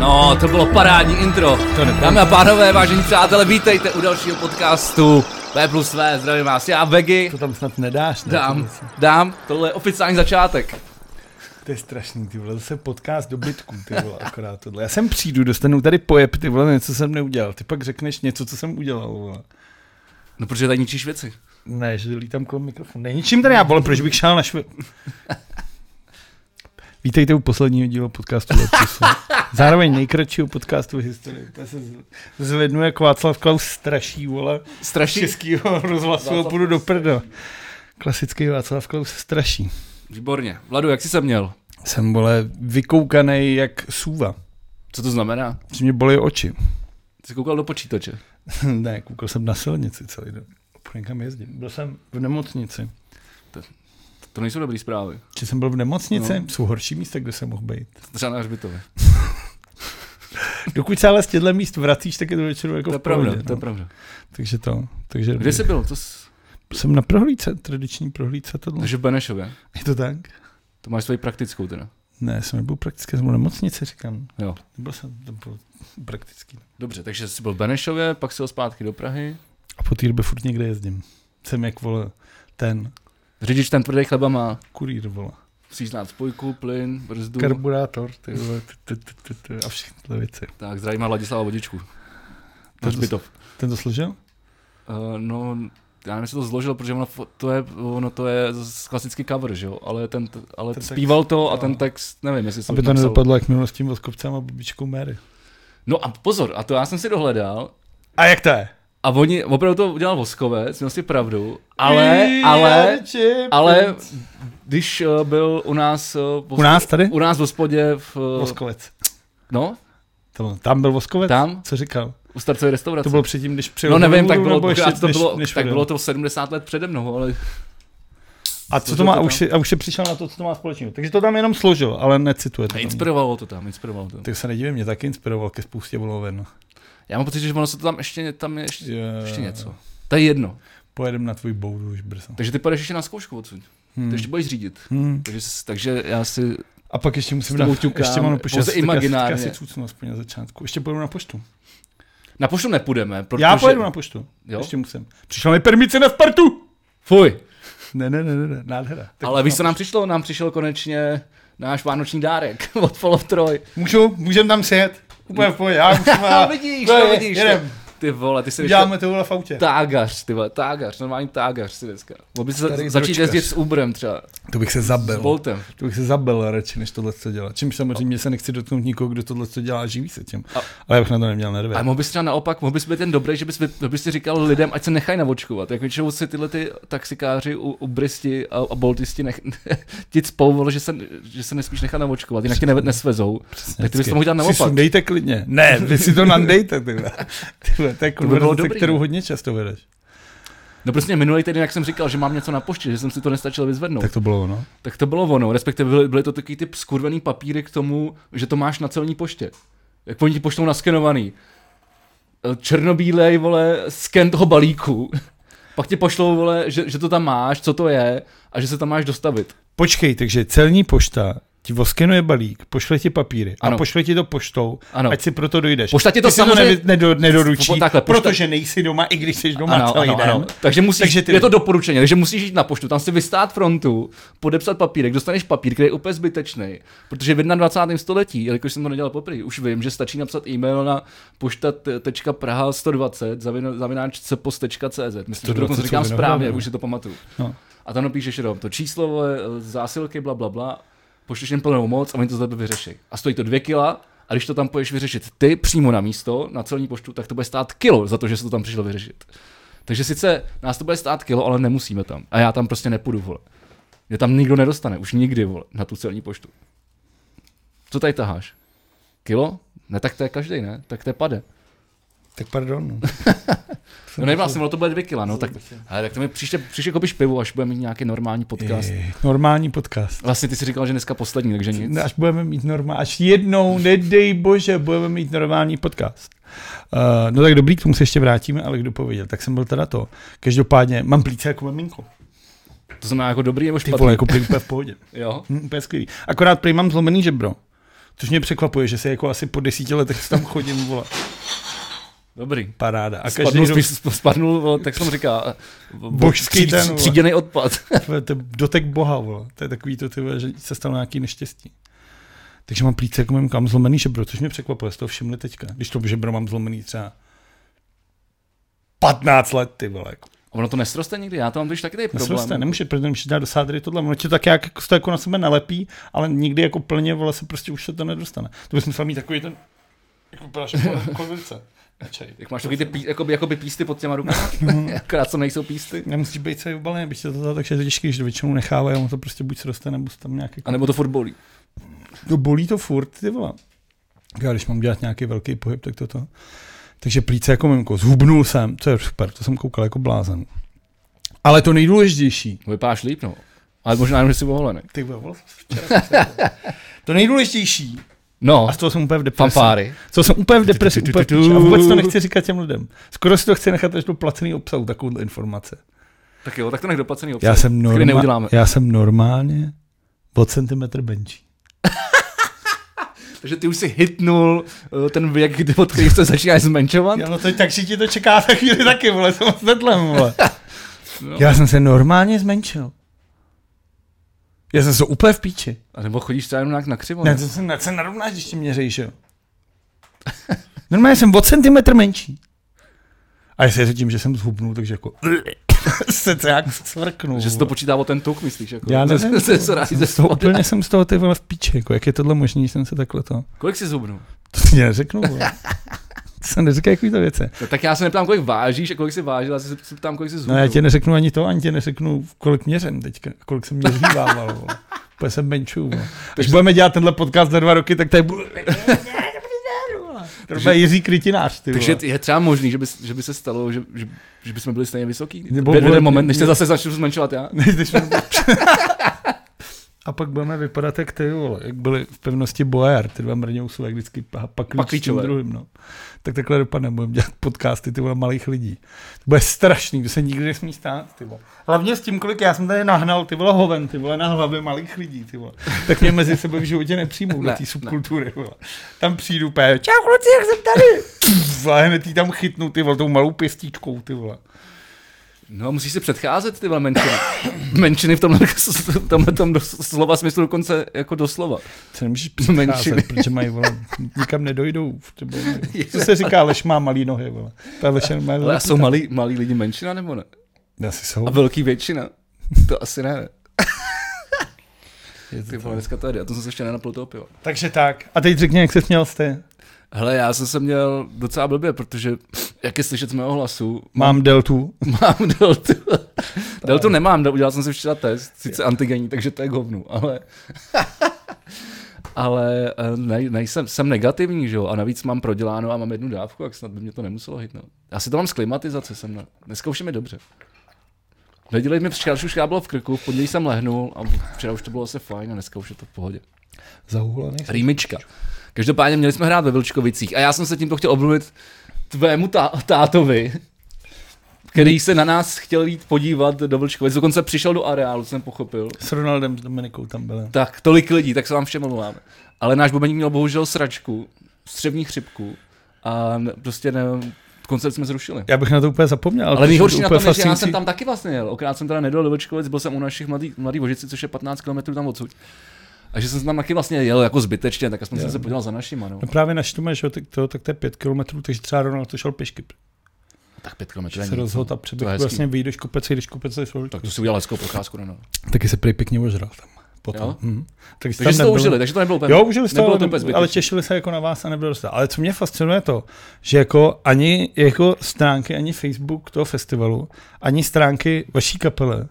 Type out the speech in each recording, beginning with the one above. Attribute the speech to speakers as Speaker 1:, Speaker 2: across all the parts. Speaker 1: No, to bylo parádní intro. To Dámy a pánové, vážení přátelé, vítejte u dalšího podcastu V plus V, zdravím vás, já Vegy.
Speaker 2: To tam snad nedáš. Ne?
Speaker 1: Dám, dám, tohle je oficiální začátek.
Speaker 2: To je strašný, ty vole, zase podcast dobytků, ty vole, akorát tohle. Já sem přijdu, dostanu tady pojeb, ty vole, něco jsem neudělal. Ty pak řekneš něco, co jsem udělal, vole.
Speaker 1: No, protože tady ničíš věci.
Speaker 2: Ne, že lítám kolem mikrofonu. Není čím tady já, vole, proč bych šel na švi... Vítejte u posledního dílu podcastu Lepusu. Zároveň nejkratšího podcastu v historii. To se z- zvednu, jak Václav Klaus straší, vole,
Speaker 1: Strašný.
Speaker 2: českýho rozhlasu a půjdu do prda. Klasický Václav Klaus straší.
Speaker 1: Výborně. Vladu, jak jsi se měl?
Speaker 2: Jsem, vole, vykoukanej jak sůva.
Speaker 1: Co to znamená?
Speaker 2: Že mě bolí oči.
Speaker 1: Jsi koukal do počítače.
Speaker 2: ne, koukal jsem na silnici celý den. Furt Někam jezdím. Byl jsem v nemocnici.
Speaker 1: To nejsou dobré zprávy.
Speaker 2: Či jsem byl v nemocnici? No. Jsou horší místa, kde jsem mohl být.
Speaker 1: Třeba na hřbitově.
Speaker 2: Jako Dokud se ale z těchto míst vracíš, tak je to většinou jako
Speaker 1: To je
Speaker 2: v pohodě,
Speaker 1: pravda, to je
Speaker 2: no.
Speaker 1: pravda.
Speaker 2: Takže to. Takže
Speaker 1: Kde jsi byl? To jsi...
Speaker 2: Jsem na prohlídce, tradiční prohlídce tohle.
Speaker 1: Takže v Benešově.
Speaker 2: Je to tak?
Speaker 1: To máš svoji praktickou teda.
Speaker 2: Ne, jsem nebyl prakticky, jsem byl v nemocnici, říkám.
Speaker 1: Jo.
Speaker 2: Nebyl jsem, to bylo praktický.
Speaker 1: Dobře, takže jsi byl v Benešově, pak jsi jel zpátky do Prahy.
Speaker 2: A po té době furt někde jezdím. Jsem jak vole ten
Speaker 1: Řidič ten tvrdý chleba má.
Speaker 2: kurýr, vole.
Speaker 1: Musíš znát spojku, plyn, brzdu.
Speaker 2: Karburátor, ty vole, ty, ty, ty, ty, ty, a všechny tyhle věci.
Speaker 1: Tak, zdravíme Ladislava Vodičku.
Speaker 2: Ten
Speaker 1: Ten
Speaker 2: to-
Speaker 1: zbytov.
Speaker 2: Ten to složil?
Speaker 1: Uh, no, já nevím, jestli to zložil, protože ono, fo- to je, ono to je z- klasický cover, že jo? Ale, ten, t- ale
Speaker 2: Ten
Speaker 1: ten
Speaker 2: text,
Speaker 1: zpíval to a
Speaker 2: jo.
Speaker 1: ten text, nevím, jestli jsem
Speaker 2: Aby to
Speaker 1: napsal.
Speaker 2: nedopadlo jak minulost tím voskopcem a babičkou Mary.
Speaker 1: No a pozor, a to já jsem si dohledal.
Speaker 2: A jak to je?
Speaker 1: A oni, opravdu to udělal Voskovec, měl si pravdu, ale, ale, ale, když eh, byl u nás, eh, v
Speaker 2: U nás tady?
Speaker 1: u nás v hospodě, v, eh,
Speaker 2: Voskovec.
Speaker 1: no,
Speaker 2: To, tam byl Voskovec?
Speaker 1: tam,
Speaker 2: Co říkal?
Speaker 1: u starcové restaurace.
Speaker 2: To bylo předtím, když přijel
Speaker 1: No
Speaker 2: do
Speaker 1: nevím,
Speaker 2: Louvru,
Speaker 1: tak bylo,
Speaker 2: nebo ještě,
Speaker 1: to bylo,
Speaker 2: než, než
Speaker 1: tak
Speaker 2: odjel?
Speaker 1: bylo to 70 let přede mnou, ale
Speaker 2: A co to
Speaker 1: Složil
Speaker 2: má,
Speaker 1: to
Speaker 2: a
Speaker 1: tam.
Speaker 2: už, je, a už je přišel na to, co to má společného. Takže to tam jenom složil, ale necituje to
Speaker 1: a
Speaker 2: tam.
Speaker 1: inspirovalo to tam, inspirovalo to.
Speaker 2: Tak se nedivím, mě taky inspiroval ke spoustě vloven.
Speaker 1: Já mám pocit, že ono se to tam ještě, tam je ještě,
Speaker 2: Eh.
Speaker 1: ještě něco. To je jedno.
Speaker 2: Pojedem na tvůj boudu už brzo.
Speaker 1: Takže ty půjdeš ještě na zkoušku odsud. Hmm.
Speaker 2: Hmm.
Speaker 1: To ještě budeš řídit.
Speaker 2: Hmm.
Speaker 1: Takže, s- takže já si...
Speaker 2: A pak ještě musím
Speaker 1: S tebou
Speaker 2: dát,
Speaker 1: ťukám,
Speaker 2: ještě mám na
Speaker 1: pouze
Speaker 2: poště, tak já si- tak já
Speaker 1: imaginárně.
Speaker 2: si cucnu aspoň na začátku. Ještě pojedu na poštu.
Speaker 1: Na poštu nepůjdeme, protože...
Speaker 2: Já pojedu na poštu,
Speaker 1: Jo?
Speaker 2: ještě musím. Přišla mi permice na Spartu!
Speaker 1: Fuj!
Speaker 2: Ne, ne, ne, ne, ne nádhera. Tak no.
Speaker 1: Ale víš, co nám přišlo? Nám přišel konečně náš vánoční dárek od Fall of Troy.
Speaker 2: Můžu, můžem tam sejet. Úplně v pohodě, já musím.
Speaker 1: A
Speaker 2: a-
Speaker 1: vidíš,
Speaker 2: to
Speaker 1: to
Speaker 2: je,
Speaker 1: vidíš.
Speaker 2: jedem.
Speaker 1: to- Ty vole, ty jsi ještě
Speaker 2: Děláme tohle v autě.
Speaker 1: tágař, ty vole, tágař, normální tágař si dneska. Mohl bys za,
Speaker 2: Starý
Speaker 1: začít
Speaker 2: dročkař.
Speaker 1: jezdit s Uberem třeba,
Speaker 2: To bych se
Speaker 1: s
Speaker 2: zabil.
Speaker 1: Boltem.
Speaker 2: To bych se zabil radši, než tohle co dělá. Čímž samozřejmě se nechci dotknout nikoho, kdo tohle co dělá, a živí se tím.
Speaker 1: A-
Speaker 2: Ale já bych na to neměl nervy.
Speaker 1: A mohl bys třeba naopak, mohl bys být ten dobrý, že bys, vy- že bys si říkal lidem, ať se nechají navočkovat. Jak většinou si tyhle ty taxikáři, u, ubristi a, a boltisti nech, ti cpou, vole, že se, že se nesmíš nechat navočkovat, jinak tě ne, nesvezou. tak ty bys to mohl dělat
Speaker 2: Si
Speaker 1: naopak.
Speaker 2: sundejte klidně. Ne, vy si to nandejte, ty vole. Ty vole, To je
Speaker 1: by bylo
Speaker 2: konverzace,
Speaker 1: dobrý,
Speaker 2: kterou
Speaker 1: ne?
Speaker 2: hodně často vedeš.
Speaker 1: No prostě minulý týden, jak jsem říkal, že mám něco na poště, že jsem si to nestačil vyzvednout. Tak,
Speaker 2: Tak to bylo ono.
Speaker 1: tak to bylo ono, respektive byly, byly to taky ty skurvený papíry k tomu, že to máš na celní poště. Jak oni ti poštou naskenovaný. E, Černobílej, vole, sken toho balíku. Pak ti pošlou, vole, že, že to tam máš, co to je a že se tam máš dostavit.
Speaker 2: Počkej, takže celní pošta ti voskenuje balík, pošle ti papíry
Speaker 1: Ano.
Speaker 2: a pošle ti to poštou,
Speaker 1: Ano.
Speaker 2: ať si proto dojdeš.
Speaker 1: Pošta ti to
Speaker 2: Ty si
Speaker 1: samozřejmě-
Speaker 2: to nevy- nedo, nedoručí,
Speaker 1: Takhle, pošta-
Speaker 2: protože nejsi doma, i když jsi doma celý den.
Speaker 1: Takže musíš,
Speaker 2: Takže
Speaker 1: takže
Speaker 2: ty-
Speaker 1: ty... je to doporučení, takže musíš jít na poštu, tam si vystát frontu, podepsat papírek, dostaneš papír, který je úplně zbytečný, protože v 21. století, jelikož jsem to nedělal poprvé, už vím, že stačí napsat e-mail na pošta.praha 120 zavináč cepos.cz. Myslím, že to
Speaker 2: 120
Speaker 1: dokonce říkám
Speaker 2: jsou
Speaker 1: správně,
Speaker 2: Vinohrady,
Speaker 1: už si to pamatuju.
Speaker 2: No.
Speaker 1: A tam napíšeš jenom to číslo, vole, zásilky, bla, bla, bla, pošleš jim plnou moc a oni to za tebe vyřeší. A stojí to dvě kila, a když to tam půjdeš vyřešit ty přímo na místo, na celní poštu, tak to bude stát kilo za to, že se to tam přišlo vyřešit. Takže sice nás to bude stát kilo, ale nemusíme tam. A já tam prostě nepůjdu, vole. Mě tam nikdo nedostane, už nikdy, vole, na tu celní poštu. Co tady taháš? Kilo? Ne, tak to je každý, ne? Tak to je pade.
Speaker 2: Tak pardon. no.
Speaker 1: No nevím, jsem, ono to bude dvě kila, no tak, ale tak to mi příště, příště kopiš pivo, až budeme mít nějaký normální podcast.
Speaker 2: Jej, Normální podcast.
Speaker 1: Vlastně ty si říkal, že dneska poslední, takže nic.
Speaker 2: Až budeme mít normální, až jednou, nedej bože, budeme mít normální podcast. Uh, no tak dobrý, k tomu se ještě vrátíme, ale kdo pověděl, tak jsem byl teda to. Každopádně mám plíce jako maminko.
Speaker 1: To znamená jako dobrý nebo
Speaker 2: Ty
Speaker 1: špatný.
Speaker 2: vole, jako prý úplně v pohodě.
Speaker 1: Jo.
Speaker 2: Hm, úplně skvělý. Akorát prý mám zlomený žebro. Což mě překvapuje, že se jako asi po desíti letech tam chodím, vole.
Speaker 1: Dobrý.
Speaker 2: Paráda. A každý
Speaker 1: Spadnul,
Speaker 2: rok,
Speaker 1: spíš, spadnul, vole, tak jsem říká, eh, bo-
Speaker 2: Božský
Speaker 1: tří-
Speaker 2: den,
Speaker 1: tří-
Speaker 2: vole.
Speaker 1: Tříděný odpad.
Speaker 2: vole, to je dotek boha, vole. To je takový to, ty vole, že se stalo nějaký neštěstí. Takže mám plíce, jako mám kam zlomený žebro, což mě překvapuje, z toho všimli teďka. Když to žebro mám zlomený třeba 15 let, ty vole. Jako.
Speaker 1: A ono to nesroste nikdy, já to mám totiž taky tady problém. jako.
Speaker 2: Nesroste, nemůže, protože nemůže dát do sádry tohle, ono tě tak jak jako, se to jako na sebe nalepí, ale nikdy jako plně vole se prostě už se to nedostane. To bys musel mít takový ten, jak vypadáš jako kozice. Čej.
Speaker 1: Jak máš takový ty pí, jakoby, jakoby písty pod těma rukama,
Speaker 2: Mhm.
Speaker 1: akorát co nejsou písty.
Speaker 2: Nemusíš být celý obalený, byť to dá, takže je to těžké, když to většinou nechávají, ono to prostě buď roste, nebo se tam nějak
Speaker 1: A
Speaker 2: jako...
Speaker 1: nebo to furt bolí.
Speaker 2: To bolí to furt, ty vole. Já když mám dělat nějaký velký pohyb, tak toto. Takže plíce jako mimko, zhubnul jsem, to je super, to jsem koukal jako blázen. Ale to nejdůležitější,
Speaker 1: Vypáš líp, no. Ale možná jenom, že jsi oholený.
Speaker 2: ty vole, vole, včera jsem se- to nejdůležitější,
Speaker 1: No,
Speaker 2: a z toho jsem úplně v depresi.
Speaker 1: fanfáry.
Speaker 2: Co jsem úplně v depresi, úplně v píči. a vůbec to nechci říkat těm lidem. Skoro si to chci nechat až do placený obsahu, takovou informace.
Speaker 1: Tak jo, tak to nech doplacený obsah.
Speaker 2: Já jsem,
Speaker 1: Který neuděláme.
Speaker 2: norma- já jsem normálně o centimetr benčí.
Speaker 1: Takže ty už si hitnul eh, ten věk, kdy od kterých se začínáš zmenšovat.
Speaker 2: Já, no to, takže ti to čeká za chvíli taky, vole, jsem s vedlem, vole.
Speaker 1: No.
Speaker 2: Já jsem se normálně zmenšil. Já jsem se úplně v píči.
Speaker 1: A nebo chodíš třeba jenom nějak na křivo.
Speaker 2: Ne,
Speaker 1: Ne?
Speaker 2: to se, na, se narovnáš, když ti měřejš, jo. Normálně jsem o centimetr menší. A jestli je to tím, že jsem zhubnul, takže jako se to jak svrknu.
Speaker 1: Že se to
Speaker 2: vole.
Speaker 1: počítá o ten tuk, myslíš? Jako,
Speaker 2: Já nevím,
Speaker 1: Ze, ze, ze, ze,
Speaker 2: jsem
Speaker 1: ze,
Speaker 2: z toho, úplně jsem z toho ty vole v píči, jako, jak je tohle možný, že jsem se takhle to...
Speaker 1: kolik jsi zubnul?
Speaker 2: To ti neřeknu, vole. To se neříkají takovýto věci.
Speaker 1: No, tak já se neptám, kolik vážíš a kolik jsi vážil, já se se ptám, kolik jsi zubnul.
Speaker 2: No já ti neřeknu ani to, ani ti neřeknu, kolik měřím teďka, kolik jsem měřívával, vole. Úplně jsem benčů, vole. Až budeme dělat tenhle podcast za dva roky, tak tady budu... To je Jiří Krytinář, ty
Speaker 1: Takže
Speaker 2: vole.
Speaker 1: t- je třeba možný, že by, že by se stalo, že, že, že by jsme byli stejně vysoký.
Speaker 2: Nebo
Speaker 1: Nebo jeden
Speaker 2: bude-
Speaker 1: moment, než se
Speaker 2: ne-
Speaker 1: zase začnu zmenšovat já.
Speaker 2: Když jsme- A pak budeme vypadat jak ty, vole, jak byli v pevnosti Boer, ty dva mrňousů, jak vždycky pa- paklíč s tím
Speaker 1: Paklíčové.
Speaker 2: druhým, no. Tak takhle dopadne, budeme dělat podcasty, ty vole, malých lidí. To bude strašný, to se nikdy nesmí stát, ty vole. Hlavně s tím, kolik já jsem tady nahnal, ty vole, hoven, ty vole, na hlavě malých lidí, ty vole. Tak mě mezi sebe v životě nepřijmou do
Speaker 1: Ne,
Speaker 2: té
Speaker 1: ne.
Speaker 2: subkultury, vole. Tam přijdu, pé, čau kluci, jak jsem tady. Pff, A hned jí tam chytnu, ty vole, tou malou pěstičkou, ty vole.
Speaker 1: No, musíš se předcházet ty vole menšiny. menšiny v tomhle, v tomhle tom do, slova smyslu dokonce jako doslova.
Speaker 2: Se nemůžeš
Speaker 1: Menšiny.
Speaker 2: předcházet, protože mají, vole, nikam nedojdou. Třeba, co se říká, lež má malý nohy, vole. Ta lež má
Speaker 1: Ale a jsou malí, malí lidi menšina nebo ne?
Speaker 2: Asi jsou.
Speaker 1: A velký většina? To asi ne. Ty vole, dneska tady, a to jsem se ještě nenapil toho piva.
Speaker 2: Takže tak. A teď řekni, jak se směl jste.
Speaker 1: Hele, já jsem se měl docela blbě, protože, jak je slyšet z mého hlasu,
Speaker 2: Mám deltu.
Speaker 1: Mám deltu. deltu nemám, del- udělal jsem si včera test, sice antigenní, takže to je k hovnu, ale... ale eh, ne, nejsem, jsem negativní, že jo, a navíc mám proděláno a mám jednu dávku, jak snad by mě to nemuselo hitnout. Já si to mám z klimatizace, jsem na... Dneska už je mi dobře. V neděli mi včera už škráblo v krku, v pondělí jsem lehnul a včera už to bylo zase fajn a dneska už je to v pohodě.
Speaker 2: Zahulený.
Speaker 1: Rýmička. Každopádně měli jsme hrát ve Vilčkovicích a já jsem se tímto chtěl omluvit tvému tá- tátovi, který se na nás chtěl jít podívat do Vilčkovic. Dokonce přišel do areálu, jsem pochopil.
Speaker 2: S Ronaldem s Dominikou tam byli.
Speaker 1: Tak, tolik lidí, tak se vám všem omluváme. Ale náš bubeník měl bohužel sračku, střevní chřipku a ne, prostě ne, koncert jsme zrušili.
Speaker 2: Já bych na to úplně zapomněl.
Speaker 1: Ale
Speaker 2: to
Speaker 1: nejhorší
Speaker 2: je
Speaker 1: na tom
Speaker 2: úplně
Speaker 1: je, že já
Speaker 2: fascinující.
Speaker 1: jsem tam taky vlastně jel. Okrát jsem teda nedojel do Vlčkovic, byl jsem u našich mladých, mladých vožici, což je 15 km tam odsud. A že jsem tam taky vlastně jel jako zbytečně, tak aspoň jsem se podíval za našima. No.
Speaker 2: No právě na Štume, že jo, tak to, tak to je pět kilometrů, takže třeba Ronald to šel pěšky.
Speaker 1: Tak pět kilometrů.
Speaker 2: Že
Speaker 1: není
Speaker 2: se
Speaker 1: nic,
Speaker 2: rozhodl a
Speaker 1: To je
Speaker 2: přeběh
Speaker 1: hezký.
Speaker 2: vlastně vyjdeš kopec, jdeš kopec, jdeš
Speaker 1: Tak to si udělal hezkou procházku, no. no.
Speaker 2: Taky se prý pěkně ožral tam. Potom.
Speaker 1: Jo?
Speaker 2: Hm. Tak
Speaker 1: Takže jste to užili, takže to nebylo úplně.
Speaker 2: Jo, užili jste,
Speaker 1: nebylo
Speaker 2: ale,
Speaker 1: to úplně
Speaker 2: to ale
Speaker 1: zbytečné.
Speaker 2: těšili se jako na vás a nebylo dostat. Ale co mě fascinuje to, že jako ani jako stránky, ani Facebook toho festivalu, ani stránky vaší kapele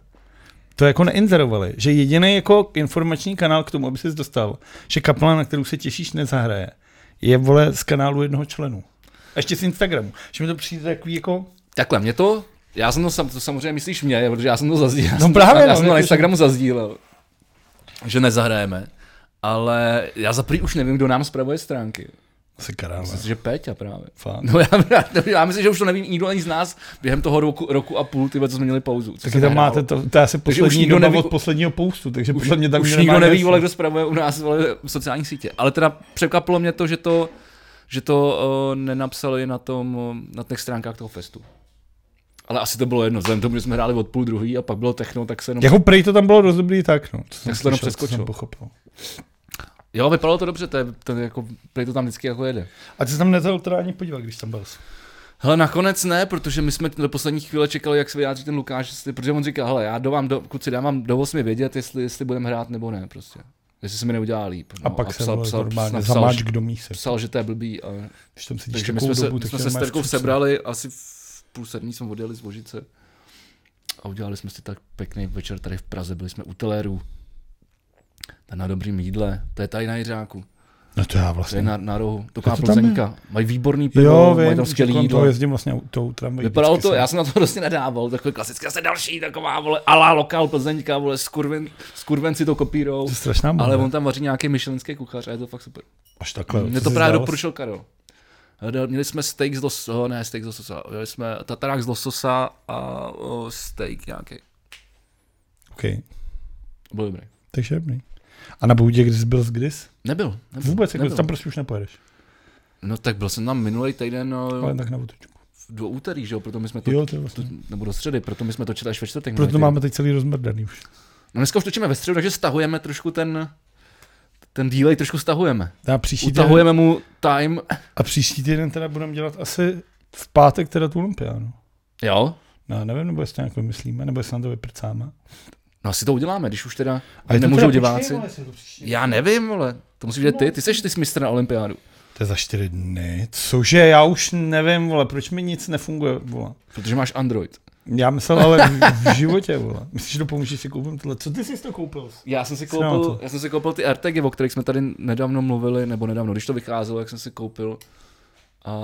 Speaker 2: to jako neinzerovali, že jediný jako informační kanál k tomu, aby ses dostal, že kapela, na kterou se těšíš, nezahraje, je vole z kanálu jednoho členu. A ještě z Instagramu. Že mi to přijde takový jako...
Speaker 1: Takhle, mě to, já jsem to, sam, to samozřejmě myslíš mě, protože já jsem to zazdílel. já jsem-
Speaker 2: právě,
Speaker 1: já,
Speaker 2: no,
Speaker 1: jsem to na
Speaker 2: jakože-
Speaker 1: Instagramu zazdílel, že nezahrajeme. Ale já za prý už nevím, kdo nám spravuje stránky.
Speaker 2: Asi Karel.
Speaker 1: Myslím si, že Peťa právě.
Speaker 2: Fakt.
Speaker 1: No já, já, já myslím, že už to neví nikdo ani z nás během toho roku, roku a půl, ty vole, co jsme měli pauzu. Co se
Speaker 2: Taky tam
Speaker 1: nehrálo.
Speaker 2: máte, to, to je asi
Speaker 1: Takže už
Speaker 2: poslední
Speaker 1: nikdo
Speaker 2: doba
Speaker 1: neví-
Speaker 2: od posledního poustu, takže
Speaker 1: Už,
Speaker 2: podle mě tam
Speaker 1: už
Speaker 2: nikdo
Speaker 1: nikdo
Speaker 2: nemá
Speaker 1: neví,
Speaker 2: jasno.
Speaker 1: vole, kdo spravuje u nás vole, sociální sítě. Ale teda překvapilo mě to, že to, že to uh, nenapsali na, tom, eh, na těch stránkách toho festu. Ale asi to bylo jedno, vzhledem k tomu, že jsme hráli od půl druhý a pak bylo techno, tak se jenom...
Speaker 2: Jako prej to tam bylo dost dobrý tak, no. Co jsem
Speaker 1: se to jenom
Speaker 2: slyšel, co jsem
Speaker 1: přeskočil.
Speaker 2: pochopil.
Speaker 1: Jo, vypadalo to dobře, to je, to je jako, prý to tam vždycky jako jede.
Speaker 2: A ty jsi tam nezal teda ani podívat, když tam byl. jsi.
Speaker 1: Hele, nakonec ne, protože my jsme do poslední chvíle čekali, jak se vyjádří ten Lukáš, jestli- protože on říkal, hele, já do vám, do, kluci, dám vám do 8 vědět, jestli, jestli budeme hrát nebo ne, prostě. Jestli se mi neudělá líp. No,
Speaker 2: A pak se
Speaker 1: psal,
Speaker 2: vole,
Speaker 1: psal, psal,
Speaker 2: normálně
Speaker 1: psal,
Speaker 2: zamáč do míse.
Speaker 1: psal, že to je blbý. A,
Speaker 2: Když tam sedíš
Speaker 1: takže my
Speaker 2: takovou
Speaker 1: jsme se,
Speaker 2: dobu, tak
Speaker 1: jsme
Speaker 2: tě
Speaker 1: se s
Speaker 2: nemáš
Speaker 1: Terkou
Speaker 2: přece.
Speaker 1: sebrali, asi v půl sedmí jsme odjeli z Vožice. A udělali jsme si tak pěkný večer tady v Praze, byli jsme u Telerů. Tam na dobrým jídle, to je tady na Jiřáku,
Speaker 2: No to já
Speaker 1: to je
Speaker 2: vlastně.
Speaker 1: na, na rohu, taková
Speaker 2: Co to tam je?
Speaker 1: plzeňka. Mají výborný pivo,
Speaker 2: Jo,
Speaker 1: mají
Speaker 2: vím,
Speaker 1: tam skvělý
Speaker 2: kolem
Speaker 1: jídlo.
Speaker 2: toho jezdím vlastně tou tramvají.
Speaker 1: Vypadalo
Speaker 2: vždycky
Speaker 1: to,
Speaker 2: jsem-
Speaker 1: já jsem na to prostě nedával, takový klasický, zase další taková, vole, ala lokál plzeňka, vole, skurven, skurven si to kopírou,
Speaker 2: To je strašná bomba.
Speaker 1: ale on tam vaří nějaký myšlenský kuchař a je to fakt super.
Speaker 2: Až takhle.
Speaker 1: Mě
Speaker 2: co
Speaker 1: to
Speaker 2: jsi
Speaker 1: právě
Speaker 2: dal?
Speaker 1: doporučil Karel. Dal- Měli jsme steak z lososa, ne steak z lososa, měli jsme tatarák z lososa a o, steak nějaký.
Speaker 2: OK,
Speaker 1: Byl dobrý.
Speaker 2: takže dobrý. A na boudě, když jsi byl z Gris?
Speaker 1: Nebyl. nebyl
Speaker 2: Vůbec, jako
Speaker 1: nebyl.
Speaker 2: tam prostě už nepojedeš.
Speaker 1: No tak byl jsem tam minulý týden no,
Speaker 2: Ale tak na otočku.
Speaker 1: do úterý, že jo, proto my jsme to,
Speaker 2: Jo, to je vlastně.
Speaker 1: nebo do středy, proto my jsme točili až ve čtvrtek. minulý
Speaker 2: Proto
Speaker 1: týden.
Speaker 2: máme teď celý rozmrdaný už.
Speaker 1: No dneska už točíme ve středu, takže stahujeme trošku ten, ten delay trošku stahujeme.
Speaker 2: A příští, týden,
Speaker 1: Utahujeme mu time.
Speaker 2: a příští týden teda budeme dělat asi v pátek teda tu olympiádu.
Speaker 1: Jo?
Speaker 2: No, nevím, nebo jestli to nějak vymyslíme, nebo jestli nám to vyprcáme.
Speaker 1: No asi to uděláme, když už teda
Speaker 2: A je to
Speaker 1: nemůžou
Speaker 2: teda-
Speaker 1: diváci.
Speaker 2: počkej, vole, jestli je to příští.
Speaker 1: Já nevím, vole. To musíš být ty, ty seš ty jsi mistr na olympiádu.
Speaker 2: To je za čtyři dny. Cože, já už nevím, vole, proč mi nic nefunguje, vole.
Speaker 1: Protože máš Android.
Speaker 2: Já myslel, ale v, v životě, vole. Myslíš, že to pomůže, že si koupím tohle? Co ty jsi to koupil?
Speaker 1: Já jsem si
Speaker 2: Co na
Speaker 1: koupil,
Speaker 2: to?
Speaker 1: já jsem si koupil ty RTG, o kterých jsme tady nedávno mluvili, nebo nedávno, když to vycházelo, jak jsem si koupil. A,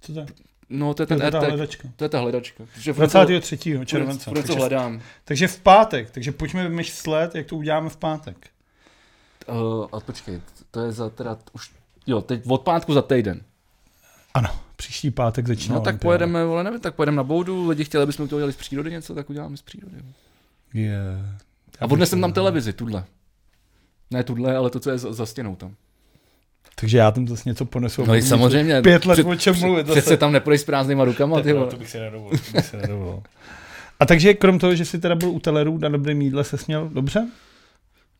Speaker 2: Co to je?
Speaker 1: no to je
Speaker 2: To
Speaker 1: ten
Speaker 2: je ta
Speaker 1: RTG.
Speaker 2: hledačka.
Speaker 1: To je ta hledačka. Protože furt to-
Speaker 2: 23.
Speaker 1: furt-
Speaker 2: července.
Speaker 1: Furt to
Speaker 2: Takže,
Speaker 1: hledám.
Speaker 2: takže v pátek, takže pojďme vymyslet, jak to uděláme v pátek.
Speaker 1: Uh, a počkej, to je za teda už, jo, teď od pátku za týden.
Speaker 2: Ano, příští pátek začíná
Speaker 1: No, no tak
Speaker 2: olympiáda.
Speaker 1: pojedeme, vole, nevím, tak pojedeme na boudu, lidi chtěli, abychom to udělali z přírody něco, tak uděláme z přírody.
Speaker 2: Je.
Speaker 1: A odnesem tam televizi, tuhle. Ne tuhle, ale to, co je za, za stěnou tam.
Speaker 2: Takže já tam zase něco ponesu.
Speaker 1: No i samozřejmě.
Speaker 2: Pět let
Speaker 1: před-
Speaker 2: o čem mluvit zase.
Speaker 1: Přece tam nepůjdeš s prázdnýma rukama, No, ty vole.
Speaker 2: bych si nedovolil, no, to bych si nedovolil. A takže krom toho, že jsi teda byl u telerů na dobrém jídle, se směl dobře?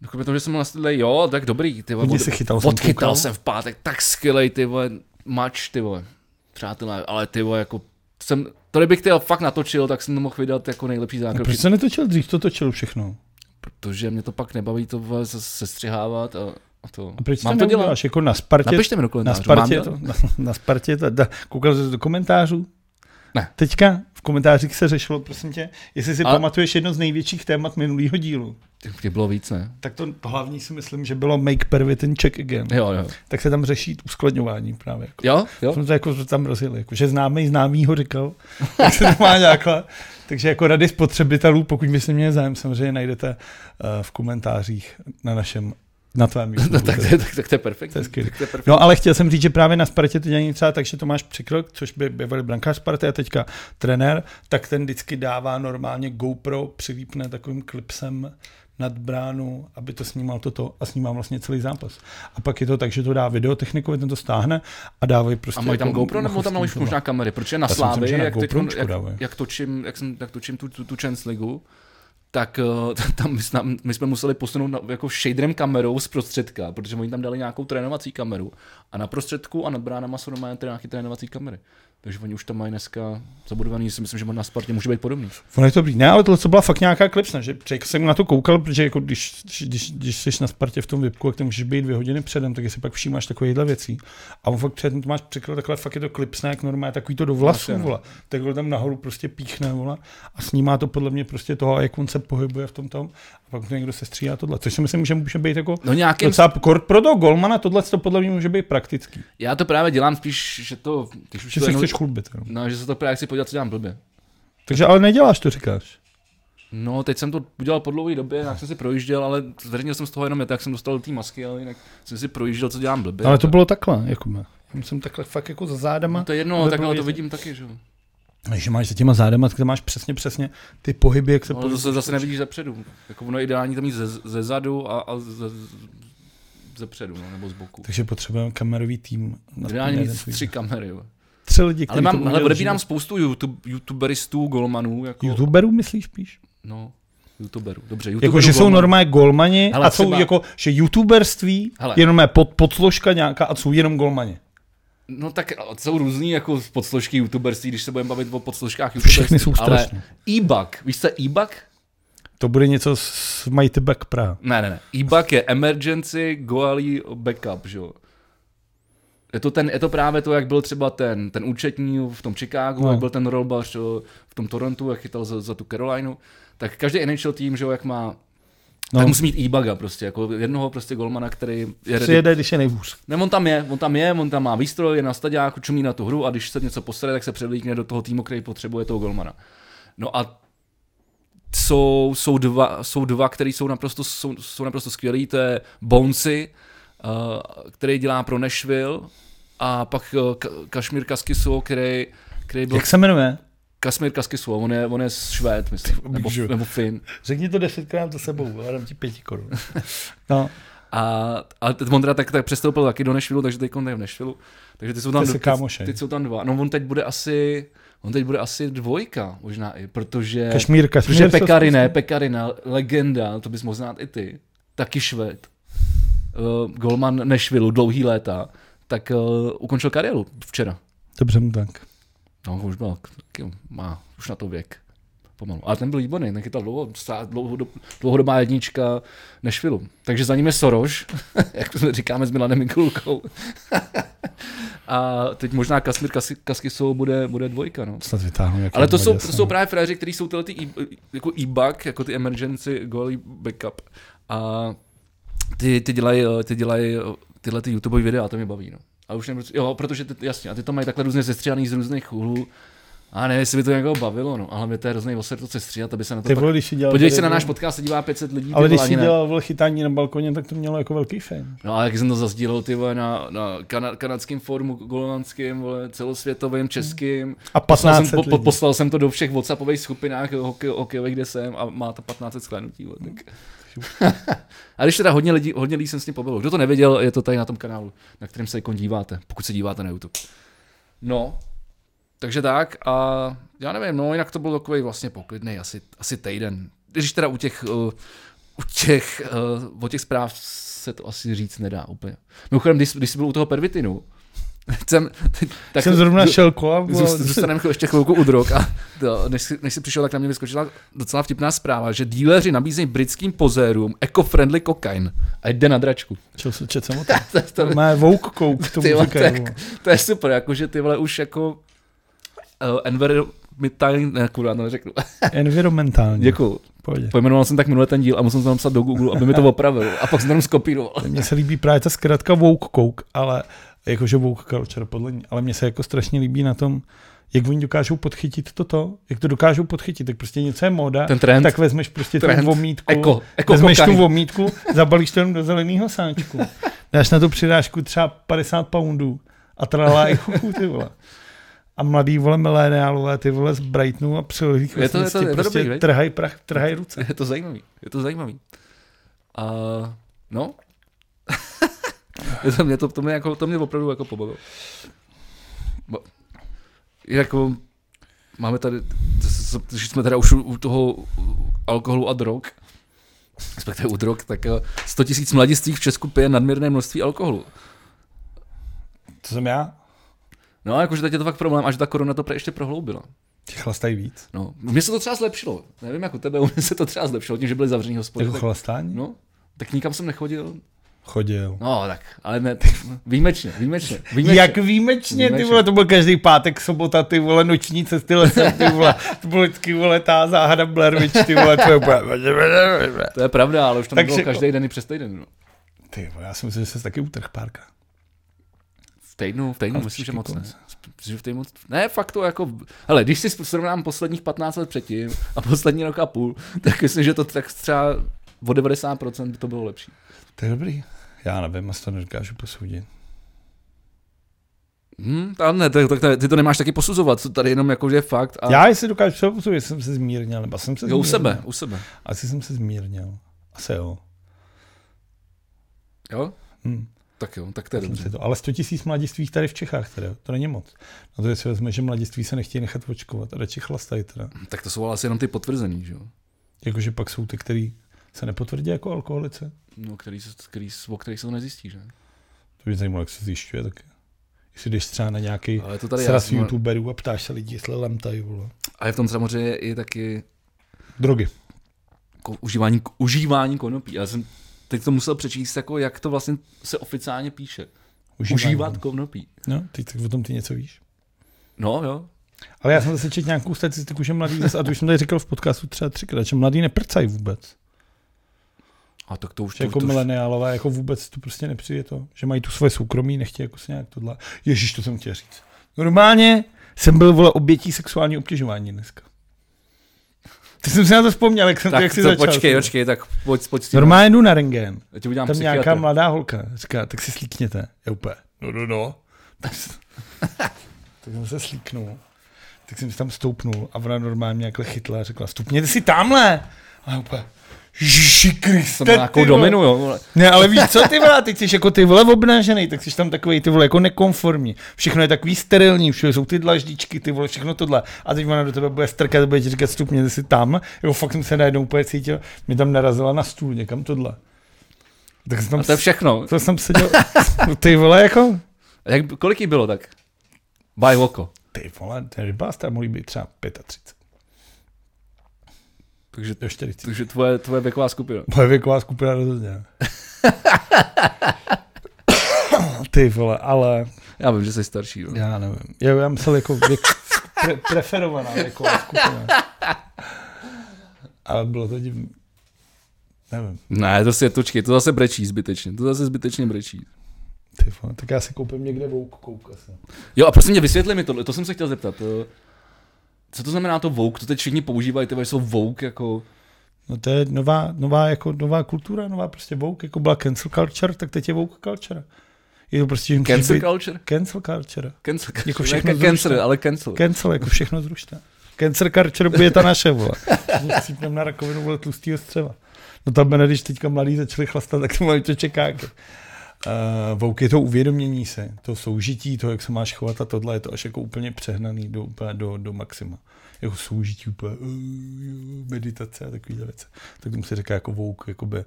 Speaker 1: Kromě toho, že jsem vlastně, jo, tak dobrý, ty vole.
Speaker 2: Hodně
Speaker 1: od-
Speaker 2: se chytal, jsem
Speaker 1: Odchytal
Speaker 2: koukal.
Speaker 1: jsem v pátek, tak skvělej, ty vole, mač, ty vole. Přátelé, ale ty vole, jako jsem, to kdybych ty vole fakt natočil, tak jsem to mohl vydat jako nejlepší
Speaker 2: No,
Speaker 1: zákrok.
Speaker 2: proč se netočil dřív, to točil všechno.
Speaker 1: Protože mě to pak nebaví to vole, se- sestřihávat a, a to.
Speaker 2: A proč
Speaker 1: Mám
Speaker 2: to
Speaker 1: to dělat?
Speaker 2: děláš? Jako na Spartě?
Speaker 1: Napište mi do
Speaker 2: na
Speaker 1: komentářů. mám
Speaker 2: Spartě, je
Speaker 1: dělat?
Speaker 2: to, na, na Spartě je to, da, koukal jsi do komentářů?
Speaker 1: Ne.
Speaker 2: Teďka v komentářích se řešilo, prosím tě, jestli si
Speaker 1: Ale-
Speaker 2: pamatuješ jedno z největších témat minulého dílu.
Speaker 1: Těch- Těch bylo víc, ne?
Speaker 2: Tak to, to hlavní si myslím, že bylo make pervitin check again.
Speaker 1: Jo, jo.
Speaker 2: Tak se tam řeší uskladňování právě. Jako.
Speaker 1: Jo, jo.
Speaker 2: Jsme to jako tam rozjeli, jako, že známý známý ho říkal, tak se to má nějaká. Takže jako rady spotřebitelů, pokud byste měli zájem, samozřejmě najdete eh, v komentářích na našem, na tvém YouTube.
Speaker 1: No, tak, to je- tak, tak to je perfektní.
Speaker 2: To je skvělý.
Speaker 1: Tak to je perfektní.
Speaker 2: No ale chtěl jsem říct, že právě na Spartě to dělají třeba tak, že Tomáš Přikrok, což by bývalý brankář Sparty a teďka trenér, tak ten vždycky dává normálně GoPro, přilípne takovým klipsem nad bránu, aby to snímal toto a snímá vlastně celý zápas. A pak je to tak, že to dá videotechnikovi, ten to stáhne a dávají prostě...
Speaker 1: A mají tam
Speaker 2: jako
Speaker 1: GoPro nebo tam
Speaker 2: mochovský
Speaker 1: mají
Speaker 2: to.
Speaker 1: možná kamery? Protože na
Speaker 2: Já si myslím,
Speaker 1: Slávě,
Speaker 2: že na
Speaker 1: jak, teď,
Speaker 2: GoPročku
Speaker 1: jak,
Speaker 2: dávají.
Speaker 1: jak, točím, jak, jsem, jak točím tu, tu, tu Champions Ligu, tak eh, t- tam my, jsme, my jsme museli posunout na, jako shaderem kamerou z prostředka, protože oni tam dali nějakou trénovací kameru a na prostředku a nad bránama jsou normálně tré- nějaké trénovací kamery. Takže oni už tam mají dneska zabudovaný, si myslím, že na Spartě může být podobný.
Speaker 2: Ono je to dobrý. Ne, ale tohle co byla fakt nějaká klipsna, že že jsem na to koukal, protože jako když, když, když jsi na Spartě v tom vypku, jak tam můžeš být dvě hodiny předem, tak si pak všímáš takovýchhle věcí. A on fakt předtím to máš překlad, takhle fakt je to klipsna, jak normálně, takový to do vlasů,
Speaker 1: Jasně, no.
Speaker 2: vole. Takhle tam nahoru prostě píchne, vole. A snímá to podle mě prostě toho, jak on se pohybuje v tom tom. A pak to někdo se stříhá tohle, což si myslím, že může být jako
Speaker 1: No nějakým
Speaker 2: docela kort pro toho golmana, tohle to podle mě může být praktický.
Speaker 1: Já to právě dělám spíš, že to, když už
Speaker 2: Že
Speaker 1: to
Speaker 2: se
Speaker 1: jenom,
Speaker 2: chceš chlubit. jo.
Speaker 1: no, že se to právě chci podívat, co dělám blbě.
Speaker 2: Takže ale neděláš to, říkáš.
Speaker 1: No, teď jsem to udělal po dlouhé době, jak jsem si projížděl, ale zveřejnil jsem z toho jenom je, tak jsem dostal té masky, ale jinak jsem si projížděl, co dělám blbě.
Speaker 2: Ale to bylo takhle, jako má. Já jsem takhle fakt jako za zádama.
Speaker 1: No to je jedno,
Speaker 2: aby
Speaker 1: tak
Speaker 2: bylo
Speaker 1: ale to
Speaker 2: vidět-
Speaker 1: vidím taky, že jo.
Speaker 2: Že máš za těma zádama, tak tam máš přesně, přesně ty pohyby, jak se
Speaker 1: No, ale to se zase nevidíš zepředu. Jako ono je ideální to mít ze, ze zadu a, a ze, ze předu, no, nebo z boku.
Speaker 2: Takže potřebujeme kamerový tým. na-
Speaker 1: Ideálně
Speaker 2: na
Speaker 1: mít
Speaker 2: jeden tvůj-
Speaker 1: tři kamery. Jo.
Speaker 2: Tři
Speaker 1: Ale
Speaker 2: lidi, kteří to
Speaker 1: mám,
Speaker 2: budou
Speaker 1: ale
Speaker 2: dělat
Speaker 1: odebírám
Speaker 2: živě.
Speaker 1: spoustu YouTube, youtuberistů, golmanů, jako, YouTube?
Speaker 2: YouTuberů myslíš spíš?
Speaker 1: no, youtuberů, dobře, youtuberů,
Speaker 2: Jako, že jsou
Speaker 1: golmanů.
Speaker 2: normálně golmani
Speaker 1: Hele,
Speaker 2: a jsou
Speaker 1: třeba-
Speaker 2: jako, že youtuberství
Speaker 1: Hele.
Speaker 2: je jenom pod, podsložka nějaká a jsou jenom golmani.
Speaker 1: No tak a jsou různý jako podsložky youtuberství, když se budeme bavit o podsložkách
Speaker 2: Všechny
Speaker 1: youtuberství.
Speaker 2: jsou strašný.
Speaker 1: Ale e-bug, víš co je e-bug?
Speaker 2: To bude něco s Mighty Back Praha.
Speaker 1: Ne, ne, ne. E-bug je emergency goalie backup, že jo. Je to, ten, je to právě to, jak byl třeba ten, ten účetní v tom Chicagu,
Speaker 2: No.
Speaker 1: no. jak byl ten rolbař jo, v tom Torontu, jak chytal za, za tu Carolinu. Tak každý NHL tým, že jo, jak má, no.
Speaker 2: No.
Speaker 1: tak musí mít e-buga prostě, jako jednoho prostě golmana, který je ready
Speaker 2: Přijede, když je nejvůř.
Speaker 1: Ne, on tam je, on tam je, on tam má výstroj, je na staďáku, čumí na tu hru a když se něco posere, tak se převlíkne do toho týmu, který potřebuje toho golmana. No a jsou, jsou dva, jsou dva který jsou naprosto, jsou, jsou naprosto skvělí, to je Bouncy, uh, který dělá pro Nashville a pak uh, Ka- Kašmír Kaskiso, který, který byl
Speaker 2: Jak se jmenuje?
Speaker 1: Kasmír Kaskiso, on je, on je švéd, myslím, nebo,
Speaker 2: Žu.
Speaker 1: nebo Fin.
Speaker 2: Řekni to desetkrát za sebou, ale dám ti pěti korun. No,
Speaker 1: A, a t- on teda tak, tak přestoupil taky do Nešvilu, takže teď je v Nešvilu. Takže ty jsou tam,
Speaker 2: To si
Speaker 1: ty,
Speaker 2: kámošej.
Speaker 1: teď jsou tam dva. No on teď bude asi, on teď bude asi dvojka možná i, protože,
Speaker 2: Kašmír, Kašmír.
Speaker 1: protože
Speaker 2: se-
Speaker 1: Pekarina, Pekarina, legenda, to bys mohl znát i ty, taky Šved, uh, golman Nešvilu, dlouhý léta, tak uh, ukončil kariéru včera.
Speaker 2: Dobře mu tak.
Speaker 1: No už byl, taky má už na to věk. Pomalu. Ale ten byl výborný, ten chytal dlouho, stá- dlouhodob, dlouhodobá jednička Nešvilu. Takže za ním je Soroš, jak jsme říkáme s Milanem Mikulkou. a teď možná Kasmír Kasky, Kaskisou bude, bude dvojka. No.
Speaker 2: Snad vytáhnu jako
Speaker 1: Ale to jsou,
Speaker 2: Maďar,
Speaker 1: to jsou
Speaker 2: no.
Speaker 1: právě frajeři, kteří jsou tyhle ty e- jako e-bug, jako ty emergency goalie backup. A ty, ty dělají eh, ty dělaj, tyhle ty YouTube videa, to mě baví. No. A už nevím, proč- jo, protože ty, jasně, a ty to mají takhle různě sestříhaný z různých úhlů. A nevím, jestli by to někoho bavilo, no, ale hlavně to je hrozný oser to sestříhat, aby se na to
Speaker 2: Ty
Speaker 1: pak...
Speaker 2: vole, když si dělal...
Speaker 1: Podívej
Speaker 2: tady-
Speaker 1: se na náš podcast, se dívá 500 lidí, ty
Speaker 2: Ale když
Speaker 1: vole,
Speaker 2: si
Speaker 1: ani ne.
Speaker 2: dělal vole, chytání na balkoně, tak to mělo jako velký fame.
Speaker 1: No a jak jsem to zazdílel, ty vole, na, na kana, kanadském formu, golovanském, vole, celosvětovém, českým,
Speaker 2: A
Speaker 1: Poslal jsem,
Speaker 2: 15
Speaker 1: po, po,
Speaker 2: lidí.
Speaker 1: poslal jsem to do všech WhatsAppových skupinách jo, hokej, hokejových, kde jsem a má to 15 sklenutí. jo, Tak. a když teda hodně lidí, hodně lidí jsem s ním pobavil. Kdo to nevěděl, je to tady na tom kanálu, na kterém se jako díváte, pokud se díváte na YouTube. No, takže tak a já nevím, no jinak to byl takový vlastně poklidný asi, asi týden. Když teda u těch, uh, u těch, uh, o těch zpráv se to asi říct nedá úplně. Mimochodem, když, když jsi byl u toho pervitinu, jsem, tak
Speaker 2: Jsem zrovna šel kolem. vole,
Speaker 1: Zůst- Zůstaneme chvil- ještě chvilku u drog a to, než, si- než jsi přišel, tak na mě vyskočila docela vtipná zpráva, že díleři nabízejí britským pozérům eco-friendly kokain a jde na dračku.
Speaker 2: Čel jsem, čet jsem o tom.
Speaker 1: To, to,
Speaker 2: To Má woke kouk, tomu
Speaker 1: Ty vole,
Speaker 2: říkají.
Speaker 1: tak-
Speaker 2: vole.
Speaker 1: to je super, jakože ty vole už jako uh, environmentální, ne, kurva, to neřeknu.
Speaker 2: Environmentálně.
Speaker 1: Děkuju.
Speaker 2: Pohodě.
Speaker 1: Pojmenoval jsem tak minule ten díl a musel jsem to napsat do Google, aby mi to opravil a pak jsem to jenom skopíroval.
Speaker 2: Mně se líbí právě ta zkratka woke kouk, ale jakože woke culture podle ní, ale mně se jako strašně líbí na tom, jak oni dokážou podchytit toto, jak to dokážou podchytit, tak prostě něco je móda,
Speaker 1: Ten trend.
Speaker 2: tak vezmeš prostě
Speaker 1: Trend.
Speaker 2: tu vomítku,
Speaker 1: Eko, eko
Speaker 2: vezmeš
Speaker 1: kokain.
Speaker 2: tu vomítku, zabalíš to jenom do zeleného sáčku, dáš na tu přirážku třeba 50 poundů a tralá i chuchu, ty vole. A mladý vole mileniálové ty vole zbrajtnou a přilí
Speaker 1: to- je to- je to
Speaker 2: prostě
Speaker 1: dobrý, viď?
Speaker 2: trhají prach, trhají ruce.
Speaker 1: Je to zajímavý, je to zajímavý. A no, Je to mě to, to, mě jako, to mě opravdu jako pobavilo. Bo- Jako, máme tady, z- z- když jsme teda už u u toho u alkoholu a drog, respektive u drog, tak eh, 100 tisíc mladistvých v Česku pije nadměrné množství alkoholu.
Speaker 2: To jsem já?
Speaker 1: No a jakože teď je to fakt problém, až ta korona to pre ještě prohloubila.
Speaker 2: Ti chlastají víc.
Speaker 1: No, mně se to třeba zlepšilo, nevím jak u tebe, u mě se to třeba zlepšilo, tím, že byly zavřený hospody.
Speaker 2: Jako
Speaker 1: Tak,
Speaker 2: chlastání?
Speaker 1: no, tak nikam jsem nechodil,
Speaker 2: Chodil.
Speaker 1: No tak, ale ne, výjimečně, výjimečně, výjimečně.
Speaker 2: Výjimečně. Jak výjimečně,
Speaker 1: Výjimečně.
Speaker 2: ty vole, to byl každý pátek, sobota, ty vole, noční cesty lesem, ty vole, to bylo vždycky, vole, ta záhada Blair Witch, ty vole, to je úplně...
Speaker 1: To je pravda, ale už tam
Speaker 2: Takže-
Speaker 1: bylo každý den i přes týden. No.
Speaker 2: Ty vole, já si myslím, že se taky utrh párka.
Speaker 1: V týdnu, v týdnu,
Speaker 2: Ale
Speaker 1: myslím, že
Speaker 2: počkej,
Speaker 1: moc ne.
Speaker 2: konec.
Speaker 1: Myslím, že v týdnu, moc- ne, fakt to jako, hele, když si srovnám posledních 15 let předtím a poslední rok a půl, tak myslím, že to tak třeba o 90% by to bylo lepší.
Speaker 2: To je dobrý. Já nevím, asi to nedokážu posoudit.
Speaker 1: Hm, a ne, tak, tak, ty to nemáš taky posuzovat, to tady jenom jako, že je fakt. A
Speaker 2: A... Já jestli dokážu třeba posudit, jsem se zmírnil, nebo jsem se
Speaker 1: jo,
Speaker 2: zmírnil.
Speaker 1: u sebe, u sebe.
Speaker 2: Asi jsem se zmírnil. Asi jo.
Speaker 1: Jo?
Speaker 2: Hm.
Speaker 1: Tak jo, tak to je
Speaker 2: Myslím
Speaker 1: dobře.
Speaker 2: si to. Ale 100 tisíc mladistvých tady v Čechách, teda. to není moc. Na to, že si vezme, že mladiství se nechtějí nechat očkovat a radši chlastají teda.
Speaker 1: Tak to jsou ale asi jenom ty potvrzený, že jo?
Speaker 2: Jakože pak jsou ty, který se nepotvrdí jako alkoholice.
Speaker 1: No, který, se- který, o kterých se to nezjistí, že?
Speaker 2: To by mě zajímalo, jak se zjišťuje taky. Jestli jdeš třeba na nějaký
Speaker 1: Ale to tady
Speaker 2: sraz
Speaker 1: já-
Speaker 2: youtuberů a ptáš se lidí, jestli lemtají, vole.
Speaker 1: A je v tom samozřejmě i taky
Speaker 2: Drogy.
Speaker 1: ko- užívání, k- užívání konopí. Já jsem teď to musel přečíst, jako jak to vlastně se oficiálně píše.
Speaker 2: Užívání.
Speaker 1: Užívat konopí.
Speaker 2: No, teď tak o tom ty něco víš.
Speaker 1: No jo,
Speaker 2: Ale já jsem zase četl nějakou statistiku, že mladí, zase, a to už jsem tady říkal v podcastu třeba třikrát, že mladí neprcají vůbec.
Speaker 1: a tak to už
Speaker 2: Že
Speaker 1: to, to,
Speaker 2: jako
Speaker 1: už-
Speaker 2: mileniálové, jako vůbec to prostě nepřijde to. Že mají tu svoje soukromí, nechtějí jako se nějak tohle. Ježíš, to jsem chtěl říct. Normálně jsem byl, vole, obětí sexuální obtěžování dneska. Ty jsem si na to vzpomněl, jak, jsem,
Speaker 1: tak
Speaker 2: jak jsi
Speaker 1: to,
Speaker 2: začal.
Speaker 1: počkej,
Speaker 2: ty.
Speaker 1: počkej, tak pojď, pojď s tím.
Speaker 2: Normálně jdu na rengén.
Speaker 1: Já ti udělám
Speaker 2: Tam
Speaker 1: psychiatra.
Speaker 2: nějaká mladá holka říká, tak si slíkněte. Já úplně, no, no, no. Tak, s- tak jsem se slíknul. Tak jsem si tam stoupnul a ona normálně mě jakhle chytla a řekla, stupněte si tamhle. A já úplně, Ježiši Kriste,
Speaker 1: Jsem na nějakou
Speaker 2: ty vole."
Speaker 1: dominu, jo. vole.
Speaker 2: Ne, ale víš co, ty vole, teď jsi jako ty vole obnažený, tak jsi tam takový ty vole jako nekonformní. Všechno je takový sterilní, všude jsou ty dlaždičky, ty vole, všechno tohle. A teď ona do tebe bude strkat, bude ti říkat, stupněte si tam. Jo, fakt jsem se najednou úplně cítil, mě tam narazila na stůl někam tohle. Tak jsem tam
Speaker 1: A to je všechno.
Speaker 2: to jsem seděl, ty vole, jako,
Speaker 1: A Jak, kolik jí bylo tak? By oko.
Speaker 2: ty vole, ten rybář tam může být třeba 35,
Speaker 1: Takže,
Speaker 2: do 40.
Speaker 1: takže tvoje, tvoje věková skupina.
Speaker 2: Moje věková skupina rozhodně. ne. ty vole, ale
Speaker 1: Já vím, že jsi starší. No.
Speaker 2: já nevím, já, já myslel jako věk, pre, preferovaná věková skupina. Ale bylo to divný. Nevím,
Speaker 1: Ne, to si je točky, to zase brečí zbytečně, to zase zbytečně brečí.
Speaker 2: ty vole, tak já si koupím někde vouk, kouk asi.
Speaker 1: Jo a prosím tě, vysvětli mi tohle, to jsem se chtěl zeptat. eh, Co to znamená to vouk? To teď všichni používají, ty vole, jsou vouk jako...
Speaker 2: No to je nová, nová, jako, nová kultura, nová prostě woke, jako byla cancel culture, tak teď je woke culture. Je to prostě, že musíš
Speaker 1: Cancel
Speaker 2: být-
Speaker 1: culture?
Speaker 2: Cancel culture.
Speaker 1: Cancel culture.
Speaker 2: Jako
Speaker 1: Jako
Speaker 2: všechno
Speaker 1: všechno
Speaker 2: zrušte.
Speaker 1: cancel, ale cancel.
Speaker 2: Cancel, jako všechno zrušte. Cancer culture bude ta naše, vole. Cípnem na rakovinu, vole, tlustýho střeva. No tam ne, když teďka mladí začali chlastat, tak to mají to čekáky. Uh, vouk je to uvědomění se, to soužití, to, jak se máš chovat a tohle je to až jako úplně přehnaný do, úplně do, do maxima. Jako soužití, úplně uh, jo, meditace a takovýhle věci. Tak tomu se říká jako vouk, jakoby,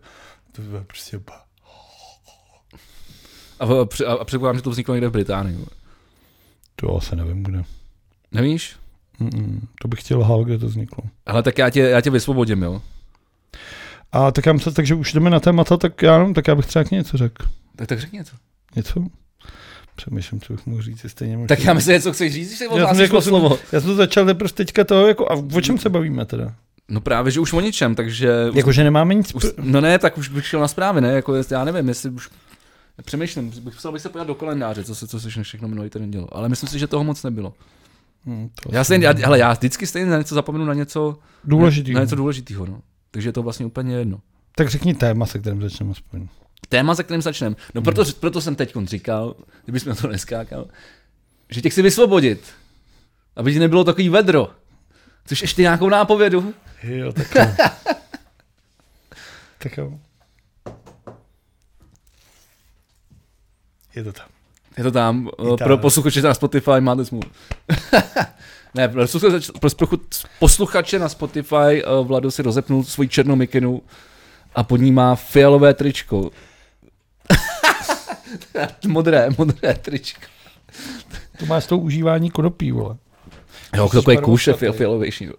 Speaker 2: to je prostě ba.
Speaker 1: A, a, při- a, a předpokládám, že to vzniklo někde v Británii. vole.
Speaker 2: To asi nevím, kde.
Speaker 1: Nevíš?
Speaker 2: Mm-mm, to bych chtěl hal, kde to vzniklo.
Speaker 1: Ale tak já tě, já tě vysvobodím, jo.
Speaker 2: A tak já myslím, takže už jdeme na témata, tak já nevím, tak já bych třeba k ní něco řekl.
Speaker 1: Tak, tak řekni něco.
Speaker 2: Něco? Přemýšlím, co bych mohl říct, stejně možná.
Speaker 1: Tak já myslím, co chceš říct, když se
Speaker 2: já jsem,
Speaker 1: ohlásíš
Speaker 2: jako,
Speaker 1: o slovo.
Speaker 2: já jsem to začal teprve teďka toho, jako, a o čem se bavíme teda?
Speaker 1: No právě, že už o ničem, takže...
Speaker 2: Jako, že nemáme nic.
Speaker 1: Už, no ne, tak už bych šel na zprávy, ne? Jako, jest- já nevím, jestli už... Přemýšlím, bych musel bych se podívat do kalendáře, co se, co se všechno minulý týden dělo. Ale myslím si, že toho moc nebylo.
Speaker 2: Hm, to
Speaker 1: Já, stejně, já, hele, já vždycky stejně na něco zapomenu, na něco
Speaker 2: Důležitý.
Speaker 1: Na, na něco důležitého, no. Takže je to vlastně úplně jedno.
Speaker 2: Tak řekni téma, se kterým začneme aspoň.
Speaker 1: Téma, se kterým začneme. No proto, proto jsem teď říkal, kdybychom na to neskákal, že tě chci vysvobodit, aby ti nebylo takový vedro. Chceš ještě nějakou nápovědu?
Speaker 2: Jo, tak jo. tak jo. Je to tam.
Speaker 1: Je to tam, eh,
Speaker 2: tam.
Speaker 1: pro posluchače na Spotify máte smůlu. ne, pro posluchače- pro spruchu- posluchače na Spotify eh, Vlado si rozepnul svoji černou mikinu a pod ní má fialové tričko. modré, modré tričko.
Speaker 2: To máš to užívání konopí, vole.
Speaker 1: Jo,
Speaker 2: Jsi
Speaker 1: takový
Speaker 2: barvou
Speaker 1: kůš je
Speaker 2: slepej.
Speaker 1: fial- fialovější.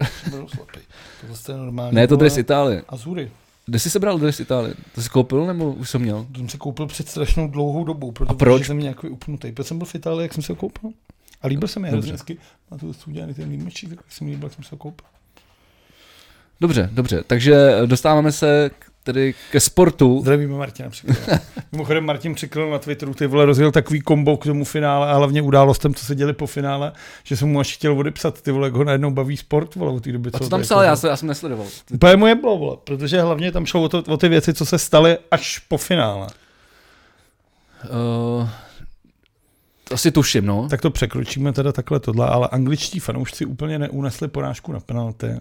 Speaker 2: To je normální.
Speaker 1: Ne, je to dres
Speaker 2: vole.
Speaker 1: Itálie.
Speaker 2: Azury.
Speaker 1: Kde jsi sebral dres Itálie? To jsi koupil nebo už jsem měl?
Speaker 2: To jsem si koupil před strašnou dlouhou dobou, protože
Speaker 1: proč?
Speaker 2: jsem nějaký upnutý. Protože jsem byl v Itálii, jak jsem se ho koupil. A líbil se mi
Speaker 1: Dobře.
Speaker 2: hrozně hezky. Má to dost udělaný ten límečík, tak jsem líbil, jak jsem se ho koupil.
Speaker 1: Dobře, dobře. Takže dostáváme se k- tedy ke sportu.
Speaker 2: Zdravíme Martina Přikryla. Mimochodem Martin Přikryl na Twitteru ty vole rozjel takový kombo k tomu finále a hlavně událostem, co se děli po finále, že jsem mu až chtěl odepsat ty vole, jak ho najednou baví sport, vole, od té doby.
Speaker 1: A co
Speaker 2: ho
Speaker 1: tam
Speaker 2: jako-
Speaker 1: psal? Já, se, já jsem nesledoval.
Speaker 2: Úplně mu je bylo, vole, protože hlavně tam šlo o, to, o ty věci, co se staly až po finále.
Speaker 1: Uh, To Eh, asi tuším, no.
Speaker 2: Tak to překročíme teda takhle tohle, ale angličtí fanoušci úplně neunesli porážku na penalty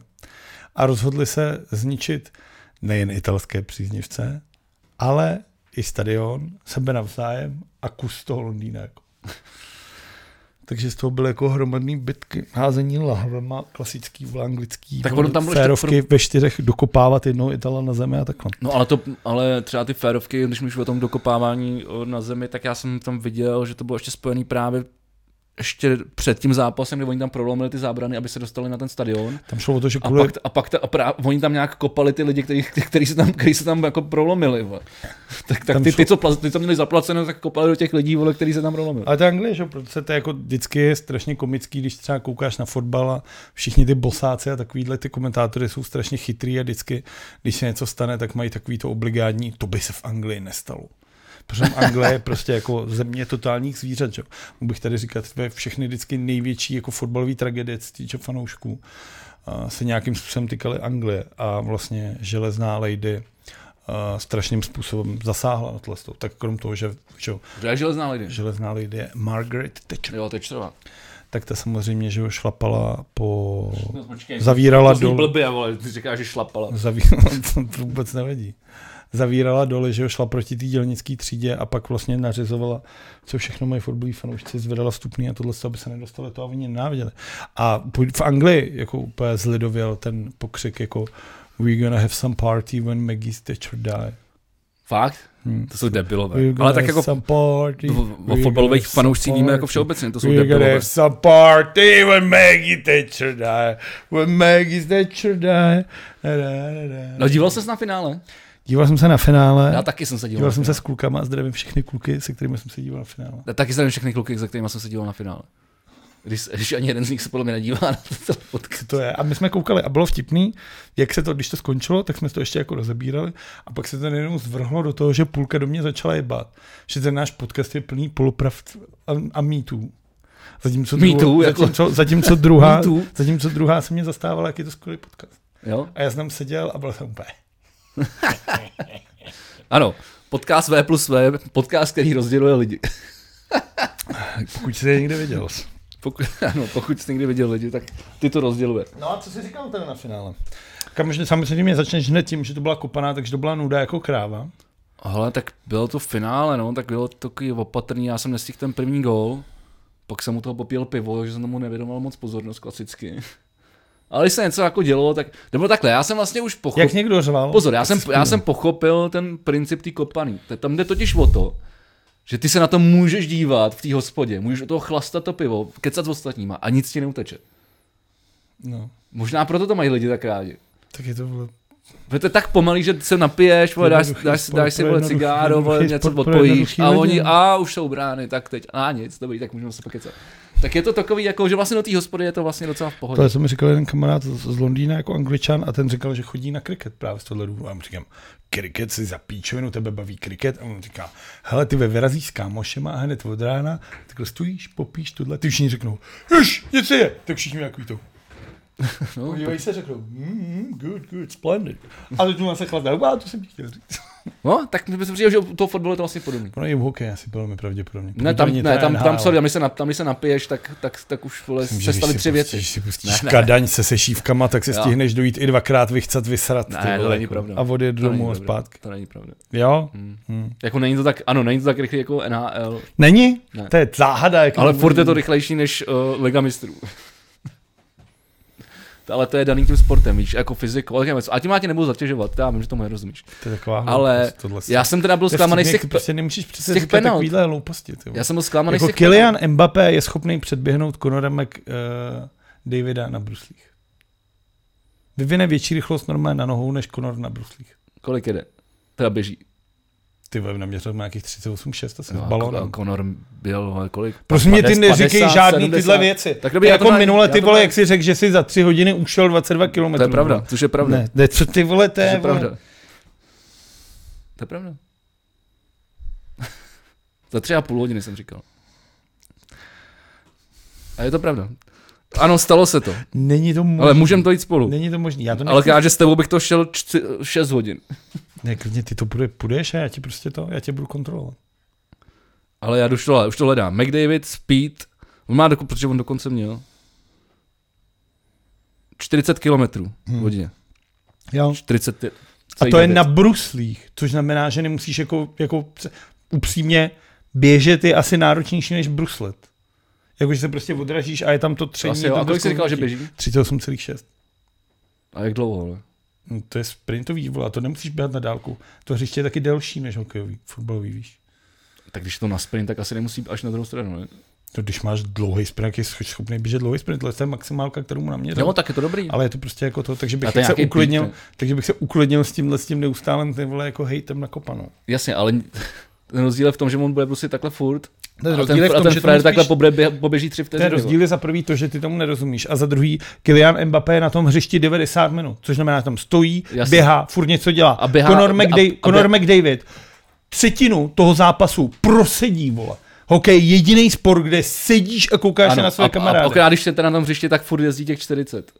Speaker 2: a rozhodli se zničit nejen italské příznivce, ale i stadion, sebe navzájem a kus toho Londýna. Jako. Takže z toho byly jako hromadný bitky, házení lahvema, klasický vole, anglický
Speaker 1: Tak
Speaker 2: vole,
Speaker 1: ono tam bylo ještě
Speaker 2: férovky ve čtyřech dokopávat jednoho Itala na zemi a takhle.
Speaker 1: No ale, to, ale třeba ty férovky, když mluvíš o tom dokopávání o, na zemi, tak já jsem tam viděl, že to bylo ještě spojený právě ještě před tím zápasem, kdy oni tam prolomili ty zábrany, aby se dostali na ten stadion.
Speaker 2: Tam šlo o to, že
Speaker 1: A
Speaker 2: kvůli,
Speaker 1: pak, a pak ta, a prá, oni tam nějak kopali ty lidi, kteří který se, tam, který se tam jako prolomili. Vole. Tak, tak
Speaker 2: Tam
Speaker 1: ty,
Speaker 2: šlo-
Speaker 1: ty, co, pla- ty, co měli zaplaceno, tak kopali do těch lidí, vole, kteří se tam prolomili.
Speaker 2: Ale to je Anglie, že? jo, protože to je jako vždycky je strašně komický, když třeba koukáš na fotbal a všichni ty bosáci a takovýhle ty komentátory jsou strašně chytrý a vždycky, když se něco stane, tak mají takový to obligátní, to by se v Anglii nestalo. Protože Anglie je prostě jako země totálních zvířat, že? jo. Mohl bych tady říkat, že všechny vždycky největší jako fotbalové tragedie, co se týče fanoušků, a se nějakým způsobem týkaly Anglie a vlastně železná lady a strašným způsobem zasáhla na tohle. Tak krom toho, že, že jo,
Speaker 1: To je železná lidi.
Speaker 2: železná lidi je Margaret Thatcher.
Speaker 1: Jo, to je čtrva.
Speaker 2: Tak ta samozřejmě, že ho šlapala po...
Speaker 1: No, počkej,
Speaker 2: Zavírala
Speaker 1: to zní
Speaker 2: dolů.
Speaker 1: blbě, vole, ty říkáš, že šlapala.
Speaker 2: Zavírala, to to vůbec nevadí. Zavírala dole, že ho šla proti té dělnické třídě a pak vlastně nařizovala, co všechno mají fotbaloví fanoušci, zvedala stupný a tohle, aby se nedostali to a oni nenáviděli. A po- v Anglii jako úplně zlidověl ten pokřik jako We gonna have some party when Maggie's Thatcher die.
Speaker 1: Fakt?
Speaker 2: Hmm.
Speaker 1: To jsou debilové.
Speaker 2: We're gonna
Speaker 1: Ale tak
Speaker 2: have
Speaker 1: jako
Speaker 2: some party,
Speaker 1: v- o
Speaker 2: we're
Speaker 1: fotbalových
Speaker 2: gonna have
Speaker 1: fanoušcích
Speaker 2: some
Speaker 1: víme jako
Speaker 2: party.
Speaker 1: všeobecně, to jsou
Speaker 2: We're gonna
Speaker 1: debilové.
Speaker 2: have some party when Maggie Thatcher die. When Maggie Thatcher die. Da, da, da, da.
Speaker 1: No díval ses na finále?
Speaker 2: díval jsem se na finále.
Speaker 1: Já taky jsem se díval.
Speaker 2: díval jsem
Speaker 1: na
Speaker 2: se
Speaker 1: finále.
Speaker 2: s klukama a zdravím všechny kluky, se kterými jsem se díval na finále.
Speaker 1: Já taky jsem všechny kluky, za kterými jsem se díval na finále. Když, když ani jeden z nich se podle mě nedívá na to podcast.
Speaker 2: To je. A my jsme koukali a bylo vtipný, jak se to, když to skončilo, tak jsme to ještě jako rozebírali a pak se to najednou zvrhlo do toho, že půlka do mě začala jebat. Že ten náš podcast je plný polopravd a, a mýtů. Zatímco,
Speaker 1: Mýtů,
Speaker 2: druhou-
Speaker 1: jako-
Speaker 2: zatímco, zatímco, druhá,
Speaker 1: Mýtů?
Speaker 2: zatímco druhá se mě zastávala, jak je to skvělý podcast.
Speaker 1: Jo?
Speaker 2: A já jsem tam seděl a byl jsem úplně.
Speaker 1: Ano, podcast V plus V, podcast, který rozděluje lidi.
Speaker 2: Pokud jsi je někde viděl.
Speaker 1: Pokud, ano, pokud jsi někdy viděl lidi, tak ty to rozděluje.
Speaker 2: No a co jsi říkal teda na finále? Kam, že samozřejmě začneš hned tím, že to byla kopaná, takže to byla nuda jako kráva.
Speaker 1: Ale tak bylo to v finále, no, tak bylo to takový opatrný, já jsem nestihl ten první gól, pak jsem u toho popil pivo, že jsem tomu nevědomal moc pozornost klasicky. Ale když se něco jako dělo, tak, nebo takhle, já jsem vlastně už pochopil.
Speaker 2: Jak někdo řval.
Speaker 1: Pozor, já jsem, já jsem pochopil ten princip té kopaný. T- Tam jde totiž o to, že ty se na to můžeš dívat v té hospodě, můžeš do toho chlastat to pivo, kecat s ostatníma a nic ti neuteče.
Speaker 2: No,
Speaker 1: Možná proto to mají lidi tak rádi.
Speaker 2: tak je to bylo.
Speaker 1: Protože to je tak pomalý, že se napiješ, vole, dáš,
Speaker 2: Jednoduchý
Speaker 1: dáš,
Speaker 2: sport
Speaker 1: dáš si
Speaker 2: pro
Speaker 1: vole
Speaker 2: jednoduchý-
Speaker 1: cigáro, vole,
Speaker 2: jednoduchý
Speaker 1: něco
Speaker 2: sport pro
Speaker 1: odpojíš
Speaker 2: jednoduchý
Speaker 1: a
Speaker 2: lidi.
Speaker 1: oni, a už jsou brány, tak teď, a nic, dobrý, tak můžeme se pokecat. Tak je to takový, jako, že vlastně do té hospody je to vlastně docela v pohodě.
Speaker 2: To jsem mi říkal jeden kamarád z z Londýna jako angličan a ten říkal, že chodí na kriket právě z tohle důvodu. A já mu říkám, kriket si za píčovinu, tebe baví kriket. A on říká, hele, ty ve vyrazíš s kámošema a hned od rána, takhle stojíš, popíš tohle, ty všichni řeknou, jež, nic je, tak všichni jako to.
Speaker 1: No,
Speaker 2: Podívej se, řekl, mm, good, good, splendid. A teď mu se chladná, a to jsem ti chtěl říct.
Speaker 1: no, tak mi přijde, že u toho fotbalu je to vlastně podobný.
Speaker 2: Ono je v hokeji asi velmi pravděpodobně.
Speaker 1: Ne, tam, ne, tam, tam, sorry, tam, když se, nap, tam, když se napiješ, tak, tak, tak už vole, se staly tři věci.
Speaker 2: Když si
Speaker 1: Ne,
Speaker 2: pustíš
Speaker 1: ne.
Speaker 2: kadaň se sešívkama, tak se
Speaker 1: Jo.
Speaker 2: stihneš dojít i dvakrát vychcat, vysrat.
Speaker 1: Ne,
Speaker 2: ty
Speaker 1: to
Speaker 2: vole,
Speaker 1: není
Speaker 2: jako.
Speaker 1: pravda.
Speaker 2: A odjet
Speaker 1: To není
Speaker 2: domů a
Speaker 1: pravda,
Speaker 2: zpátky.
Speaker 1: To není pravda.
Speaker 2: Jo?
Speaker 1: Jako není to tak, ano, není to tak rychle jako NHL,
Speaker 2: Není?
Speaker 1: Ne.
Speaker 2: To je záhada. Jak
Speaker 1: ale furt je to rychlejší než uh, Liga mistrů. To- ale to je daný tím sportem, víš, jako fyzikou. ale takové- A tím já tě nebudu zatěžovat, já vím, že tomu nerozumíš.
Speaker 2: To je taková
Speaker 1: Ale
Speaker 2: hloupost, tohle
Speaker 1: já jsem teda byl
Speaker 2: Prostě To je
Speaker 1: zklamaný z
Speaker 2: vtipný,
Speaker 1: těch,
Speaker 2: jak ty Prostě nemůžeš přece
Speaker 1: těch
Speaker 2: říkat
Speaker 1: penalt.
Speaker 2: takovýhle hlouposti. Ty. vole.
Speaker 1: já jsem byl zklamaný z
Speaker 2: Jako
Speaker 1: těch
Speaker 2: Kylian Mbappé je schopný předběhnout Conora Mac uh, Davida na bruslích. Vyvine větší rychlost normálně na nohou než Conor na bruslích.
Speaker 1: Kolik jede? Teda běží.
Speaker 2: Ty vole, naměřil má nějakých 38,6 asi no, s
Speaker 1: a
Speaker 2: balónem.
Speaker 1: Conor byl, vole, kolik?
Speaker 2: Prosím mě, ty
Speaker 1: 50,
Speaker 2: neříkej
Speaker 1: 70,
Speaker 2: žádný
Speaker 1: 70.
Speaker 2: tyhle věci.
Speaker 1: Tak dobrý,
Speaker 2: Tak dobrý,
Speaker 1: já
Speaker 2: jako
Speaker 1: to
Speaker 2: to
Speaker 1: tak-
Speaker 2: minule,
Speaker 1: já
Speaker 2: ty
Speaker 1: to
Speaker 2: vole,
Speaker 1: tak-
Speaker 2: jak jsi řekl, že jsi za tři hodiny ušel 22 km.
Speaker 1: To je pravda, což je pravda.
Speaker 2: Ne, ne, co ty vole, to
Speaker 1: To
Speaker 2: je,
Speaker 1: je
Speaker 2: vole.
Speaker 1: pravda. To je pravda. Za tři a půl hodiny jsem říkal. A je to pravda. Ano, stalo se to,
Speaker 2: Není to možný.
Speaker 1: ale můžeme to jít spolu.
Speaker 2: Není to možný. Já to
Speaker 1: Ale
Speaker 2: nechci.
Speaker 1: já, že s tebou bych to šel 6 hodin.
Speaker 2: Ne, klidně ty to půjde, půjdeš a já ti prostě to, já tě budu kontrolovat.
Speaker 1: Ale já už to, už to hledám. McDavid, Speed, on má, doko, protože on dokonce měl 40 km
Speaker 2: Hmm.
Speaker 1: hodině.
Speaker 2: Jo.
Speaker 1: 40
Speaker 2: A to je na bruslích, což znamená, že nemusíš jako, jako pře- upřímně běžet je asi náročnější než bruslet. Jakože se prostě odražíš a je tam to tření.
Speaker 1: Asi
Speaker 2: je
Speaker 1: jo.
Speaker 2: tam
Speaker 1: A
Speaker 2: to
Speaker 1: kolik jsi říkal, že
Speaker 2: skloubnutí.
Speaker 1: běží?
Speaker 2: 38,6.
Speaker 1: A jak dlouho, ale?
Speaker 2: No, to je sprintový, vole, a to nemusíš běhat na dálku. To hřiště je taky delší než hokejový, fotbalový, víš.
Speaker 1: Tak když je to na sprint, tak asi nemusí až na druhou stranu, ne?
Speaker 2: To když máš dlouhý sprint, jak jsi schopný běžet dlouhý sprint, tohle je ta maximálka, kterou mu naměřil.
Speaker 1: Jo, tak je to dobrý.
Speaker 2: Ale je to prostě jako to, takže
Speaker 1: No, A
Speaker 2: bych,
Speaker 1: to je
Speaker 2: se
Speaker 1: nějaký
Speaker 2: uklidnil,
Speaker 1: beat, ne?
Speaker 2: takže bych se uklidnil s tímhle s tím neustálem ty vole jako hejtem nakopanou.
Speaker 1: Jasně, ale ten rozdíl je v tom, že on bude brusit takhle furt.
Speaker 2: Ten
Speaker 1: a ten,
Speaker 2: rozdíl je v
Speaker 1: a
Speaker 2: tom,
Speaker 1: ten
Speaker 2: že
Speaker 1: frajer
Speaker 2: tomu
Speaker 1: takhle
Speaker 2: spíš-
Speaker 1: pobře- poběží tři vteřiny.
Speaker 2: Ten
Speaker 1: vole.
Speaker 2: rozdíl je za prvý to, že ty tomu nerozumíš a za druhý Kylian Mbappé je na tom hřišti 90 minut, což znamená, že tam stojí,
Speaker 1: Jasně.
Speaker 2: Jasně. běhá, furt něco dělá.
Speaker 1: A běhá-
Speaker 2: Conor,
Speaker 1: a-
Speaker 2: McDay,
Speaker 1: a- a-
Speaker 2: Conor McDavid třetinu toho zápasu prosedí, vole. Hokej je jediný sport, kde sedíš a koukáš ano, na své
Speaker 1: a, a, a
Speaker 2: kamarády.
Speaker 1: okrát, když jste na tom hřišti, tak furt jezdí těch 40.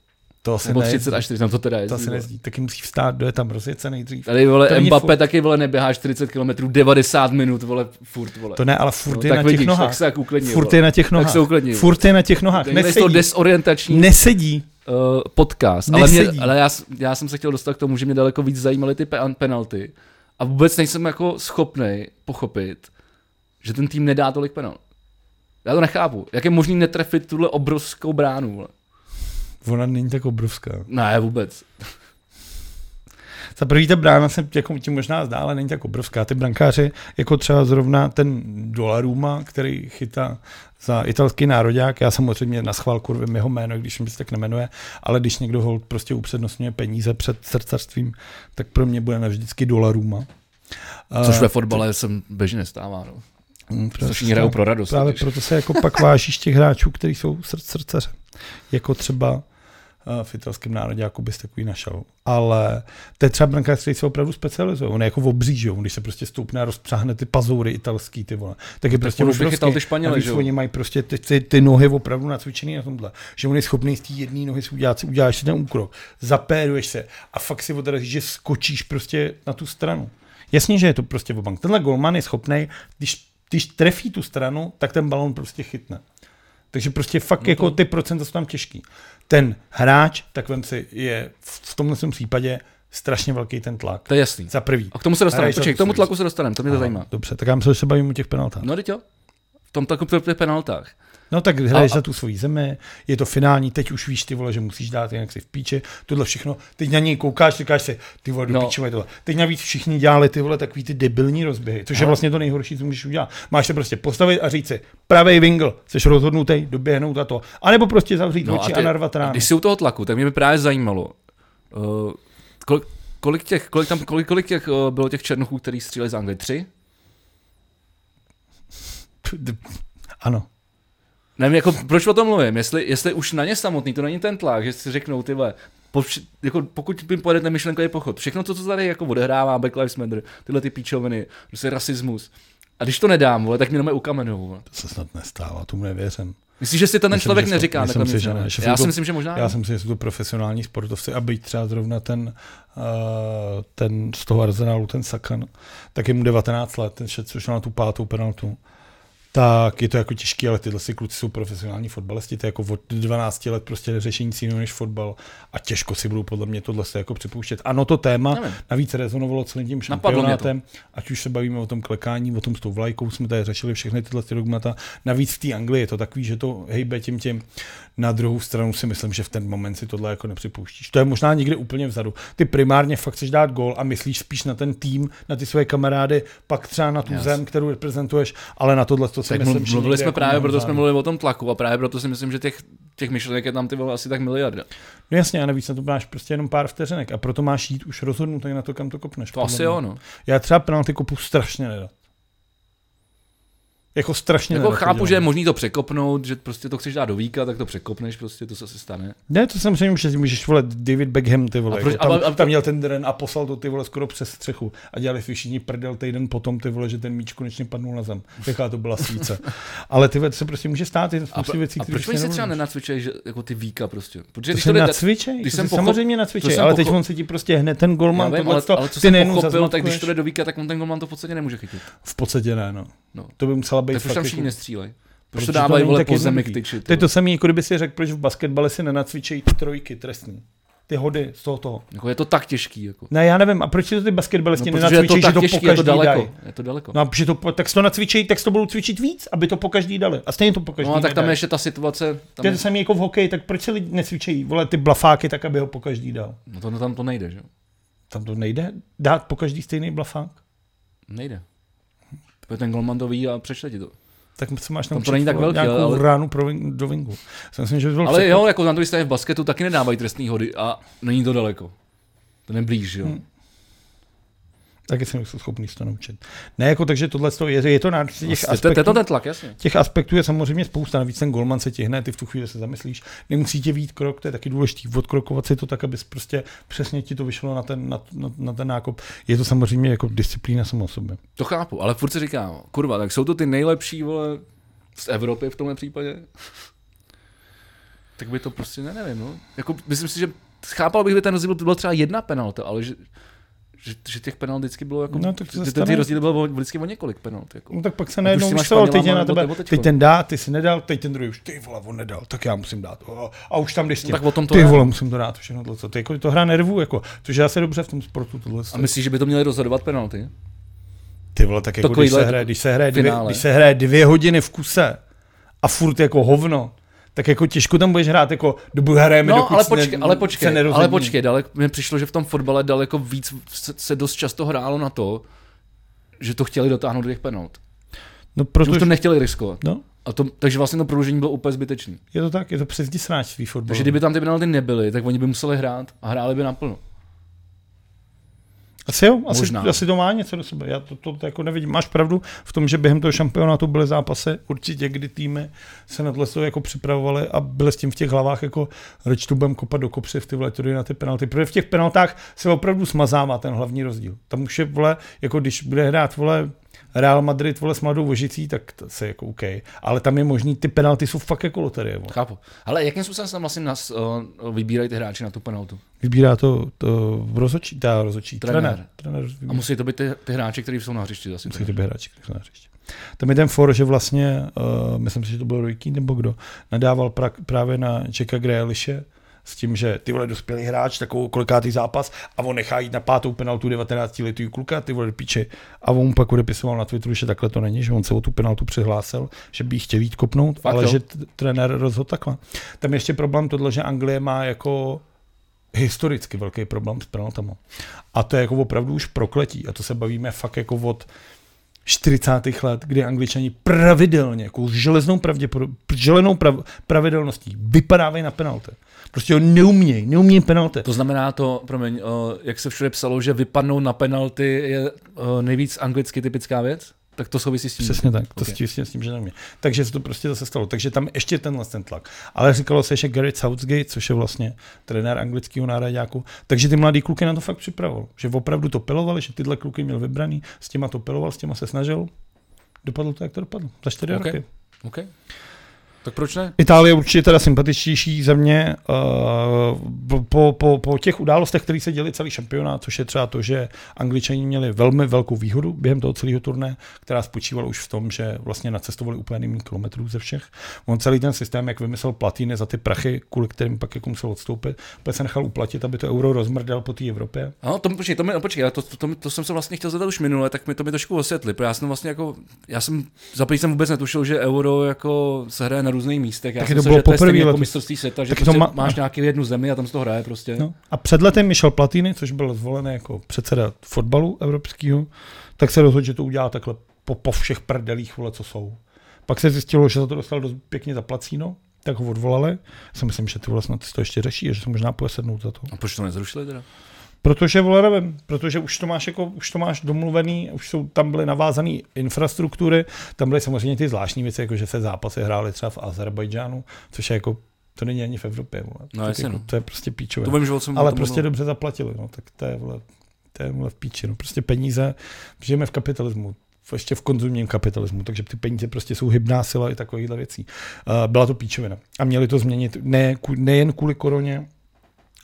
Speaker 2: to asi
Speaker 1: Nebo
Speaker 2: nejezdí.
Speaker 1: 30 až 40, tam to teda jezdí.
Speaker 2: To asi
Speaker 1: vole.
Speaker 2: nezdí. Taky musí vstát, kdo je tam rozjece nejdřív.
Speaker 1: Tady
Speaker 2: To
Speaker 1: vole
Speaker 2: není
Speaker 1: Mbappé
Speaker 2: furt.
Speaker 1: taky vole neběhá 40 km 90 minut vole furt vole.
Speaker 2: To ne, ale furt
Speaker 1: No,
Speaker 2: je
Speaker 1: tak
Speaker 2: na
Speaker 1: vidíš,
Speaker 2: těch nohách.
Speaker 1: tak se tak uklidnil,
Speaker 2: Furt
Speaker 1: vole.
Speaker 2: je na těch nohách.
Speaker 1: se uklidnil.
Speaker 2: Furt je na těch nohách.
Speaker 1: Nejde to
Speaker 2: Nesedí.
Speaker 1: desorientační
Speaker 2: Nesedí.
Speaker 1: uh, podcast, ale, mě,
Speaker 2: Nesedí.
Speaker 1: ale já, s- já jsem se chtěl dostat k tomu, že mě daleko víc zajímaly ty pe- penalty a vůbec nejsem jako schopnej pochopit, že ten tým nedá tolik penalt. Já to nechápu. Jak je možný netrefit tuhle obrovskou bránu? Vole?
Speaker 2: Ona není tak obrovská.
Speaker 1: Ne, vůbec.
Speaker 2: Za prvý ta brána se jako ti možná zdá, ale není tak obrovská. Ty brankáři, jako třeba zrovna ten Dolaruma, který chytá za italský národák, já samozřejmě na schvál kurvím jeho jméno, když mi se tak nemenuje, ale když někdo hold prostě upřednostňuje peníze před srdcařstvím, tak pro mě bude navždycky Dolaruma.
Speaker 1: Což
Speaker 2: Eh,
Speaker 1: ve fotbale jsem běžně nestává. No.
Speaker 2: mm,
Speaker 1: Což hrajou pro radost.
Speaker 2: Právě
Speaker 1: totiž.
Speaker 2: proto se jako pak vážíš těch hráčů, kteří jsou srdce srdcaře. Jako třeba eh, v italském nároďáku bys takový našel. Ale to je třeba brankář, který se opravdu specializuje. On je jako v obříži, on když se prostě stoupne a rozpřáhne ty pazoury italský, ty vole. Tak je prostě
Speaker 1: on už
Speaker 2: obrovský.
Speaker 1: vychytal ty Španěle,
Speaker 2: A víš,
Speaker 1: že jo?
Speaker 2: Oni mají prostě ty, ty, ty, nohy opravdu nacvičený na tomhle. Že on je schopný z té jedné nohy si udělat, si uděláš si ten úkrok, zapéruješ se a fakt si odrazíš, že skočíš prostě na tu stranu. Jasně, že je to prostě obank. Tenhle golman je schopný, když, když trefí tu stranu, tak ten balon prostě chytne. Takže prostě fakt no to... jako ty procenta jsou tam těžký. Ten hráč, tak vem si, je v v tomhle svém případě strašně velký ten tlak.
Speaker 1: To je jasný.
Speaker 2: Za prvý.
Speaker 1: A k tomu se dostaneme.
Speaker 2: Hraješ za
Speaker 1: Počkej, k tomu
Speaker 2: absurd.
Speaker 1: tlaku se dostaneme, to mě to
Speaker 2: Aha,
Speaker 1: zajímá.
Speaker 2: Dobře, tak já myslím, že se bavím o těch penaltách.
Speaker 1: No teď jo. V tom tlaku pro těch penaltách.
Speaker 2: No tak hraješ
Speaker 1: A-
Speaker 2: za tu svoji zemi, je to finální, teď už víš ty vole, že musíš dát, jinak si v píči, tohle všechno, teď na něj koukáš, říkáš si, ty vole, do
Speaker 1: No.
Speaker 2: no. píče mají tohle. Teď navíc všichni dělali ty vole takový ty debilní rozběhy, což je vlastně to nejhorší, co můžeš udělat. Máš se prostě postavit a říct si, pravý vingl, jsi rozhodnutý, doběhnout a to, anebo prostě zavřít no oči a,
Speaker 1: ty-
Speaker 2: narvat ráno.
Speaker 1: Když jsi u toho tlaku, tak mě by právě zajímalo, uh, kolik, kolik, těch, kolik, tam, kolik, kolik těch, uh, bylo těch černochů, který stříleli z Anglie? Tři?
Speaker 2: Ano.
Speaker 1: Nevím, jako, proč o tom mluvím? Jestli, jestli už na ně samotný, to není ten tlak, že si řeknou, ty vole, po, vš- jako, pokud jim pojede ten myšlenkový pochod, všechno to, co tady jako odehrává, Black Lives Matter, tyhle ty píčoviny, prostě rasismus, a když to nedám, vole, tak mě doma ukamenou. Vole.
Speaker 2: To se snad nestává, tomu nevěřím.
Speaker 1: Myslíš, že si to ten
Speaker 2: Myslím,
Speaker 1: člověk
Speaker 2: že-
Speaker 1: neříká?
Speaker 2: myslím
Speaker 1: takhle
Speaker 2: si,
Speaker 1: nic,
Speaker 2: že
Speaker 1: ne?
Speaker 2: ne, že
Speaker 1: Já si
Speaker 2: fotbal-
Speaker 1: myslím, že možná.
Speaker 2: Já si myslím, že jsou to profesionální sportovci a byť třeba zrovna ten, uh, ten z toho arzenálu, ten Sakan, tak je mu 19 let, ten šet, což na tu pátou penaltu. Tak je to jako těžký, ale tyhle si kluci jsou profesionální fotbalisti, to je jako od 12 let prostě řešení nic jiného než fotbal a těžko si budou podle mě tohle se jako připouštět. Ano, to téma
Speaker 1: Nevím.
Speaker 2: navíc rezonovalo celým tím
Speaker 1: Napadlo mě to.
Speaker 2: šampionátem, ať už se bavíme o tom klekání, o tom s tou vlajkou, jsme tady řešili všechny tyhle ty dogmata. Navíc v té Anglii je to takový, že to hejbe tím tím. Na druhou stranu si myslím, že v ten moment si tohle jako nepřipouštíš. To je možná někde úplně vzadu. Ty primárně fakt chceš dát gól a myslíš spíš na ten tým, na ty svoje kamarády, pak třeba na tu
Speaker 1: Jas.
Speaker 2: zem, kterou reprezentuješ, ale na tohle to si
Speaker 1: Tak
Speaker 2: myslím,
Speaker 1: myslím,
Speaker 2: že
Speaker 1: mluvili
Speaker 2: někde
Speaker 1: jsme
Speaker 2: jako
Speaker 1: právě,
Speaker 2: mnohem
Speaker 1: proto
Speaker 2: vzadu.
Speaker 1: jsme mluvili o tom tlaku a právě proto si myslím, že těch, těch myšlenek je tam ty vole asi tak miliarda.
Speaker 2: No jasně, a navíc na to máš prostě jenom pár vteřinek a proto máš jít už rozhodnutý na to, kam to kopneš.
Speaker 1: To
Speaker 2: podle
Speaker 1: asi
Speaker 2: mě.
Speaker 1: jo, no.
Speaker 2: Já třeba penalty kopu strašně nerad. Jako strašně
Speaker 1: Jako
Speaker 2: nerad to
Speaker 1: chápu,
Speaker 2: dělám.
Speaker 1: že je možný to překopnout, že prostě to chceš dát do víka, tak to překopneš, prostě to se asi stane.
Speaker 2: Ne, to samozřejmě, že můžeš volat David Beckham, ty vole.
Speaker 1: A
Speaker 2: A
Speaker 1: proč-
Speaker 2: proč, jako
Speaker 1: a-
Speaker 2: tam,
Speaker 1: a-
Speaker 2: a, tam, měl ten dren a poslal to ty vole skoro přes střechu. A dělali si všichni prdel týden potom, ty vole, že ten míč konečně padnul na zem. Jaká to byla svíce. Ale ty vole, to se prostě může stát, je to
Speaker 1: A,
Speaker 2: spoustu
Speaker 1: pro,
Speaker 2: věcí,
Speaker 1: a
Speaker 2: které
Speaker 1: proč oni se třeba nenacvičej, že jako ty víka prostě? Protože
Speaker 2: to
Speaker 1: když
Speaker 2: se
Speaker 1: to jde,
Speaker 2: nacvičej,
Speaker 1: když
Speaker 2: to
Speaker 1: jsem
Speaker 2: jsem
Speaker 1: pochop-
Speaker 2: samozřejmě
Speaker 1: to
Speaker 2: nacvičej,
Speaker 1: jsem
Speaker 2: ale teď
Speaker 1: pochop-
Speaker 2: on se ti prostě hned ten
Speaker 1: já
Speaker 2: golman,
Speaker 1: vím,
Speaker 2: tohle
Speaker 1: ale,
Speaker 2: to,
Speaker 1: ale co
Speaker 2: ty
Speaker 1: jsem
Speaker 2: nejenom
Speaker 1: pochopil, tak když
Speaker 2: zaznačkuješ.
Speaker 1: to jde do víka, tak on ten golman to v podstatě nemůže chytit.
Speaker 2: V podstatě ne, no.
Speaker 1: No.
Speaker 2: To by musela být
Speaker 1: Tak proč
Speaker 2: fakt
Speaker 1: tam
Speaker 2: jako-
Speaker 1: všichni nestřílej? Proč
Speaker 2: Protože
Speaker 1: to
Speaker 2: to
Speaker 1: dávají
Speaker 2: není
Speaker 1: vole
Speaker 2: tak
Speaker 1: po zemi k
Speaker 2: jednoduchý.
Speaker 1: tyči?
Speaker 2: To je to samé, jako kdyby si řekl, proč v basketbale si nenacvičejí ty trojky trestní. Ty hody z toho toho.
Speaker 1: Jako je to tak těžký. Jako.
Speaker 2: Ne, já nevím, a proč si to ty basketbalisti no,
Speaker 1: No, protože je to
Speaker 2: nenacvičejí,
Speaker 1: tak
Speaker 2: že to
Speaker 1: těžký, je to
Speaker 2: pokaždý
Speaker 1: daleko.
Speaker 2: dají.
Speaker 1: Je to daleko.
Speaker 2: No a protože to, po- tak si to nacvičejí, tak si to budou cvičit víc, aby to pokaždý dali. A stejně to pokaždý
Speaker 1: No a tak tam je
Speaker 2: nedají.
Speaker 1: ještě ta situace, tam
Speaker 2: To
Speaker 1: je,
Speaker 2: je to samé jako v hokeji, tak proč si lidi necvičejí, vole, ty blafáky, tak aby ho pokaždý dal.
Speaker 1: no to, no tam to nejde, že? jo?
Speaker 2: Tam to nejde dát pokaždý stejný blafák?
Speaker 1: Nejde. Protože ten golman to vidí a přečte ti to.
Speaker 2: Tak co máš
Speaker 1: to
Speaker 2: tam
Speaker 1: není tak velký,
Speaker 2: nějakou
Speaker 1: ale-
Speaker 2: ránu pro vin, do vinku. Já si myslím, že by byl
Speaker 1: Ale
Speaker 2: překvap-
Speaker 1: jo, jako na druhé straně v basketu taky nedávají trestný hody a není to daleko. To neblíž, jo.
Speaker 2: Hm. Taky jsem nejsem schopný se to naučit. Ne, jako takže tohle z toho je, je to náročné těch
Speaker 1: Vlastně, to- to je to
Speaker 2: aspektů.
Speaker 1: ten tlak, jasně.
Speaker 2: Těch aspektů je samozřejmě spousta, navíc ten golman se tihne, ty v tu chvíli se zamyslíš, nemusí tě vít krok, to je taky důležitý, odkrokovat si to tak, abys prostě přesně ti to vyšlo na ten, na, na, na ten nákop. Je to samozřejmě jako disciplína sama o sobě.
Speaker 1: To chápu, ale furt si říkám, kurva, tak jsou to ty nejlepší, vole, z Evropy v tomhle případě? tak by to prostě, ne, nevím, no. Jako, myslím si, že chápal bych, by ten rozdíl byl třeba jedna penalta, ale že, že, že těch penalt vždycky bylo jako,
Speaker 2: No, tak to
Speaker 1: že
Speaker 2: se
Speaker 1: ty, ty
Speaker 2: stane.
Speaker 1: rozdíly bylo vždycky o několik penalt. Jako.
Speaker 2: No tak pak se
Speaker 1: už
Speaker 2: najednou
Speaker 1: si máš
Speaker 2: myslel,
Speaker 1: Španěla,
Speaker 2: teď je na
Speaker 1: nebo
Speaker 2: tebe,
Speaker 1: tebe teďko.
Speaker 2: teď ten dá, ty si nedal, teď ten druhý už, ty vole, on nedal, tak já musím dát. O, A už tam jdeš s tím,
Speaker 1: No tak o tom to
Speaker 2: ty
Speaker 1: je.
Speaker 2: vole, musím to dát, všechno tohle, co. Ty, jako, to hra nervů, jako, což já se dobře v tom sportu tohle.
Speaker 1: A myslíš, že by to měli rozhodovat penalty?
Speaker 2: Ty vole, tak jako
Speaker 1: Takovýhle
Speaker 2: když se,
Speaker 1: jako
Speaker 2: hraje, když, se hraje dvě,
Speaker 1: finále.
Speaker 2: když se hraje dvě hodiny v kuse a furt jako hovno, tak jako těžko tam budeš hrát, jako dobu hrajeme,
Speaker 1: No,
Speaker 2: dokud
Speaker 1: ale
Speaker 2: se
Speaker 1: počkej,
Speaker 2: ne,
Speaker 1: ale
Speaker 2: se
Speaker 1: počkej,
Speaker 2: nerozhodní.
Speaker 1: ale počkej, dalek, mně přišlo, že v tom fotbale daleko víc se, se dost často hrálo na to, že to chtěli dotáhnout do těch penalt.
Speaker 2: No,
Speaker 1: Že už
Speaker 2: protože,
Speaker 1: to nechtěli riskovat.
Speaker 2: no,
Speaker 1: A to, takže vlastně to prodloužení bylo úplně zbytečné.
Speaker 2: je to tak, je to přes sráčství fotbalu.
Speaker 1: Takže kdyby tam ty penalty nebyly, tak oni by museli hrát a hráli by naplno.
Speaker 2: Asi jo, asi,
Speaker 1: Možná.
Speaker 2: asi to má něco do sebe. Já to, to, to jako nevidím. Máš pravdu v tom, že během toho šampionátu byly zápasy určitě, kdy týmy se na tohle to jako připravovaly a byly s tím v těch hlavách jako reč tu budem kopat do kopře v ty vole, to jde na ty penalty. Protože v těch penaltách se opravdu smazává ten hlavní rozdíl. Tam už je, vole, jako když bude hrát, vole, Real Madrid, vole, s mladou vožicí, tak to se jako OK. Ale tam je možný, ty penalty jsou fakt jako loterie, vole.
Speaker 1: Chápu. Ale jakým způsobem se tam vlastně nás, uh, vybírají ty hráči na tu penaltu?
Speaker 2: Vybírá to, to rozočí, ta rozočí,
Speaker 1: Trenér.
Speaker 2: trenér. Trenér, trenér vybírá.
Speaker 1: A musí to být ty, ty hráči, kteří jsou na hřišti asi.
Speaker 2: Musí to být hráči, kteří jsou na hřišti. Tam je ten for, že vlastně, uh, myslím si, že to byl Roy Keane nebo kdo, nadával pra, právě na Jacka Grealishe s tím, že ty vole dospělý hráč, takovou kolikátý zápas a on nechá jít na pátou penaltu 19 letý kluka, ty vole do píče. A on mu pak odepisoval na Twitteru, že takhle to není, že on se o tu penaltu přihlásil, že by ji chtěl jít kopnout,
Speaker 1: Fakt
Speaker 2: ale
Speaker 1: jo?
Speaker 2: že t- trenér rozhodl takhle. Tam je ještě problém tohle, že Anglie má jako historicky velký problém s penaltama. A to je jako opravdu už prokletí. A to se bavíme fakt jako od 40. let, kdy angličani pravidelně, jako železnou, pravděpodob- želenou prav, pravidelností vypadávají na penalty. Prostě ho neumějí, neumějí penalty.
Speaker 1: To znamená to, promiň, uh, jak se všude psalo, že vypadnou na penalty je uh, nejvíc anglicky typická věc? Tak to souvisí s tím.
Speaker 2: Přesně tak, to
Speaker 1: Ok.
Speaker 2: okay. s tím, že na mě. Takže se to prostě zase stalo. Takže tam ještě tenhle ten tlak. Ale říkalo se, že Gary Southgate, což je vlastně trenér anglického národňáku, takže ty mladý kluky na to fakt připravoval. Že opravdu to pilovali, že tyhle kluky měl vybraný, s těma to piloval, s těma se snažil. Dopadlo to, jak to dopadlo. Za čtyři
Speaker 1: Ok.
Speaker 2: okay. roky.
Speaker 1: OK. Tak proč ne?
Speaker 2: Itálie je určitě teda sympatičtější země uh, po, po, po těch událostech, které se děly celý šampionát, což je třeba to, že Angličani měli velmi velkou výhodu během toho celého turné, která spočívala už v tom, že vlastně nacestovali úplně nejméně kilometrů ze všech. On celý ten systém, jak vymyslel Platýny za ty prachy, kvůli kterým pak jako musel odstoupit, pak se nechal uplatit, aby to euro rozmrdal po té Evropě.
Speaker 1: No, to, mi- počkej, to, mi, počkej, ale to, to, to, mi- to, jsem se vlastně chtěl zeptat už minule, tak mi to mi trošku osvětli, protože já jsem vlastně jako, já jsem, za prvý jsem vůbec netušil, že euro jako se hraje na různých místech, já
Speaker 2: Taky
Speaker 1: jsem
Speaker 2: to
Speaker 1: myslel,
Speaker 2: bylo
Speaker 1: že to je
Speaker 2: poprvé
Speaker 1: stejný jako
Speaker 2: letos.
Speaker 1: mistrovství světa, že
Speaker 2: Taky
Speaker 1: prostě
Speaker 2: to
Speaker 1: má...
Speaker 2: má-
Speaker 1: máš nějaký jednu zemi a tam se to hraje prostě.
Speaker 2: No. A před letem Michel Platýny, což byl zvolen jako předseda fotbalu evropského, tak se rozhodl, že to udělá takhle po, po všech prdelích, vole, co jsou. Pak se zjistilo, že za to dostal dost pěkně zaplacíno, tak ho odvolali. Já si myslím, že ty vole snad si to ještě řeší, a že se možná půjde sednout za to.
Speaker 1: A proč to nezrušili teda?
Speaker 2: Protože, vole, nevím, protože už to máš, jako, už to máš domluvený, už jsou, tam byly navázané infrastruktury, tam byly samozřejmě ty zvláštní věci, jako že se zápasy hrály třeba v Azerbajdžánu, což je jako, to není ani v Evropě, vole.
Speaker 1: No,
Speaker 2: Tak
Speaker 1: jasně,
Speaker 2: jako,
Speaker 1: no.
Speaker 2: to je prostě píčové.
Speaker 1: To vím, že o jsem
Speaker 2: Ale
Speaker 1: to
Speaker 2: prostě dobře zaplatili, no, tak to je, vole, to je vole v píči, no. prostě peníze, žijeme v kapitalismu, v- ještě v konzumním kapitalismu, takže ty peníze prostě jsou hybná sila i Eh, takovýchhle věcí. Uh, byla to píčovina. A měli to změnit ne, ku- nejen kvůli koroně,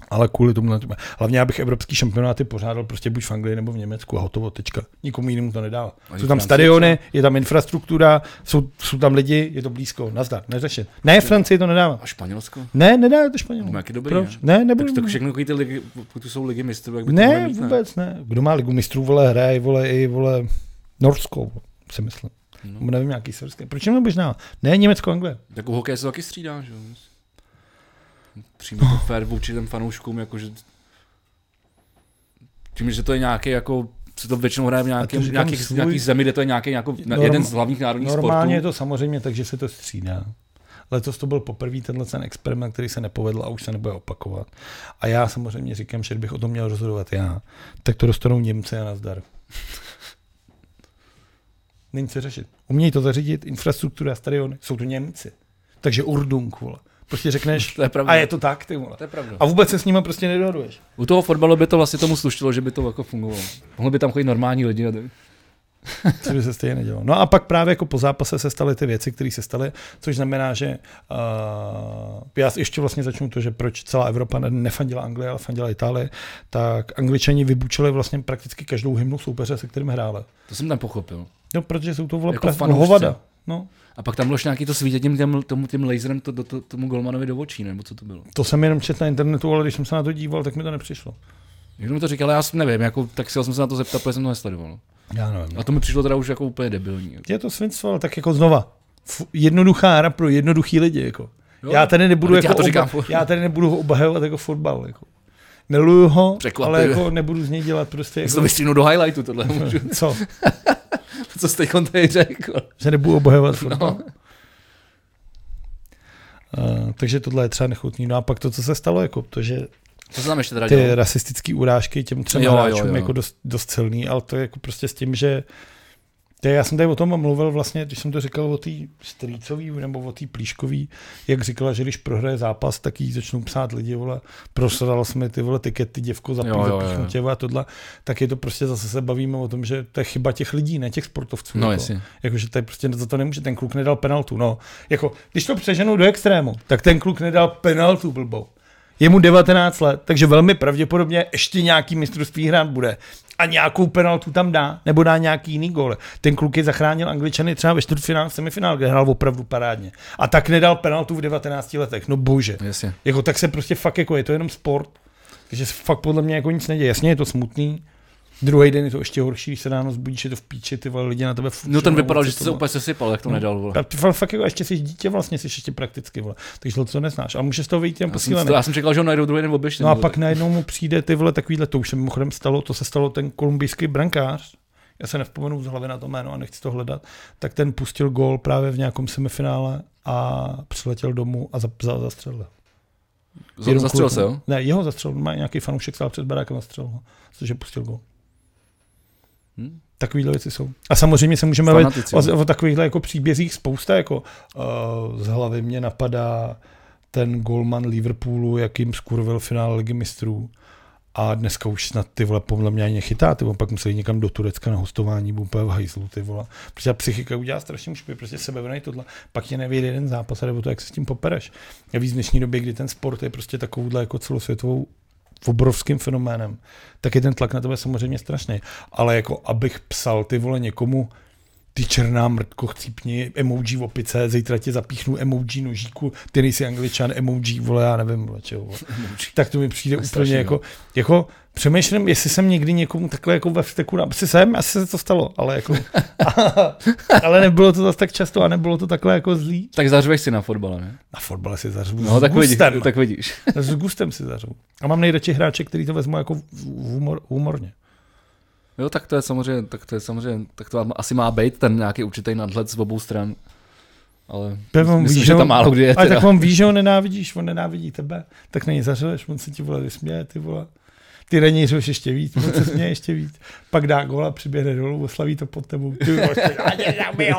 Speaker 2: Ale kvůli tomu, hlavně já bych evropský šampionáty pořádal prostě buď v Anglii nebo v Německu a hotovo, tečka. Nikomu jinému to nedává.
Speaker 1: když
Speaker 2: Jsou tam
Speaker 1: Francie
Speaker 2: stadiony, je tam infrastruktura, jsou, jsou tam lidi, je to blízko, nazdar, neřešit. Ne, Francii to nedává.
Speaker 1: A Španělsko?
Speaker 2: Ne, nedá to Španělům.
Speaker 1: No, jak je dobrý,
Speaker 2: Proč?
Speaker 1: ne?
Speaker 2: Ne, nebudu.
Speaker 1: Tak, tak všechno takový ty ligy, pokud jsou ligy mistrů, jak by to mohly
Speaker 2: Ne,
Speaker 1: mít,
Speaker 2: vůbec ne. Kdo má ligu mistrů, vole, hraje, vole, i, vole, Norskou, si myslím.
Speaker 1: No.
Speaker 2: Nebo nevím, nějaký srbský. Proč jim nebudeš dál? Ne, Německo, Anglie.
Speaker 1: Tak u hokeje se taky střídá, že jo? Přímo to fér vůči těm fanouškům, jakože... Tím, že to je nějaký jako se to většinou hraje v nějakém,
Speaker 2: říkám
Speaker 1: nějaký,
Speaker 2: svůj-
Speaker 1: nějaký zemi, kde to je nějaký, nějakou,
Speaker 2: Norm-
Speaker 1: Norm, jeden z hlavních národních
Speaker 2: Normálně je
Speaker 1: sportů.
Speaker 2: to samozřejmě tak, že se to střídá. Letos to byl poprvé tenhle ten experiment, který se nepovedl a už se nebude opakovat. A já samozřejmě říkám, že bych o tom měl rozhodovat já, tak to dostanou Němci a nazdar. Není co řešit. Umějí to zařídit, infrastruktura, stadiony, jsou to Němci. Takže Urdung, vole. Prostě řekneš,
Speaker 1: To je pravda.
Speaker 2: a je to tak, ty vole.
Speaker 1: To je pravda.
Speaker 2: A vůbec se s nima prostě nedohoduješ.
Speaker 1: U toho fotbalu by to vlastně tomu slušilo, že by to jako fungovalo. Mohli by tam chodit normální lidi. a tak.
Speaker 2: Co by se stejně nedělo. No a pak právě jako po zápase se staly ty věci, které se staly, což znamená, že uh, já ještě vlastně začnu to, že proč celá Evropa ne- nefandila Anglii, ale fandila Itálii, tak Angličani vybučili vlastně prakticky každou hymnu soupeře, se kterým hráli.
Speaker 1: To jsem tam pochopil.
Speaker 2: No, protože jsou to vole
Speaker 1: Jako
Speaker 2: jako
Speaker 1: fanoušci.
Speaker 2: hovada. No,
Speaker 1: A pak tam bylo ještě nějaký to svítěním těm, tomu, tím laserem to, do, to, tomu golmanovi do očí, nebo co to bylo?
Speaker 2: to jsem jenom četl na internetu, ale když jsem se na to díval, tak mi to nepřišlo.
Speaker 1: Někdo mi to říkal, ale já s- nevím, jako, tak si jsem se na to zeptat, protože jsem to nesledoval.
Speaker 2: Já nevím.
Speaker 1: A to mi přišlo teda už jako úplně debilní.
Speaker 2: Je to svinstvo, ale tak jako znova. F- Jednoduchá hra pro jednoduchý lidi. Jako.
Speaker 1: Jo,
Speaker 2: já tady nebudu,
Speaker 1: ale teď
Speaker 2: jako
Speaker 1: já to říkám
Speaker 2: oba,
Speaker 1: furt.
Speaker 2: já tady nebudu ho obhajovat jako fotbal. Jako. Miluju ho,
Speaker 1: Překvapivě.
Speaker 2: ale jako nebudu z něj dělat prostě
Speaker 1: Jak to
Speaker 2: jako,
Speaker 1: vystřínu do highlightu tohle, můžu,
Speaker 2: co,
Speaker 1: co jste jako tady řekl.
Speaker 2: že nebudu
Speaker 1: No.
Speaker 2: obhajovat fotbal. Uh, takže tohle je třeba nechutný. No a pak to, co se stalo, jako, protože
Speaker 1: Co se tam ještě teda
Speaker 2: ty
Speaker 1: dělo?
Speaker 2: rasistické urážky těm třem
Speaker 1: Jo, jo,
Speaker 2: hráčům
Speaker 1: jo.
Speaker 2: jako dost, dost silný, ale to je jako prostě s tím, že to je- já jsem tady o tom mluvil vlastně, když jsem to říkal o té strýcový nebo o té plíškový, jak říkala, že když prohraje zápas, tak jí začnou psát lidi, vole, prosral jsme ty vole tikety, děvko, zapí,
Speaker 1: Jo, jo, jo.
Speaker 2: zapíchnutě a tohle, tak je to prostě zase se bavíme o tom, že to je chyba těch lidí, ne těch sportovců.
Speaker 1: No
Speaker 2: jako.
Speaker 1: jasně.
Speaker 2: Jakože tady prostě za to nemůže, ten kluk nedal penaltu. No, jako, když to přeženou do extrému, tak ten kluk nedal penaltu blbou. Je mu 19 let, takže velmi pravděpodobně ještě nějaký mistrovství hrát bude. A nějakou penaltu tam dá, nebo dá nějaký jiný gól. Ten kluk je zachránil Angličany třeba ve čtvrtfinále, v semifinále, kde hrál opravdu parádně. A tak nedal penaltu v 19 letech. No bože.
Speaker 1: Jasně.
Speaker 2: Jako tak se prostě fakt jako je to jenom sport. Takže se fakt podle mě jako nic neděje. Jasně je to smutný. Druhý den je to ještě horší, když se ráno zbudíš, je to v píči, ty vole, lidi na tebe furt
Speaker 1: No ten
Speaker 2: žerou,
Speaker 1: vypadal,
Speaker 2: co
Speaker 1: že
Speaker 2: to
Speaker 1: se
Speaker 2: má.
Speaker 1: úplně sesypal,
Speaker 2: No,
Speaker 1: jak to nedal, vole.
Speaker 2: A ty fakt- fakt jako ještě jsi dítě vlastně, jsi ještě prakticky, vole. takže to co neznáš. A můžeš to vyjít jen
Speaker 1: Já jsem,
Speaker 2: posílený.
Speaker 1: Prostě to, já jsem čekal, že ho najdou druhý nebo oběžný.
Speaker 2: No a
Speaker 1: vole.
Speaker 2: pak najednou mu přijde ty vole takovýhle, to už se mimochodem stalo, to se stalo ten kolumbijský brankář, já se nevzpomenu z hlavy na to jméno a nechci to hledat, tak ten pustil gól právě v nějakém semifinále a přiletěl domů a za, za, zastřelil.
Speaker 1: Za-
Speaker 2: Jenom
Speaker 1: Zastřelil
Speaker 2: kvůli
Speaker 1: se,
Speaker 2: tomu.
Speaker 1: jo?
Speaker 2: Ne, jeho zastřelil, má nějaký fanoušek stál před barákem a střelil ho, což je pustil gól.
Speaker 1: Hm?
Speaker 2: Takovýhle věci jsou. A samozřejmě se můžeme bavit
Speaker 1: Fanatici.
Speaker 2: o,
Speaker 1: vole.
Speaker 2: o takovýchhle jako příbězích spousta. Jako, uh, z hlavy mě napadá ten golman Liverpoolu, jakým skurvil finále Ligy mistrů. A dneska už snad ty vole podle mě ani nechytá, ty vole, pak museli někam do Turecka na hostování, byl úplně v hajzlu, ty vole. Protože ta psychika udělá strašně špatně, prostě sebevraný tohle, pak tě nevěde jeden zápas, nebo to, jak se s tím popereš. Já víc v dnešní době, kdy ten sport je prostě takovouhle jako celosvětovou obrovským fenoménem, tak je ten tlak na tebe samozřejmě strašný. Ale jako abych psal ty vole někomu, ty černá mrtko, chcípni, emoji v opice, zítra tě zapíchnu emoji nožíku, ty nejsi angličan, emoji, vole, já nevím, vole, čeho, vole. Tak to mi přijde
Speaker 1: To je strašný, no.
Speaker 2: úplně jako, jako přemýšlím, jestli jsem někdy někomu takhle jako ve vteku, na- asi jsem, asi se to stalo, ale jako, ale nebylo to zase tak často a nebylo to takhle jako zlý.
Speaker 1: Tak zařveš si na fotbale, ne?
Speaker 2: Na fotbale si zařvu
Speaker 1: No
Speaker 2: s
Speaker 1: tak vidíš,
Speaker 2: gustem,
Speaker 1: tak vidíš.
Speaker 2: s gustem si zařvu. A mám nejradši hráče, který to vezmu jako v- v- humor, humorně.
Speaker 1: Jo, tak to je samozřejmě, tak to je samozřejmě, tak to asi má být ten nějaký určitý nadhled z obou stran. Ale
Speaker 2: Pevno,
Speaker 1: myslím, že
Speaker 2: víš, že
Speaker 1: tam
Speaker 2: on-
Speaker 1: málo kdy je.
Speaker 2: Ale
Speaker 1: teda.
Speaker 2: tak on ví, že ho nenávidíš, on nenávidí tebe, tak na něj zařeveš, on se ti vole vysměje, ty vole. Ty na něj řeš ještě víc, on se směje ještě víc. Pak dá gola, přiběhne dolů, oslaví to pod tebou. Ty vole, ještě, "A mě zabil."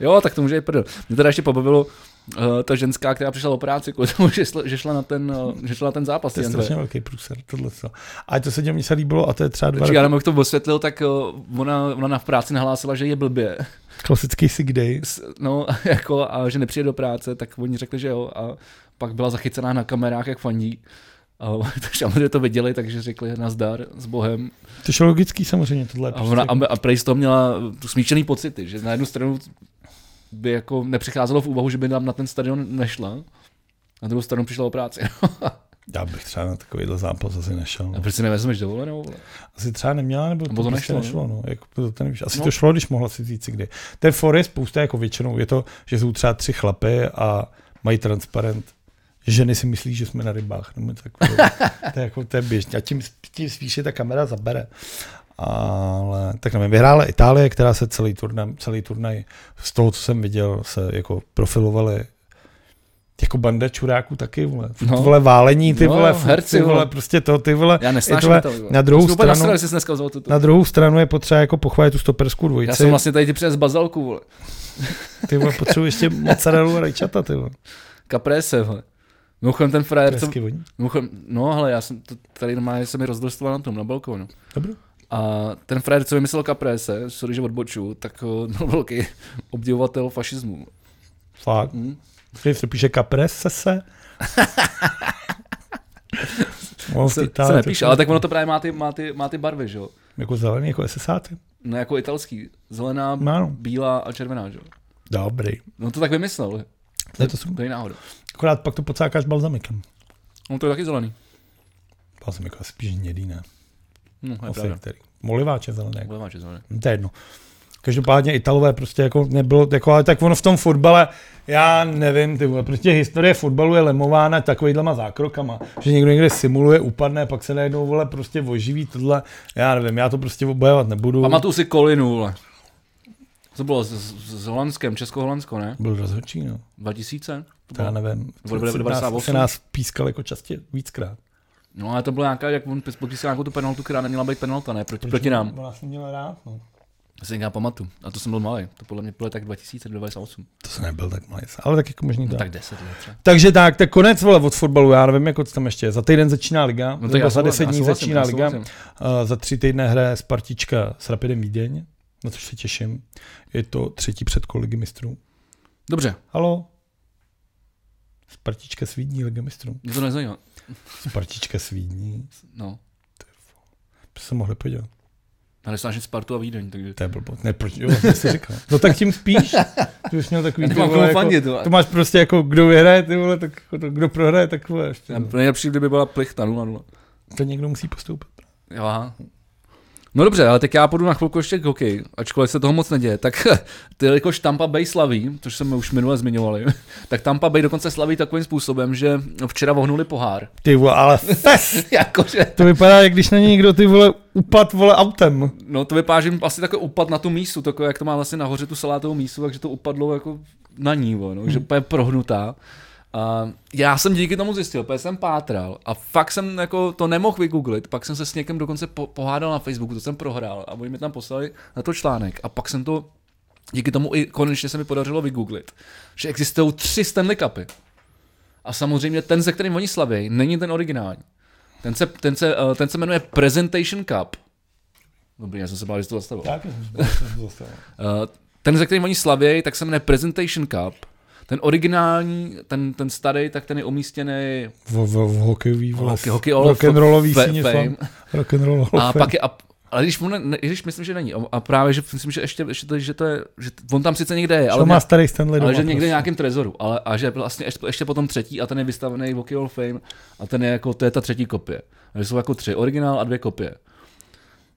Speaker 1: Jo, tak to může i prdel. Mě teda ještě pobavilo, eh, ta ženská, která přišla o práci kvůli tomu, že, šla, že šla na ten, eh, že šla na ten zápas.
Speaker 2: To je
Speaker 1: TNT.
Speaker 2: strašně velký průser, tohle co. A to se dělo, mně se líbilo a to je třeba dva
Speaker 1: Počkej, já
Speaker 2: roky,
Speaker 1: nevím, jak to osvětlil, tak eh, ona, ona na v práci nahlásila, že je blbě.
Speaker 2: klasický sick day.
Speaker 1: S- No, jako, a že nepřijde do práce, tak oni řekli, že jo. A pak byla zachycená na kamerách, jak fandí. A takže samozřejmě to viděli, takže řekli nazdar s Bohem.
Speaker 2: To je logický samozřejmě, tohle. je
Speaker 1: A,
Speaker 2: prostě
Speaker 1: ona,
Speaker 2: jako-
Speaker 1: a, a prej z toho měla smíčený pocity, že na jednu stranu by jako nepřicházelo v úvahu, že by nám na ten stadion nešla, na druhou stranu přišla o práci.
Speaker 2: Já bych třeba na takovýhle zápas asi nešel.
Speaker 1: A
Speaker 2: No.
Speaker 1: proč si nevezmeš dovolenou? vole?
Speaker 2: Asi třeba neměla, nebo,
Speaker 1: Nebo to
Speaker 2: prostě
Speaker 1: nešlo,
Speaker 2: nešlo no. Jako, to, to nevíš. Asi
Speaker 1: No.
Speaker 2: no. to šlo, když mohla si říct kdy. Ten for je spousta jako většinou. Je to, že jsou třeba tři chlapy a mají transparent. Ženy si myslí, že jsme na rybách. Nebo tak, to, je jako, to je běžně. A tím, tím spíše ta kamera zabere. Ale tak nevím, vyhrála Itálie, která se celý turnaj, celý turnaj z toho, co jsem viděl, se jako profilovali jako banda čuráků taky, vole.
Speaker 1: No.
Speaker 2: No. vole válení, ty
Speaker 1: No,
Speaker 2: vole, furt,
Speaker 1: herci,
Speaker 2: ty vole,
Speaker 1: vole.
Speaker 2: prostě to, ty vole,
Speaker 1: Já
Speaker 2: je
Speaker 1: nesnáším
Speaker 2: tohle,
Speaker 1: to. vole.
Speaker 2: na druhou
Speaker 1: Jsi úplně
Speaker 2: stranu-
Speaker 1: nasral, že jsi dneska vzal tuto.
Speaker 2: na druhou stranu je potřeba jako pochválit tu stoperskou dvojici.
Speaker 1: Já jsem vlastně tady ti přines bazalku, vole.
Speaker 2: Ty vole, potřebuji ještě mozzarellu a rajčata, ty vole.
Speaker 1: Kaprese, vole. Mimochodem ten frajer, co,
Speaker 2: Hezky voní.
Speaker 1: mimochodem, no hele, já jsem, to, tady normálně se mi rozdrstval na tom, na balkónu.
Speaker 2: Dobrý.
Speaker 1: A ten frajer, co vymyslel kaprese, sorry, že odboču, tak o, byl velký obdivovatel fašismu.
Speaker 2: Fakt.
Speaker 1: Hm?
Speaker 2: Když se píše caprese se. No, v
Speaker 1: Se, se
Speaker 2: Itálii
Speaker 1: nepíše,
Speaker 2: to-
Speaker 1: ale tak ono to právě má ty, má ty, má ty barvy, že jo?
Speaker 2: Jako zelený, jako SSáty.
Speaker 1: No jako italský. Zelená,
Speaker 2: No, Ano.
Speaker 1: bílá a červená, že jo?
Speaker 2: Dobrý.
Speaker 1: No to tak vymyslel,
Speaker 2: To je to super.
Speaker 1: to je náhoda.
Speaker 2: Akorát pak to pocákáš balzamikem.
Speaker 1: No to je taky zelený.
Speaker 2: Balzamik asi spíš hnědý, ne?
Speaker 1: No, to je
Speaker 2: Asi
Speaker 1: pravda.
Speaker 2: který. Moliváč je zelený. jako.
Speaker 1: Bude zelený.
Speaker 2: To je jedno. Každopádně Italové prostě jako nebylo, jako, ale tak ono v tom fotbale, já nevím, ty vole, prostě historie fotbalu je lemována takovýhlema zákrokama, že někdo někde simuluje, upadne, pak se najednou, vole, prostě oživí tohle, já nevím, já to prostě obojovat nebudu.
Speaker 1: Pamatuju si Kolinu, vole. To bylo s, s, s Holandskem, Česko-Holandsko, ne?
Speaker 2: Byl rozhodčí, no,
Speaker 1: 2000? To
Speaker 2: to já
Speaker 1: bylo.
Speaker 2: nevím.
Speaker 1: Nebo byly
Speaker 2: Se nás,
Speaker 1: 98?
Speaker 2: se nás pískal jako častě víckrát.
Speaker 1: No ale to byla nějaká, jak on pis- podpísal nějakou tu penaltu, která neměla být penalta, ne? Proti, proti nám.
Speaker 2: Bo nás neměl rád, no.
Speaker 1: To si já pamatuju. A to jsem byl malý. To podle mě bylo tak 2098.
Speaker 2: To se nebyl tak malý, ale tak jako možný to.
Speaker 1: No,
Speaker 2: Tak.
Speaker 1: tak 10 let třeba.
Speaker 2: Takže tak, tak konec vole od fotbalu, já nevím, jako co tam ještě je. Za týden začíná liga,
Speaker 1: No,
Speaker 2: no,
Speaker 1: tak já
Speaker 2: za
Speaker 1: souhlasím,
Speaker 2: 10
Speaker 1: já
Speaker 2: dní
Speaker 1: souhlasím,
Speaker 2: začíná
Speaker 1: já
Speaker 2: liga.
Speaker 1: souhlasím.
Speaker 2: Uh, za tři týdny hraje Spartička s Rapidem Vídeň, na což se těším. Je to třetí předkol Ligy mistrů.
Speaker 1: Dobře,
Speaker 2: Halo? Spartička s Vídní Liga mistrů.
Speaker 1: mě to nezajímá.
Speaker 2: Spartička s Vídní.
Speaker 1: No.
Speaker 2: To se mohli podívat.
Speaker 1: Já nesnáším Spartu a Vídeň, takže...
Speaker 2: To je blbost. Ne, proč? Jo, to jsi říkal. No tak tím spíš. Ty bys měl takový...
Speaker 1: Já
Speaker 2: ty
Speaker 1: nemám
Speaker 2: vole,
Speaker 1: komu
Speaker 2: jako,
Speaker 1: fandit, vole.
Speaker 2: to máš prostě jako, kdo vyhraje, ty vole, tak jako to, kdo prohraje, tak vole, ještě.
Speaker 1: Já- Nejlepší, kdyby byla plichta 0-0.
Speaker 2: To někdo musí postoupit.
Speaker 1: Jo, aha. No dobře, ale tak já půjdu na chvilku ještě k hokeji, ačkoliv se toho moc neděje. Tak ty, jelikož Tampa Bay slaví, což jsme už minule zmiňovali, tak Tampa Bay dokonce slaví takovým způsobem, že včera vohnuli pohár.
Speaker 2: Ty vole, ale fest!
Speaker 1: Jakože,
Speaker 2: To vypadá, jak když na něj někdo ty vole upad vole autem.
Speaker 1: no to vypadá, že jim asi takhle upad na tu mísu, takové, jak to má vlastně nahoře tu salátovou mísu, takže to upadlo jako na ní, vole, no, že úplně prohnutá. A Ehm, já jsem díky tomu zjistil, protože jsem pátral a fakt jsem jako to nemohl vygooglit, pak jsem se s někým dokonce po- pohádal na Facebooku, to jsem prohrál a oni mi tam poslali na to článek a pak jsem to díky tomu i konečně se mi podařilo vygooglit, že existují tři Stanley Cupy. A samozřejmě ten, se kterým oni slaví, není ten originální. Ten se, ten se, eh, ten se jmenuje Presentation Cup. Dobrý, já jsem se bál, že to zastavil.
Speaker 2: Tak, já jsem zase.
Speaker 1: Eh, ten, ze kterým oni slaví, tak se jmenuje Presentation Cup. Ten originální, ten, ten starý, tak ten je umístěný
Speaker 2: V, v, v hokejový vole.
Speaker 1: Hokej- hokej all of
Speaker 2: rock'n'rollový
Speaker 1: fa-
Speaker 2: síně
Speaker 1: fame.
Speaker 2: fam. Rock'n'roll
Speaker 1: a pak je, a, ale když, mu ne, ne, když myslím, že není. A- A právě, že myslím, že ještě, ještě to, že to je, že t- on tam sice někde je, ale,
Speaker 2: Ale má starý
Speaker 1: ale
Speaker 2: Stanley doma,
Speaker 1: že někde v
Speaker 2: prostě.
Speaker 1: nějakém trezoru. Ale, a že byl vlastně ještě, ještě potom třetí a ten je vystavený v Hockey Hall of Fame a ten je jako, to je ta třetí kopie. Takže jsou jako tři, originál a dvě kopie.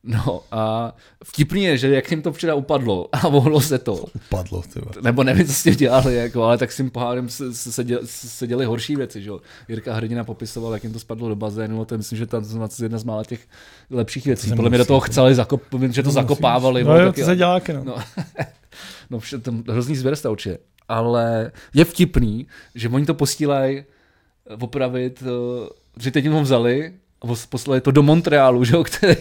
Speaker 1: No a vtipný je, že jak jim to včera upadlo a vohlo se to,
Speaker 2: Upadlo, ty vole.
Speaker 1: nebo nevím, co s tím dělali, jako, ale tak s tím pohárem se, se, se, děl, se děli horší věci. Že? jo. Jirka Hrdina popisoval, jak jim to spadlo do bazénu, a to je, myslím, že tam je jedna z mála těch lepších věcí.
Speaker 2: jsem
Speaker 1: Podle mě do
Speaker 2: musel,
Speaker 1: toho
Speaker 2: to-
Speaker 1: chceli, zakop, že to zakopávali.
Speaker 2: No
Speaker 1: vole,
Speaker 2: jo,
Speaker 1: taky,
Speaker 2: to se děláky, no.
Speaker 1: No. no, vše, tam hrozný zvěrsta určitě. Ale je vtipný, že oni to posílají opravit, eh, že eh, teď jim ho vzali a pos- poslali to do Montrealu, že jo, který,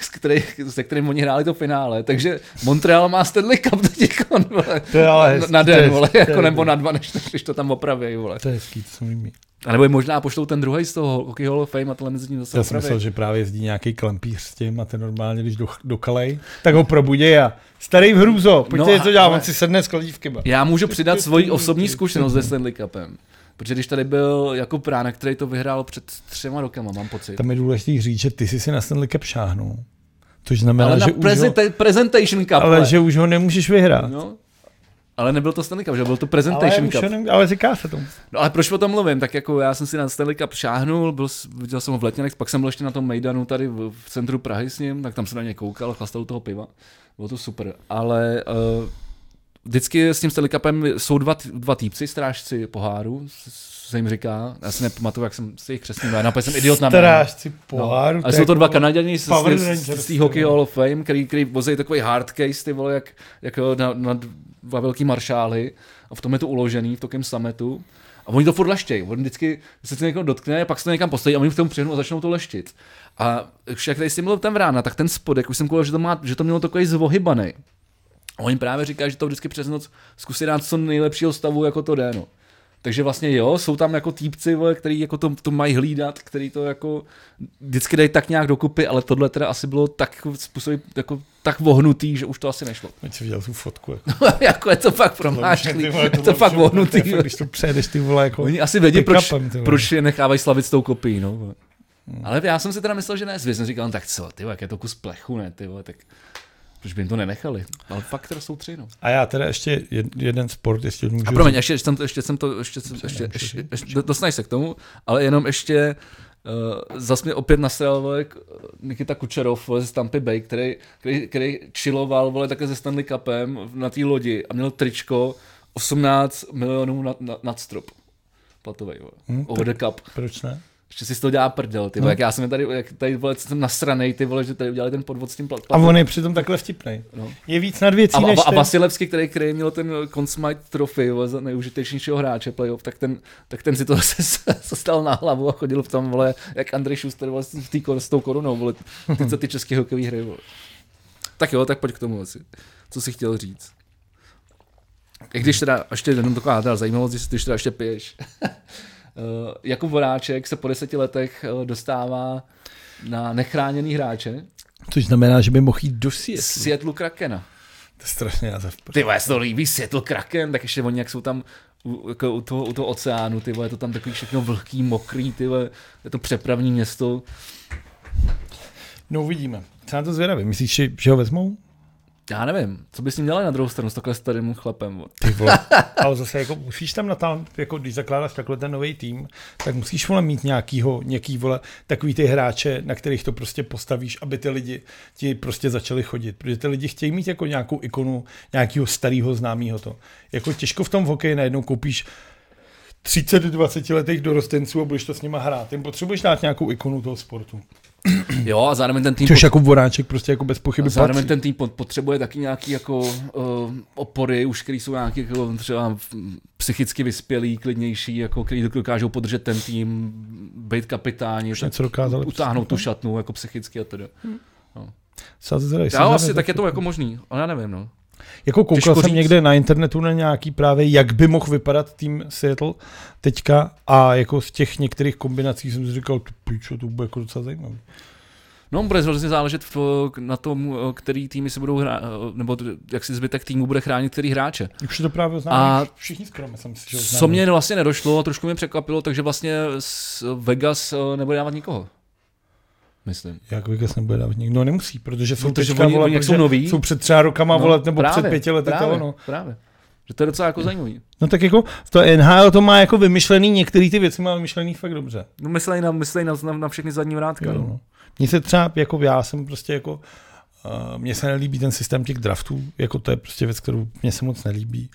Speaker 1: s který, se kterým oni hráli to finále. Takže Montreal má Stanley Cup teď vole.
Speaker 2: To je ale
Speaker 1: na,
Speaker 2: hezký,
Speaker 1: na
Speaker 2: to je
Speaker 1: den,
Speaker 2: hezký,
Speaker 1: vole,
Speaker 2: to je
Speaker 1: jako, nebo
Speaker 2: dobrý.
Speaker 1: na dva, než, než to tam opraví, vole.
Speaker 2: To je hezký, to se mi líbí.
Speaker 1: A nebo je možná pošlou ten druhý z toho Hockey Hall of Fame a tenhle mezi tím zase
Speaker 2: Já jsem
Speaker 1: opraví.
Speaker 2: myslel, že právě jezdí nějaký klempíř s tím a ten normálně, když do, do kalej, tak ho probudí a starý v hrůzo, pojďte
Speaker 1: No
Speaker 2: něco
Speaker 1: a-
Speaker 2: dělat,
Speaker 1: ale-
Speaker 2: on si sedne s kladívky. ba.
Speaker 1: Já můžu přidat svoji osobní zkušenost se Stanley Cupem. Protože když tady byl Jakub Prána, který to vyhrál před třema rokama, mám pocit.
Speaker 2: Tam je důležité říct, že ty jsi si na Stanley Cup šáhnul. Což znamená,
Speaker 1: ale na
Speaker 2: že, už ho,
Speaker 1: prezente- Presentation Cup,
Speaker 2: ale
Speaker 1: vole.
Speaker 2: že už ho nemůžeš vyhrát.
Speaker 1: No, ale nebyl to Stanley Cup, že byl to
Speaker 2: ale,
Speaker 1: Presentation
Speaker 2: už
Speaker 1: Cup.
Speaker 2: ho nem, ale říká se tomu.
Speaker 1: No ale proč o tom mluvím? Tak jako já jsem si na Stanley Cup šáhnul, byl, s- viděl jsem ho v Letňanech, pak jsem byl ještě na tom Mejdanu tady v, v centru Prahy s ním, tak tam jsem na ně koukal, chlastal u toho piva. Bylo to super, ale uh, vždycky s tím Stanley Cupem jsou dva, t- dva týpci, strážci poháru, s- se jim říká, já si nepamatuju, jak jsem si jich křesnil, jména, protože jsem idiot na jména.
Speaker 2: Strážci poháru.
Speaker 1: Ale
Speaker 2: to
Speaker 1: jsou
Speaker 2: je
Speaker 1: to dva
Speaker 2: jako-
Speaker 1: Kanaděni z,
Speaker 2: Power
Speaker 1: z, z,
Speaker 2: Rangers,
Speaker 1: z té
Speaker 2: ty
Speaker 1: Hockey
Speaker 2: vole.
Speaker 1: Hall of Fame, který, který vozejí takový hard case, ty vole, jak, jako na, na dva velký maršály a v tom je to uložený, v takém sametu. A oni to furt leštějí, on vždycky se to někoho dotkne, pak se to někam postaví a oni k tomu přihnou a začnou to leštit. A však tady jsi mluvil ten vrána, tak ten spodek, už jsem koukal, že to, má, že to mělo takový zvohybaný. A oni právě říkají, že to vždycky přes noc zkusí dát co nejlepšího stavu, jako to jde. No. Takže vlastně jo, jsou tam jako týpci, vole, který jako to, to mají hlídat, který to jako vždycky dají tak nějak dokupy, ale tohle teda asi bylo tak způsobí, jako tak vohnutý, že už to asi nešlo.
Speaker 2: Teď jsi viděl tu fotku. Jako.
Speaker 1: jako je to fakt
Speaker 2: Tohle už je,
Speaker 1: promášlý,
Speaker 2: ty vole,
Speaker 1: je to
Speaker 2: tohle
Speaker 1: fakt
Speaker 2: už je-
Speaker 1: vohnutý.
Speaker 2: to je fakt, jako Když to přejedeš ty vole jako...
Speaker 1: Oni asi vědí, proč,
Speaker 2: pick-upem, ty vole.
Speaker 1: proč je nechávají slavit s tou kopií, no. Ale já jsem si teda myslel, že ne, zvěst jsem říkal, no tak co, ty vole, jak je to kus plechu, ne, ty vole, tak proč by jim to nenechali? Ale fakt teda jsou tři, no.
Speaker 2: A já teda ještě jed- jeden sport, ještě můžu
Speaker 1: A promiň, ještě, ještě, jsem, to- ještě jsem to, ještě, jsem- ještě, ještě, ještě dostaneš se k tomu, ale jenom ještě uh, zas mě opět nasral vole, k- Nikita Kučerov vole, z Tampa Bay, který, který, který chilloval vole, také se Stanley Cupem na té lodi a měl tričko 18 milionů nad, nad, nad strop platovej, vole.
Speaker 2: Hm,
Speaker 1: over the cup.
Speaker 2: Proč ne?
Speaker 1: Ještě si z toho dělá prdel, ty vole. Jak já jsem tady, jak tady vole, jsem nasranej, ty vole, že tady udělali ten podvod s tím plat,
Speaker 2: A on je přitom takhle vtipný.
Speaker 1: No.
Speaker 2: Je víc nad věcí
Speaker 1: a,
Speaker 2: než
Speaker 1: a, a
Speaker 2: ten-
Speaker 1: Vasilevský, který, který měl ten Consmite trofej vole, za nejužitečnějšího hráče playoff, tak ten, tak ten si to se, se stal na hlavu a chodil v tom, vole, jak Andrej Schuster vole, s, tý, kor- s tou korunou, vole, ty, co ty české hokejové hry, vole. Tak jo, tak pojď k tomu asi. Co jsi chtěl říct? I když teda, ještě jenom taková teda zajímavost, když- když teda ještě piješ. Eh, Jakub Voráček se po deseti letech eh, dostává na nechráněný hráče
Speaker 2: Což znamená, že by mohl jít do Seattle.
Speaker 1: Seattle Krakena.
Speaker 2: To je strašně název.
Speaker 1: Ty vole, se to líbí, Seattle Kraken, tak ještě oni jak jsou tam u, jako u, toho, u toho oceánu, ty vole, je to tam takový všechno vlhký, mokrý, ty vole, je to přepravní město.
Speaker 2: No uvidíme. Co na to zvědavý? Myslíš, že, že ho vezmou?
Speaker 1: Já nevím, co bys s ním dělal na druhou stranu s takhle starým chlapem. vole?
Speaker 2: Ty vole. Ale zase jako musíš tam natáhnout, jako když zakládáš takhle ten nový tým, tak musíš vole mít nějakýho, nějaký vole, takový ty hráče, na kterých to prostě postavíš, aby ty lidi ti prostě začali chodit. Protože ty lidi chtějí mít jako nějakou ikonu nějakého starého známého to. Jako těžko v tom hokeji najednou koupíš 30-20 letých dorostenců a budeš to s nima hrát. Jim potřebuješ dát nějakou ikonu toho sportu.
Speaker 1: Jo, a zároveň ten tým,
Speaker 2: Což jako voráček prostě jako bez pochyby
Speaker 1: pot, zároveň
Speaker 2: patří.
Speaker 1: ten tým pot- potřebuje taky nějaký jako uh, opory, už který jsou nějaký jako třeba mm, psychicky vyspělí, klidnější, jako který dokážou podržet ten tým, být kapitáni, tak
Speaker 2: něco dokázali
Speaker 1: utáhnout
Speaker 2: přesně, no.
Speaker 1: tu šatnu jako psychicky a tedy.
Speaker 2: Co se zvedaj, se
Speaker 1: Já asi,
Speaker 2: zvedaj,
Speaker 1: tak je to jako možný, ale já nevím, no.
Speaker 2: Jako koukal
Speaker 1: Těžko
Speaker 2: jsem
Speaker 1: říct.
Speaker 2: někde na internetu na nějaký právě, jak by mohl vypadat tým Seattle teďka a jako z těch některých kombinací jsem si říkal, ty pičo, to bude jako docela zajímavé.
Speaker 1: No, bude hrozně záležet v, na tom, eh, který týmy se budou hrát, eh, nebo t- jak si zbytek týmu bude chránit který hráče.
Speaker 2: Už je to právě
Speaker 1: A
Speaker 2: oznámili, a... všichni skoro jsem si, že oznámili.
Speaker 1: Co mě vlastně nedošlo, a trošku mě překvapilo, takže vlastně s- Vegas eh, nebude dávat nikoho. Myslím.
Speaker 2: Jak Vegas nebude dávat nikdo, no nemusí, protože jsou
Speaker 1: Protože
Speaker 2: teďka,
Speaker 1: oni-
Speaker 2: vole,
Speaker 1: oni jak
Speaker 2: protože
Speaker 1: jsou noví.
Speaker 2: jsou před třeba rokama, no, vole, nebo před pěti lety, no.
Speaker 1: právě,
Speaker 2: to ono.
Speaker 1: právě. Že to je docela jako zajímavý.
Speaker 2: No tak jako to NHL to má jako vymyšlený, některé ty věci má vymyšlený fakt dobře.
Speaker 1: No myslej na, myslej na, na, na všechny zadní vrátka.
Speaker 2: Jo,
Speaker 1: no.
Speaker 2: no. Mně se třeba, jako já jsem prostě jako uh, Uh, mně se nelíbí ten systém těch draftů, jako to je prostě věc, kterou mě se moc nelíbí.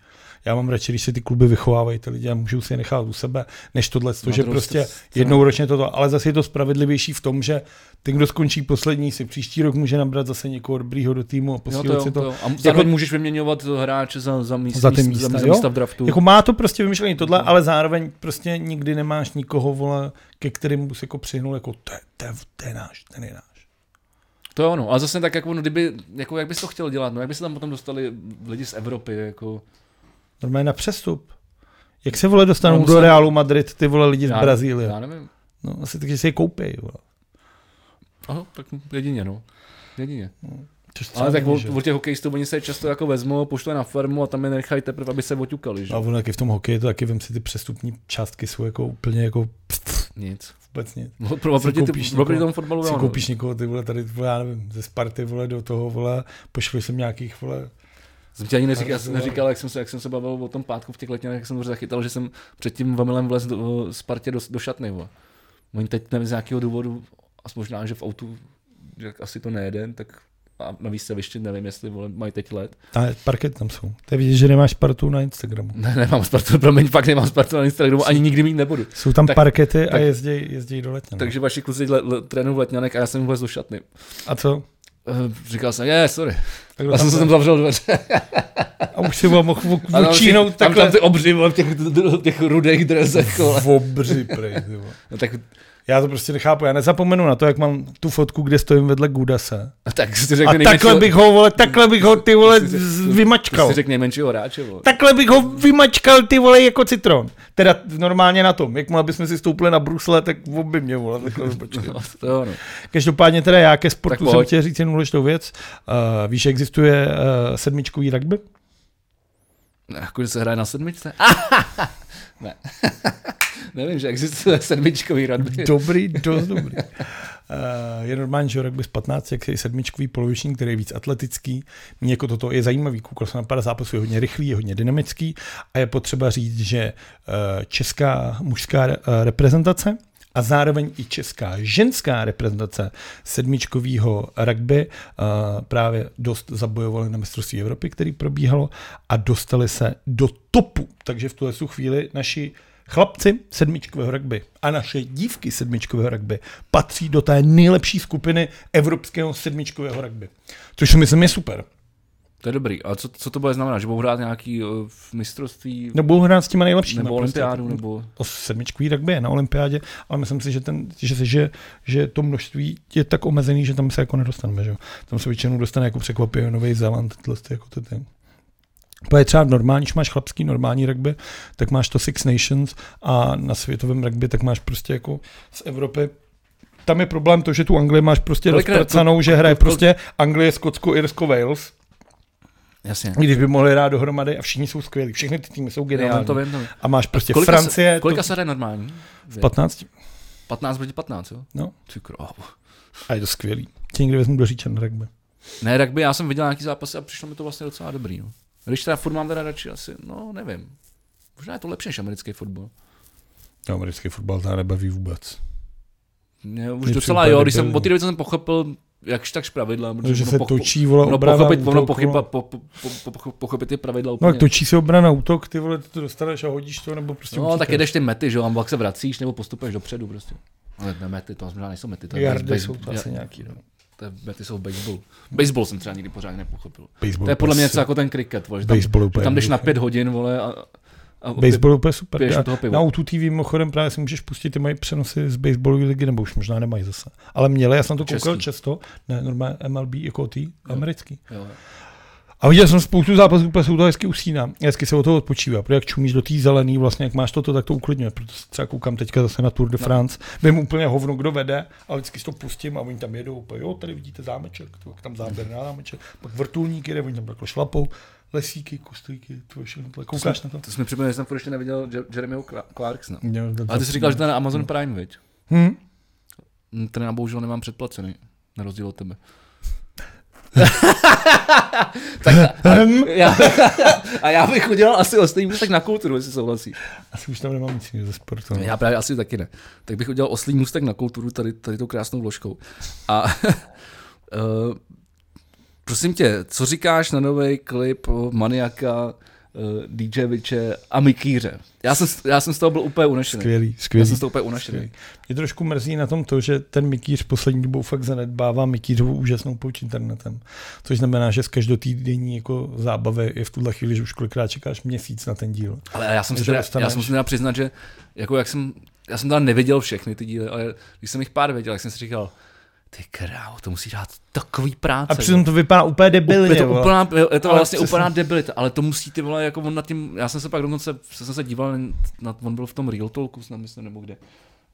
Speaker 2: Já mám radši, když si ty kluby vychovávají ty lidi a můžou si je nechat u sebe, než tohle, to,
Speaker 1: Na
Speaker 2: že
Speaker 1: druhou
Speaker 2: prostě
Speaker 1: stranu-
Speaker 2: jednou ročně toto, ale zase je to spravedlivější v tom, že ten, kdo skončí poslední, si příští rok může nabrat zase někoho dobrýho do týmu a
Speaker 1: Jo,
Speaker 2: posílit
Speaker 1: to, jo,
Speaker 2: si to. Jako
Speaker 1: to jo. A zároveň můžeš vyměňovat eh, hráče za, za, míst,
Speaker 2: Za ty
Speaker 1: míst-
Speaker 2: místa,
Speaker 1: za, za
Speaker 2: jo?
Speaker 1: místa v draftu.
Speaker 2: Jako má to prostě vymyšlený tohle,
Speaker 1: No.
Speaker 2: ale zároveň prostě nikdy nemáš nikoho, vole, ke kterému bys jako přihnul, jako to je, to je, to je náš, ten je náš.
Speaker 1: To jo, no. A zase tak jako, no, kdyby, jako, jak bys to chtěl dělat, no, jak by se tam potom dostali lidi z Evropy, jako.
Speaker 2: Normálně na přestup. Jak se vole dostanou
Speaker 1: No,
Speaker 2: do
Speaker 1: musel-
Speaker 2: Realu Madrid ty vole lidi z
Speaker 1: Já-
Speaker 2: Brazílie?
Speaker 1: Já nevím.
Speaker 2: No asi tak, že si je koupí, vole.
Speaker 1: Aha, tak jedině, no. Jedině.
Speaker 2: Což třeba
Speaker 1: Ale tak
Speaker 2: není,
Speaker 1: o,
Speaker 2: že?
Speaker 1: o těch hokejistů, oni se je často jako vezmou, pošle na farmu a tam je nechají teprve, aby se oťukali, že?
Speaker 2: No, a ono taky v tom hokeji, to taky vem si ty přestupní částky jsou jako úplně jako pst,
Speaker 1: Nic.
Speaker 2: vůbec nic.
Speaker 1: No, pro,
Speaker 2: Si
Speaker 1: proti,
Speaker 2: koupíš
Speaker 1: ty,
Speaker 2: někoho-
Speaker 1: proti tomu fotbalu,
Speaker 2: Si
Speaker 1: jo, no.
Speaker 2: koupíš někoho, ty vole, tady, vole, já nevím, ze Sparty, vole, do toho, vole, pošli jsem nějakých, vole,
Speaker 1: Jsem ti ani neříkal,
Speaker 2: Ale
Speaker 1: já jsem neříkal jak, jsem se, jak jsem se bavil o tom pátku v těch letňanech, jak jsem to zachytal, že jsem před tím vamilem vlez do eh, Spartě do, do šatny. Bo. Oni teď nevím, z nějakého důvodu, a možná, že v autu, jak asi to nejeden, tak a na výstavišti nevím, jestli vole, mají teď let.
Speaker 2: ta, parket tam jsou. To je vidět, že nemáš partu na Instagramu.
Speaker 1: Ne, nemám Spartu, promiň, fakt nemám Spartu na Instagramu, ani nikdy mít nebudu.
Speaker 2: Jsou tam
Speaker 1: Tak-
Speaker 2: tak, parkety a
Speaker 1: tak-
Speaker 2: jezdí, jezdí do no. letně. Takže,
Speaker 1: Takže vaši kluci le, le, trénují v letňanek a já jsem jim vlez do šatny.
Speaker 2: a co?
Speaker 1: Eh, Říkal jsem, je, sorry.
Speaker 2: Tak kdo
Speaker 1: Já jsem se
Speaker 2: tam
Speaker 1: tam zavřel dveře.
Speaker 2: a už si ho mohl
Speaker 1: A tam si-
Speaker 2: učínout
Speaker 1: tam, tam
Speaker 2: takhle.
Speaker 1: ty obři vole, v těch, těch rudých drezech. vole.
Speaker 2: V obři prej, ty vole.
Speaker 1: No, tak,
Speaker 2: Já to prostě nechápu, já nezapomenu na to, jak mám tu fotku, kde stojím vedle Gudase.
Speaker 1: no tak si řekl
Speaker 2: A
Speaker 1: nejmenší-
Speaker 2: takhle bych ho, vole, takhle bych ho, ty vole,
Speaker 1: To si-
Speaker 2: z-
Speaker 1: to- To
Speaker 2: vymačkal.
Speaker 1: si řekl nejmenšího hráče, vole.
Speaker 2: Takhle bych ho vymačkal, ty vole, jako citron. Teda normálně na tom, jakmile bychom si stoupili na brusle, tak by mě, vole, takhle vymačkal.
Speaker 1: No, to jo, no.
Speaker 2: Každopádně teda já ke sportu
Speaker 1: Tak
Speaker 2: jsem
Speaker 1: pojď.
Speaker 2: chtěl říct jednu důležitou věc. Uh, víš, že existuje uh, sedmičkový rugby?
Speaker 1: Jako, že se hraje na sedmičce? ne. Nevím, že existuje sedmičkový rugby.
Speaker 2: Dobrý, dost dobrý. Uh, je normální, že rugby z 15, jak je sedmičkový poloviční, který je víc atletický. Mně jako toto je zajímavý, koukal jsem na pár zápasů, je hodně rychlý, je hodně dynamický a je potřeba říct, že uh, česká mužská uh, reprezentace a zároveň i česká ženská reprezentace sedmičkového rugby uh, právě dost zabojovaly na mistrovství Evropy, který probíhalo a dostali se do topu. Takže v tuhle tu chvíli naši Chlapci sedmičkového rugby a naše dívky sedmičkového rugby patří do té nejlepší skupiny evropského sedmičkového rugby. Což si myslím je super.
Speaker 1: To je dobrý. A co, co to bude znamenat? Že budou hrát nějaký uh, v mistrovství
Speaker 2: No budou hrát s těma nejlepšími.
Speaker 1: nebo
Speaker 2: prostě.
Speaker 1: olympiádu? Nebo...
Speaker 2: O sedmičkový rugby je na olympiádě, ale myslím si, že, ten, že, že, že to množství je tak omezený, že tam se jako nedostaneme. Že? jo. Tam se většinou dostane jako překvapivě Nový Zéland, tyhle ty, jako ty, ty. To je třeba normální, když máš chlapský normální rugby, tak máš to Six Nations a na světovém rugby tak máš prostě jako z Evropy tam je problém to, že tu Anglii máš prostě
Speaker 1: Kolikrát to-
Speaker 2: rozpracanou, že hraje
Speaker 1: to- to-
Speaker 2: prostě Anglie, Skotsko, Irsko, Wales,
Speaker 1: Jasně.
Speaker 2: i když by mohli hrát dohromady a všichni jsou skvělí, všechny ty týmy jsou
Speaker 1: Já vím,
Speaker 2: geniální.
Speaker 1: to vím, to vím.
Speaker 2: A máš prostě
Speaker 1: Kolika
Speaker 2: Francie,
Speaker 1: se, kolika
Speaker 2: to,
Speaker 1: se hraje normální?
Speaker 2: 15
Speaker 1: 15 proti 15, jo?
Speaker 2: No.
Speaker 1: Ty oh. krávo.
Speaker 2: a je to skvělý. Tě někdy vezmu do říčen na rugby.
Speaker 1: Ne, rugby, já jsem viděl nějaký zápasy a přišlo mi to vlastně docela dobrý. No. Když teda furt mám teda radši asi, no nevím. Možná je to lepší než americký fotbal.
Speaker 2: No, americký fotbal to nebaví vůbec.
Speaker 1: Mě už
Speaker 2: Mě
Speaker 1: docela
Speaker 2: přijde
Speaker 1: jo,
Speaker 2: úplně
Speaker 1: když jsem,
Speaker 2: debilní.
Speaker 1: od té doby co jsem pochopil, jakž takž pravidla, protože
Speaker 2: Že
Speaker 1: ono
Speaker 2: se
Speaker 1: pocho-
Speaker 2: točí, vole,
Speaker 1: ono
Speaker 2: obrana,
Speaker 1: pochopit, ono
Speaker 2: útok,
Speaker 1: pochyba,
Speaker 2: vole.
Speaker 1: po, po, po, po, pochopit ty pravidla
Speaker 2: No,
Speaker 1: úplně.
Speaker 2: jak točí se obrana, útok, ty vole, ty to dostaneš a hodíš to, nebo prostě
Speaker 1: no
Speaker 2: utíkáš.
Speaker 1: tak jedeš ty mety, že jo, a pak se vracíš nebo postupuješ dopředu prostě. Ale ne, mety, to možná nejsou mety, to je,
Speaker 2: Jardy
Speaker 1: base-
Speaker 2: jsou to
Speaker 1: ja-
Speaker 2: asi nějaký, no.
Speaker 1: to je, mety jsou v baseballu. Baseball jsem třeba nikdy pořádně nepochopil.
Speaker 2: Baseball
Speaker 1: To je podle mě
Speaker 2: prostě-
Speaker 1: něco jako ten kriket, vole, že tam,
Speaker 2: Baseball je
Speaker 1: že
Speaker 2: úplně
Speaker 1: tam jdeš na
Speaker 2: jednoduchý.
Speaker 1: pět hodin, vole, a, a
Speaker 2: Baseball je úplně super.
Speaker 1: piješ
Speaker 2: Já-
Speaker 1: u toho pivo.
Speaker 2: Na O2 TV mimochodem právě si můžeš pustit, ty mají přenosy z baseballové ligy, nebo už možná nemají zase. Ale měli, já jsem na to koukal
Speaker 1: Český.
Speaker 2: často, ne, normálně MLB, jako ty, americký.
Speaker 1: jo.
Speaker 2: A viděl jsem spoustu zápasů, úplně jsou to hezky usíná. Hezky se o toho odpočívá, protože jak čumíš do té zelený, vlastně jak máš toto, tak to uklidňuje. Proto se třeba koukám teďka zase na Tour de France. Vím úplně hovno, kdo vede, ale vždycky si to pustím a oni tam jedou. Úplně, jo, tady vidíte zámeček, to, jak tam záběr na zámeček, pak vrtulník jede, oni tam takhle šlapou, lesíky, kostlíky, to všechno. takhle. Koukáš na to?
Speaker 1: To jsi mi připomněl, že jsem furt ještě neviděl Je- Jeremyho Cla- Clarksona.
Speaker 2: A
Speaker 1: Ale ty jsi říkal, že to je na Amazon Prime, viď? Mm,
Speaker 2: Hm?
Speaker 1: Ten já bohužel nemám předplacený, na rozdíl od tebe.
Speaker 2: Hm?
Speaker 1: Já, a já bych udělal asi oslý můstek na kulturu, jestli souhlasíš.
Speaker 2: Asi už tam nemám nic jiného ze sportu. no.
Speaker 1: Já právě asi taky ne. Tak bych udělal oslý můstek na kulturu tady, tady tou krásnou vložkou. A uh, eh, Prosím tě, co říkáš na nový klip Maniaka, eh, DJ Viče a Mikýře? Já jsem, já jsem z toho byl úplně unešený.
Speaker 2: Skvělý,
Speaker 1: Já
Speaker 2: skvělý.
Speaker 1: jsem z toho úplně unešený.
Speaker 2: Mě trošku mrzí na tom to, že ten Mikýř poslední dobou fakt zanedbává Mikýřovu úžasnou pouč internetem. Což znamená, že z každotýdenní jako zábavy je v tuhle chvíli, že už kolikrát čekáš měsíc na ten díl.
Speaker 1: Ale já jsem, si
Speaker 2: Takže
Speaker 1: teda, já
Speaker 2: dostaneš-
Speaker 1: jsem si teda přiznat, že jako jak jsem, já jsem teda neviděl všechny ty díly, ale když jsem jich pár věděl, jak jsem si říkal, ty krávo, to musí dát takový práce.
Speaker 2: A
Speaker 1: vole.
Speaker 2: přitom to vypadá úplně debilně.
Speaker 1: je to,
Speaker 2: vole.
Speaker 1: úplná, je to
Speaker 2: Ale
Speaker 1: vlastně
Speaker 2: přesně.
Speaker 1: úplná debilita, ale to musí ty vole, jako on nad tím, já jsem se pak dokonce, jsem se díval, na- na, on byl v tom Real Talku, snad myslím, nebo kde,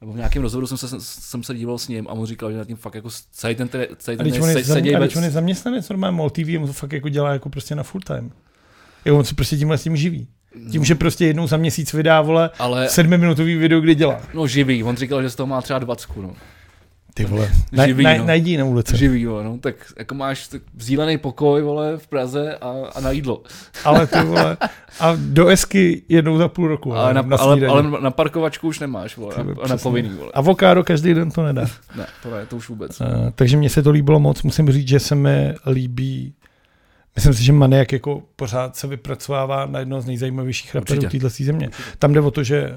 Speaker 1: nebo v nějakém rozhovoru jsem se, jsem se díval s ním a on říkal, že nad tím fakt jako celý ten, tre- celý
Speaker 2: A
Speaker 1: ten
Speaker 2: když on, je
Speaker 1: se,
Speaker 2: zam,
Speaker 1: seděj
Speaker 2: a když on je
Speaker 1: bez,
Speaker 2: zaměstnanec normálně MOL TV, on to fakt jako dělá jako prostě na full time. Jako on se prostě tímhle s tím živí. Tím, že prostě jednou za měsíc vydá, vole,
Speaker 1: ale
Speaker 2: sedmiminutový video, kde dělá.
Speaker 1: no živý, on říkal, že z toho má třeba 20, no.
Speaker 2: Ty vole. Na,
Speaker 1: Na- na-
Speaker 2: na, najdi na ulici.
Speaker 1: Živý, jo, no, tak jako máš tak zílený pokoj, vole, v Praze a, a na jídlo.
Speaker 2: Ale ty vole. A do esky jednou za půl roku.
Speaker 1: Ale na,
Speaker 2: na
Speaker 1: ale,
Speaker 2: snídani.
Speaker 1: ale na parkovačku už nemáš, vole,
Speaker 2: Ty vole,
Speaker 1: a na
Speaker 2: přesně.
Speaker 1: povinný, vole.
Speaker 2: Avokádo každý den to nedá.
Speaker 1: Ne, to ne, to už vůbec.
Speaker 2: Eh, takže mně se to líbilo moc. Musím říct, že se mi líbí Myslím si, že Maniak jako pořád se vypracovává na jedno z nejzajímavějších raperů
Speaker 1: Určitě.
Speaker 2: této země. Tam jde o to, že uh,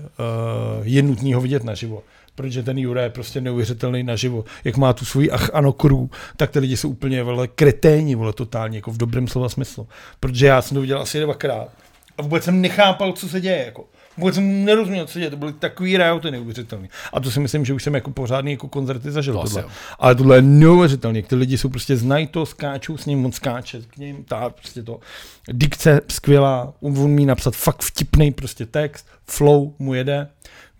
Speaker 2: je nutný ho vidět naživo, protože ten Jura je prostě neuvěřitelný naživo. Jak má tu svůj ach ano krů, tak ty lidi jsou úplně vole, kreténi, vole, totálně, jako v dobrém slova smyslu. Protože já jsem to viděl asi dvakrát a vůbec jsem nechápal, co se děje, jako. Vůbec jsem nerozuměl, co se děje, to byly takový rioty neuvěřitelný. A to si myslím, že už jsem jako pořádný jako koncerty zažil.
Speaker 1: To asi
Speaker 2: tohle.
Speaker 1: jo.
Speaker 2: Ale tohle je neuvěřitelný, jak ty lidi jsou prostě znají to, skáčou s ním, on skáče k ním, tá prostě to. Dikce skvělá, on on umí napsat fakt vtipný prostě text, flow mu jede,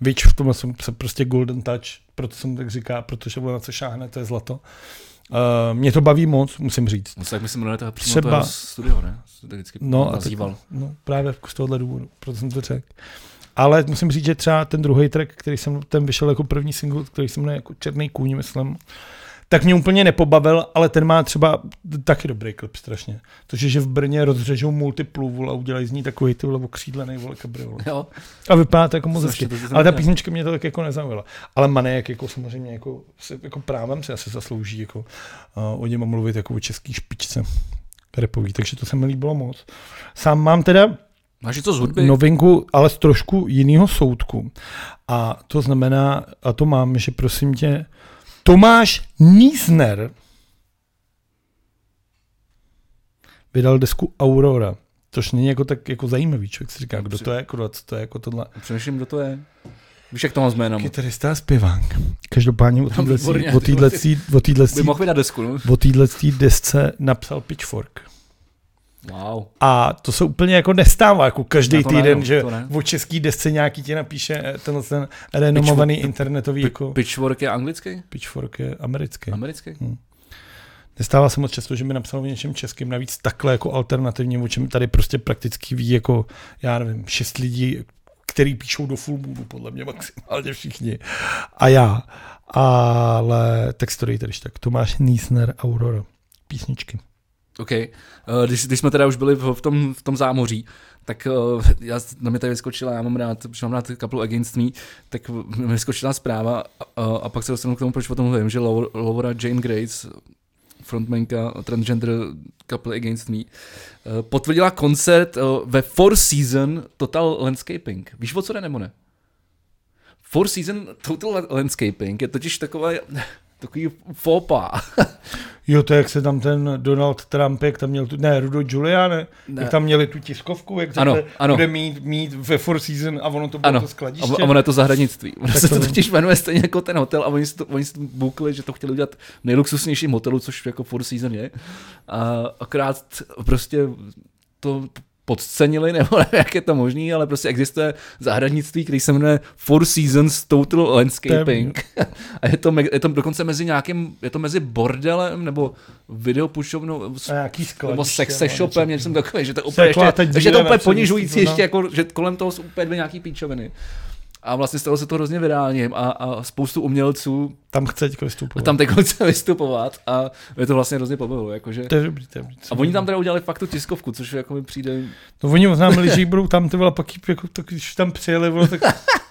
Speaker 2: vič v tomhle jsem se prostě golden touch, proto jsem tak říká, protože vole na co šáhne, to je zlato. Uh, mě to baví moc, musím říct.
Speaker 1: No, tak my se jmenuje toho přímo
Speaker 2: Třeba-
Speaker 1: Třeba... toho studio, ne? Se to vždycky
Speaker 2: No, a tak-
Speaker 1: nazýval.
Speaker 2: No, právě z tohohle důvodu, proto jsem to řekl. Ale musím říct, že třeba ten druhý track, který jsem ten vyšel jako první single, který se jmenuje jako Černý kůň, myslím, tak mě úplně nepobavil, ale ten má třeba taky dobrý klip strašně. To, že, že v Brně rozřežou multiplu vole, a udělají z ní takový ty vole okřídlený vole kabriol.
Speaker 1: Jo,
Speaker 2: A vypadá to jako moc
Speaker 1: Jsem
Speaker 2: hezky.
Speaker 1: ještě to- to jsem
Speaker 2: Ale ta
Speaker 1: nedělal.
Speaker 2: písnička mě to tak jako nezaujala. Ale Manek jako samozřejmě jako, se, jako právem se asi zaslouží jako uh, o něm mluvit jako o český špičce repový, takže to se mi líbilo moc. Sám mám teda
Speaker 1: máš něco z hudby?
Speaker 2: No. novinku, ale z trošku jiného soudku. A to znamená, a to mám, že prosím tě, Tomáš Nízner vydal desku Aurora, což není jako tak jako zajímavý, člověk si říká, kdo to je, kurva, co to je, jako tohle.
Speaker 1: Přemýšlím, kdo to je. Víš, jak to mám s jménem?
Speaker 2: Kytarista a zpěvák. Každopádně o téhle
Speaker 1: Výborně,
Speaker 2: o téhle o téhle
Speaker 1: By mohl vydat desku, no?
Speaker 2: o téhle desce napsal Pitchfork.
Speaker 1: Wow.
Speaker 2: A to se úplně jako nestává, jako každý
Speaker 1: No to ne,
Speaker 2: týden,
Speaker 1: no,
Speaker 2: že
Speaker 1: to ne.
Speaker 2: o český desce nějaký ti napíše eh, tenhle ten renomovaný internetový jako...
Speaker 1: Pitchfork je anglický?
Speaker 2: Pitchfork je americký.
Speaker 1: Americký?
Speaker 2: Nestává se moc často, že by napsal o něčem českým, navíc takhle jako alternativně, o čem tady prostě prakticky ví jako, já nevím, šest lidí, který píšou do full boodu, podle mě maximálně všichni. A já. Ale tak si to dej tady tak. Tomáš Niesner, Aurora. Písničky.
Speaker 1: OK. Eh, Když, když jsme teda už byli v v tom, v tom zámoří, tak eh, já, na mě tady vyskočila, já mám rád, protože mám rád kapelu Against Me, tak mi vyskočila zpráva a, a pak se dostanu k tomu, proč o tom mluvím, že Lau- Laura Jane Grace, frontmanka transgender kapely Against Me, eh, potvrdila koncert eh, ve Four Season Total Landscaping. Víš, o co jde nebo ne? Four Season Total Landscaping je totiž takové, takový faux pas.
Speaker 2: Jo, to jak se tam ten Donald Trump, jak tam měl tu, ne, Rudo Giuliani,
Speaker 1: Ne.
Speaker 2: jak tam měli tu tiskovku, jak
Speaker 1: Ano,
Speaker 2: řekli,
Speaker 1: ano.
Speaker 2: bude mít, mít ve Four Season a ono to bylo
Speaker 1: Ano,
Speaker 2: to
Speaker 1: a,
Speaker 2: skladiště.
Speaker 1: a ono je to zahradnictví. Ono
Speaker 2: Tak
Speaker 1: se
Speaker 2: to
Speaker 1: to
Speaker 2: vím.
Speaker 1: totiž jmenuje stejně jako ten hotel a oni si to, oni si to bukli, že to chtěli udělat v nejluxusnějším hotelu, což jako Four Season je. A akorát prostě to podcenili, nebo nevím, jak je to možný, ale prostě existuje zahradnictví, který se jmenuje Four Seasons Total Landscaping. A je to, me- je to dokonce mezi nějakým, je to mezi bordelem nebo videopušovnou s-
Speaker 2: a nějaký skladiště.
Speaker 1: nebo sex se
Speaker 2: no,
Speaker 1: shopem,
Speaker 2: něco.
Speaker 1: něco takového, že to je
Speaker 2: Se
Speaker 1: úplně,
Speaker 2: jako a
Speaker 1: ještě,
Speaker 2: teď
Speaker 1: ještě to
Speaker 2: díle
Speaker 1: úplně
Speaker 2: napřed,
Speaker 1: ponižující,
Speaker 2: no.
Speaker 1: ještě jako, že kolem toho jsou úplně dvě nějaký píčoviny. A vlastně stalo se to hrozně virálním a, a spoustu umělců
Speaker 2: Tam chce teďka vystupovat.
Speaker 1: tam teď chce vystupovat a mě to vlastně hrozně pobavilo. Jakože.
Speaker 2: To je dobrý, to je dobrý.
Speaker 1: A oni tam teda udělali fakt tu tiskovku, což jako mi přijde...
Speaker 2: No oni oznámili, že jí budou tam, ty vole, pak jí, jako, tak, když tam přijeli, vole, tak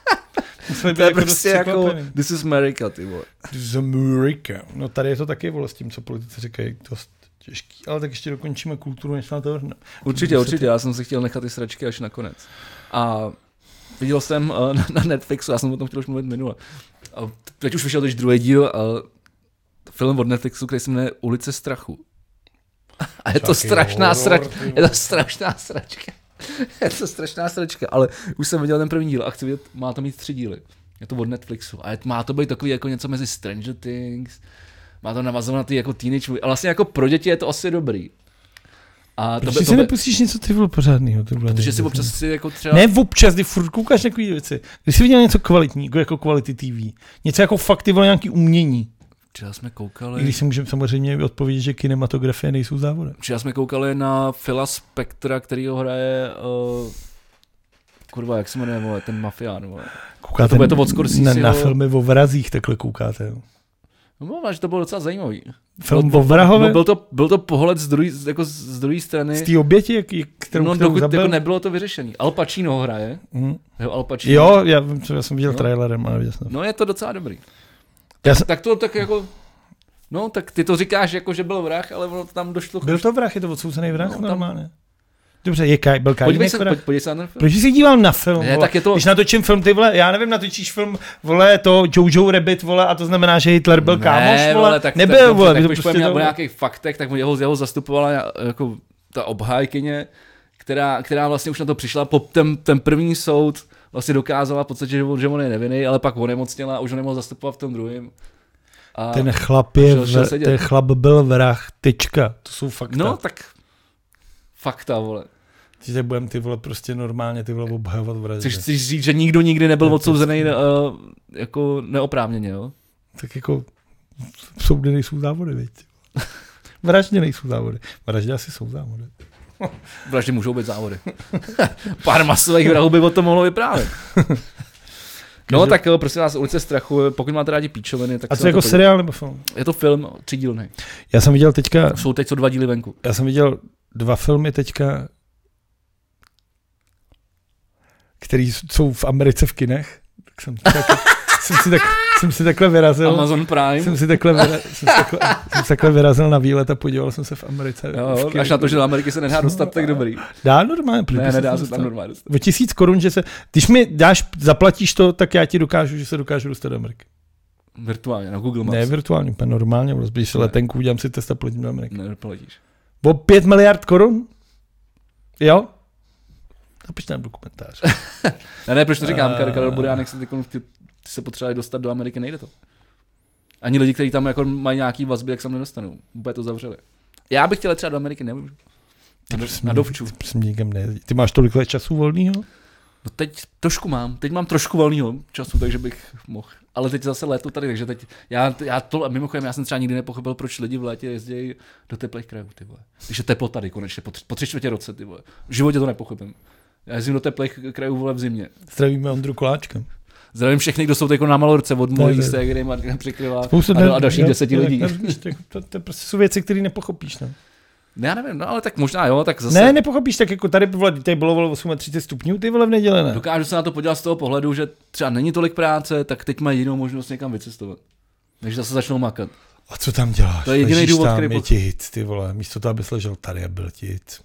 Speaker 2: museli být
Speaker 1: To je
Speaker 2: jako
Speaker 1: prostě
Speaker 2: dost
Speaker 1: jako,
Speaker 2: překvapený.
Speaker 1: this is America, ty vole.
Speaker 2: Z Amerika. No tady je to taky, vole, s tím, co politici říkají, dost Těžký, ale tak ještě dokončíme kulturu, než se na to vrhneme.
Speaker 1: Určitě, určitě, já jsem si chtěl nechat ty sračky až nakonec. A viděl jsem uh, na- na Netflixu, já jsem o tom chtěl už mluvit minule. A teď už vyšel teď druhý díl, uh, film od Netflixu, který se jmenuje Ulice strachu. A je to
Speaker 2: Čaký
Speaker 1: strašná
Speaker 2: horor,
Speaker 1: sračka,
Speaker 2: ty vole.
Speaker 1: je to strašná sračka. Je to strašná sračka, ale už jsem viděl ten první díl a chci vidět, má to mít tři díly. Je to od Netflixu a je, má to být takový jako něco mezi Stranger Things, má to navazovat na ty jako teenage movie. A vlastně jako pro děti je to asi dobrý. A to,
Speaker 2: Proč
Speaker 1: by,
Speaker 2: si
Speaker 1: to by,
Speaker 2: nepustíš něco ty vole pořádného? Ty vole,
Speaker 1: protože si
Speaker 2: někde?
Speaker 1: občas si jako třeba...
Speaker 2: Ne občas, ty furt koukáš na takový věci. Když jsi viděl něco kvalitní, jako- jako kvality TV, něco jako fakt ty vole nějaký umění,
Speaker 1: Včera jsme
Speaker 2: i
Speaker 1: koukali...
Speaker 2: když si můžeme samozřejmě odpovědět, že kinematografie nejsou závody.
Speaker 1: Včera jsme koukali na Phila Spectra, který ho hraje... Uh, kurva, jak se jmenuje, vole, ten mafián, vole.
Speaker 2: Koukáte
Speaker 1: To bude to od Scorseseho.
Speaker 2: na, na filmy o vrazích, takhle koukáte. jo.
Speaker 1: No, možná, že to bylo docela zajímavý.
Speaker 2: Film
Speaker 1: No,
Speaker 2: o vrahovi,
Speaker 1: No, byl, to, byl to pohled z druhé jako z z druhé strany,
Speaker 2: z té oběti, jak, jak- kterou,
Speaker 1: no,
Speaker 2: kterou
Speaker 1: dokud
Speaker 2: zabil. Mhm.
Speaker 1: jako nebylo to vyřešený. Al Pacino ho hraje,
Speaker 2: Mm.
Speaker 1: jo, Al Pacino.
Speaker 2: Jo, já, vím, co- já jsem viděl
Speaker 1: No.
Speaker 2: trailerem, ale viděl jsem.
Speaker 1: No je to docela dobrý.
Speaker 2: Já jsem,
Speaker 1: Tak to tak jako, no tak ty to říkáš jako, že byl vrah, ale ono tam došlo.
Speaker 2: byl to vrah, je to odsouzený vrah
Speaker 1: No,
Speaker 2: no,
Speaker 1: tam-
Speaker 2: normálně. Dobře, je kaj, byl
Speaker 1: Podívej
Speaker 2: Kajínek
Speaker 1: se,
Speaker 2: vrah.
Speaker 1: pojď, podívej se na ten film.
Speaker 2: Proč se dívám na film?
Speaker 1: Ne,
Speaker 2: vole?
Speaker 1: tak je to-
Speaker 2: Když natočím film, ty vole, já nevím, natočíš film, vole, to Jojo Rabbit, vole, a to znamená, že Hitler byl kámoš, vole,
Speaker 1: tak,
Speaker 2: nebyl,
Speaker 1: tak,
Speaker 2: vole,
Speaker 1: tak, tak,
Speaker 2: to prostě
Speaker 1: prostě
Speaker 2: to-
Speaker 1: o nějakých faktech, tak mu jeho, jeho zastupovala jako ta obhájkyně, která, která vlastně už na to přišla, po ten, ten první soud vlastně dokázala v podstatě, že, on- že on je nevinný, ale pak onemocněla a už ho nemohl zastupovat v tom druhém. A,
Speaker 2: Ten chlap je,
Speaker 1: No. Šel- šel
Speaker 2: vr-
Speaker 1: sedět.
Speaker 2: ten chlap byl vrah, tečka, to jsou fakta.
Speaker 1: no tak, fakta, vole.
Speaker 2: Ty se budem ty vole prostě normálně ty vole obhajovat vraždy.
Speaker 1: Chceš, chceš říct, že nikdo nikdy nebyl
Speaker 2: Ne,
Speaker 1: odsouzený uh, jako neoprávněně, jo?
Speaker 2: Tak jako soudy nejsou závody, viď? Vraždě nejsou závody. Vraždě asi jsou závody.
Speaker 1: Vraždy můžou být závody. Pár masových vrahů by o tom mohlo vyprávět. No
Speaker 2: Každop-
Speaker 1: tak jo, prosím vás, ulice strachu, pokud máte rádi píčoviny, tak
Speaker 2: A
Speaker 1: se
Speaker 2: co
Speaker 1: na
Speaker 2: jako
Speaker 1: to podívejte.
Speaker 2: seriál nebo film?
Speaker 1: Je to film, tři dílny.
Speaker 2: Já jsem viděl teďka,
Speaker 1: Jsou teď co dva díly venku.
Speaker 2: já jsem viděl dva filmy teďka, který jsou v Americe v kinech. Tak jsem, si tak, jsem, si tak, jsem si takhle vyrazil.
Speaker 1: Amazon Prime.
Speaker 2: Jsem si, takhle vyra, jsem, si takhle, jsem si takhle vyrazil na výlet a podíval jsem jako- se v Americe.
Speaker 1: Jo,
Speaker 2: v
Speaker 1: jo,
Speaker 2: kinech.
Speaker 1: až na to, že do Ameriky se nedá dostat, tak dobrý.
Speaker 2: Dá normálně. proč by
Speaker 1: Ne, nedá se
Speaker 2: dostal?
Speaker 1: tam normálně dostat.
Speaker 2: O tisíc korun, že se... Když mi dáš, zaplatíš to, tak já ti dokážu, že se dokážu dostat do Ameriky.
Speaker 1: Virtuálně, na Google
Speaker 2: Ne
Speaker 1: Maps.
Speaker 2: virtuálně, úplně normálně, rozbíš si
Speaker 1: Ne.
Speaker 2: letenku, udělám si test a poletím do Ameriky.
Speaker 1: Ne, nepoletíš.
Speaker 2: O pět miliard korun? Jo? Napiš nám do komentáře.
Speaker 1: Ne, ne, proč to říkám,
Speaker 2: Eh.
Speaker 1: Kar- Karel Buriánek se teď ty, ty se potřebovali dostat do Ameriky, nejde to. Ani lidi, kteří tam jako mají nějaký vazby, jak se tam nedostanou. Úplně to zavřeli. Já bych chtěl třeba do Ameriky, nemůžu. Na, do, na dovču.
Speaker 2: Ty prosím, nikam ne. Ty máš tolik let času volného?
Speaker 1: No teď trošku mám, teď mám trošku volného času, takže bych mohl. Ale teď zase léto tady, takže teď, já, já to, mimochodem, já jsem třeba nikdy nepochopil, proč lidi v létě jezdí do teplých krajů, ty vole. Když je teplo tady konečně, po, tři, po tři čtvrtě roce, ty vole. V životě to nepochopím. Já jezdím do teplých krajů, vole, v zimě.
Speaker 2: Zdravíme Ondru Koláčka.
Speaker 1: Zdravím všechny, kdo jsou teď na Malorce, od
Speaker 2: ne.
Speaker 1: Molise, kde je Martina překryvá a, dal- a dalších
Speaker 2: jo,
Speaker 1: deseti
Speaker 2: to-
Speaker 1: lidí.
Speaker 2: to- To, to, to, prostě jsou věci, které nepochopíš. Ne?
Speaker 1: Ne, já nevím, no ale tak možná jo, tak zase.
Speaker 2: ne, nepochopíš, tak jako tady, vole, tady bylo vole, 38 stupňů, ty vole v neděle, ne?
Speaker 1: Dokážu se na to podívat z toho pohledu, že třeba není tolik práce, tak teď mají jinou možnost někam vycestovat. Takže zase začnou makat.
Speaker 2: A co tam děláš?
Speaker 1: To je jediný
Speaker 2: Ležíš
Speaker 1: důvod,
Speaker 2: tam,
Speaker 1: který
Speaker 2: je
Speaker 1: pot-
Speaker 2: ti hit, ty vole. Místo toho, abys ležel tady a byl ti hit.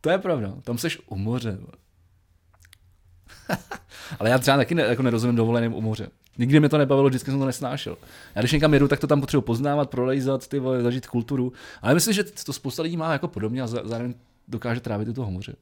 Speaker 1: To je pravda, tam seš u moře. vole. Ale já třeba taky ne, jako nerozumím dovoleným u moře. Nikdy mě to nebavilo, vždycky jsem to nesnášel. Já když někam jedu, tak to tam potřebuji poznávat, prolejzat, ty vole, zažít kulturu. Ale myslím, že to spousta lidí má jako podobně a zá- zároveň dokáže trávit i toho moře.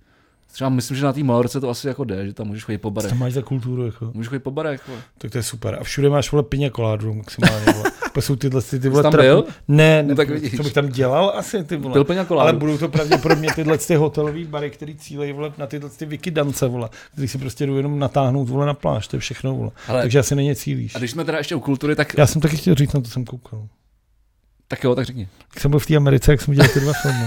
Speaker 1: Třeba myslím, že na té Malorce to asi jako jde, že tam můžeš chodit po
Speaker 2: Co
Speaker 1: barech.
Speaker 2: tam máš za kulturu, jako?
Speaker 1: Můžeš chodit po barech. vole.
Speaker 2: Tak to je super. A všude máš, vole, pině koládu maximálně, vole. Pak jsou tyhle, ty, ty vole,
Speaker 1: tam
Speaker 2: trapní-
Speaker 1: byl?
Speaker 2: Ne, ne,
Speaker 1: No tak
Speaker 2: tak
Speaker 1: vidíš.
Speaker 2: co bych tam dělal asi, ty vole.
Speaker 1: Byl peněz
Speaker 2: Ale
Speaker 1: koládu.
Speaker 2: budou to pravděpodobně tyhle ty hotelové bary, které cílejí vole, na tyhle ty vikidance, vole, který si prostě jdou jenom natáhnout vole, na pláž, to je všechno. Vole.
Speaker 1: Hele.
Speaker 2: Takže asi na ně cílíš.
Speaker 1: A když jsme teda ještě u kultury, tak,
Speaker 2: Já jsem taky chtěl říct, na to jsem koukal.
Speaker 1: tak jo, tak řekni.
Speaker 2: Jak jsem byl v té Americe, jak jsem dělal ty dva filmy.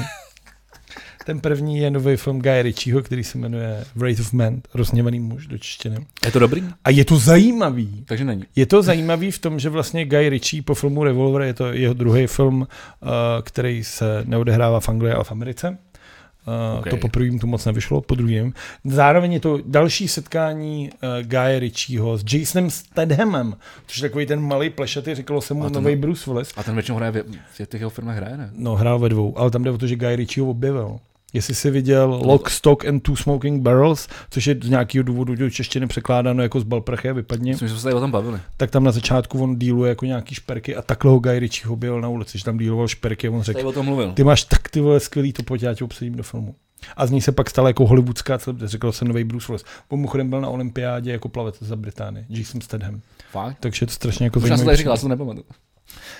Speaker 2: Ten první je nový film Guy Ritchieho, který se jmenuje Wraith of Man, rozněvaný muž do češtiny.
Speaker 1: Je to dobrý?
Speaker 2: A je to zajímavý,
Speaker 1: Takže není.
Speaker 2: Je to zajímavý v tom, že vlastně Guy Ritchie po filmu uh, Revolver, je to jeho druhý film, eh, který se neodehrává v Anglii, ale v Americe. Uh,
Speaker 1: Ok.
Speaker 2: okay. To po prvním to moc nevyšlo, po druhém. Zároveň je to další setkání uh, Guy Ritchieho s Jasonem Stathamem, což je takový ten malý plešatý, říkalo se mu
Speaker 1: A to
Speaker 2: nový
Speaker 1: ne-
Speaker 2: Bruce Willis.
Speaker 1: A ten většinou hraje, v, v těch jeho filmech hraje, ne?
Speaker 2: No, hrál ve dvou, ale tam jde o to, že Guy Ritchie ho objevil. Jestli jsi viděl Lock, Stock and Two Smoking Barrels, což je z nějakého důvodu do češtiny překládáno jako z balprché, vypadně,
Speaker 1: Myslím, že jsme se tady o tom bavili.
Speaker 2: tak tam na začátku on díluje jako nějaký šperky a takhle ho Guy Ritchie objevil na ulici, že tam díloval šperky a on řekl,
Speaker 1: Tady o tom mluvil.
Speaker 2: ty máš tak ty vole skvělý, to pojď, já tě obsadím do filmu. A z ní se pak stala jako hollywoodská celebrita, řekl se nový Bruce Willis. Mimochodem byl na olympiádě jako plavec za Británii, Jason Statham.
Speaker 1: Fakt?
Speaker 2: Takže je to strašně jako
Speaker 1: Už jsem to tady
Speaker 2: zajímavý.
Speaker 1: říkal, já se to nepamatuju.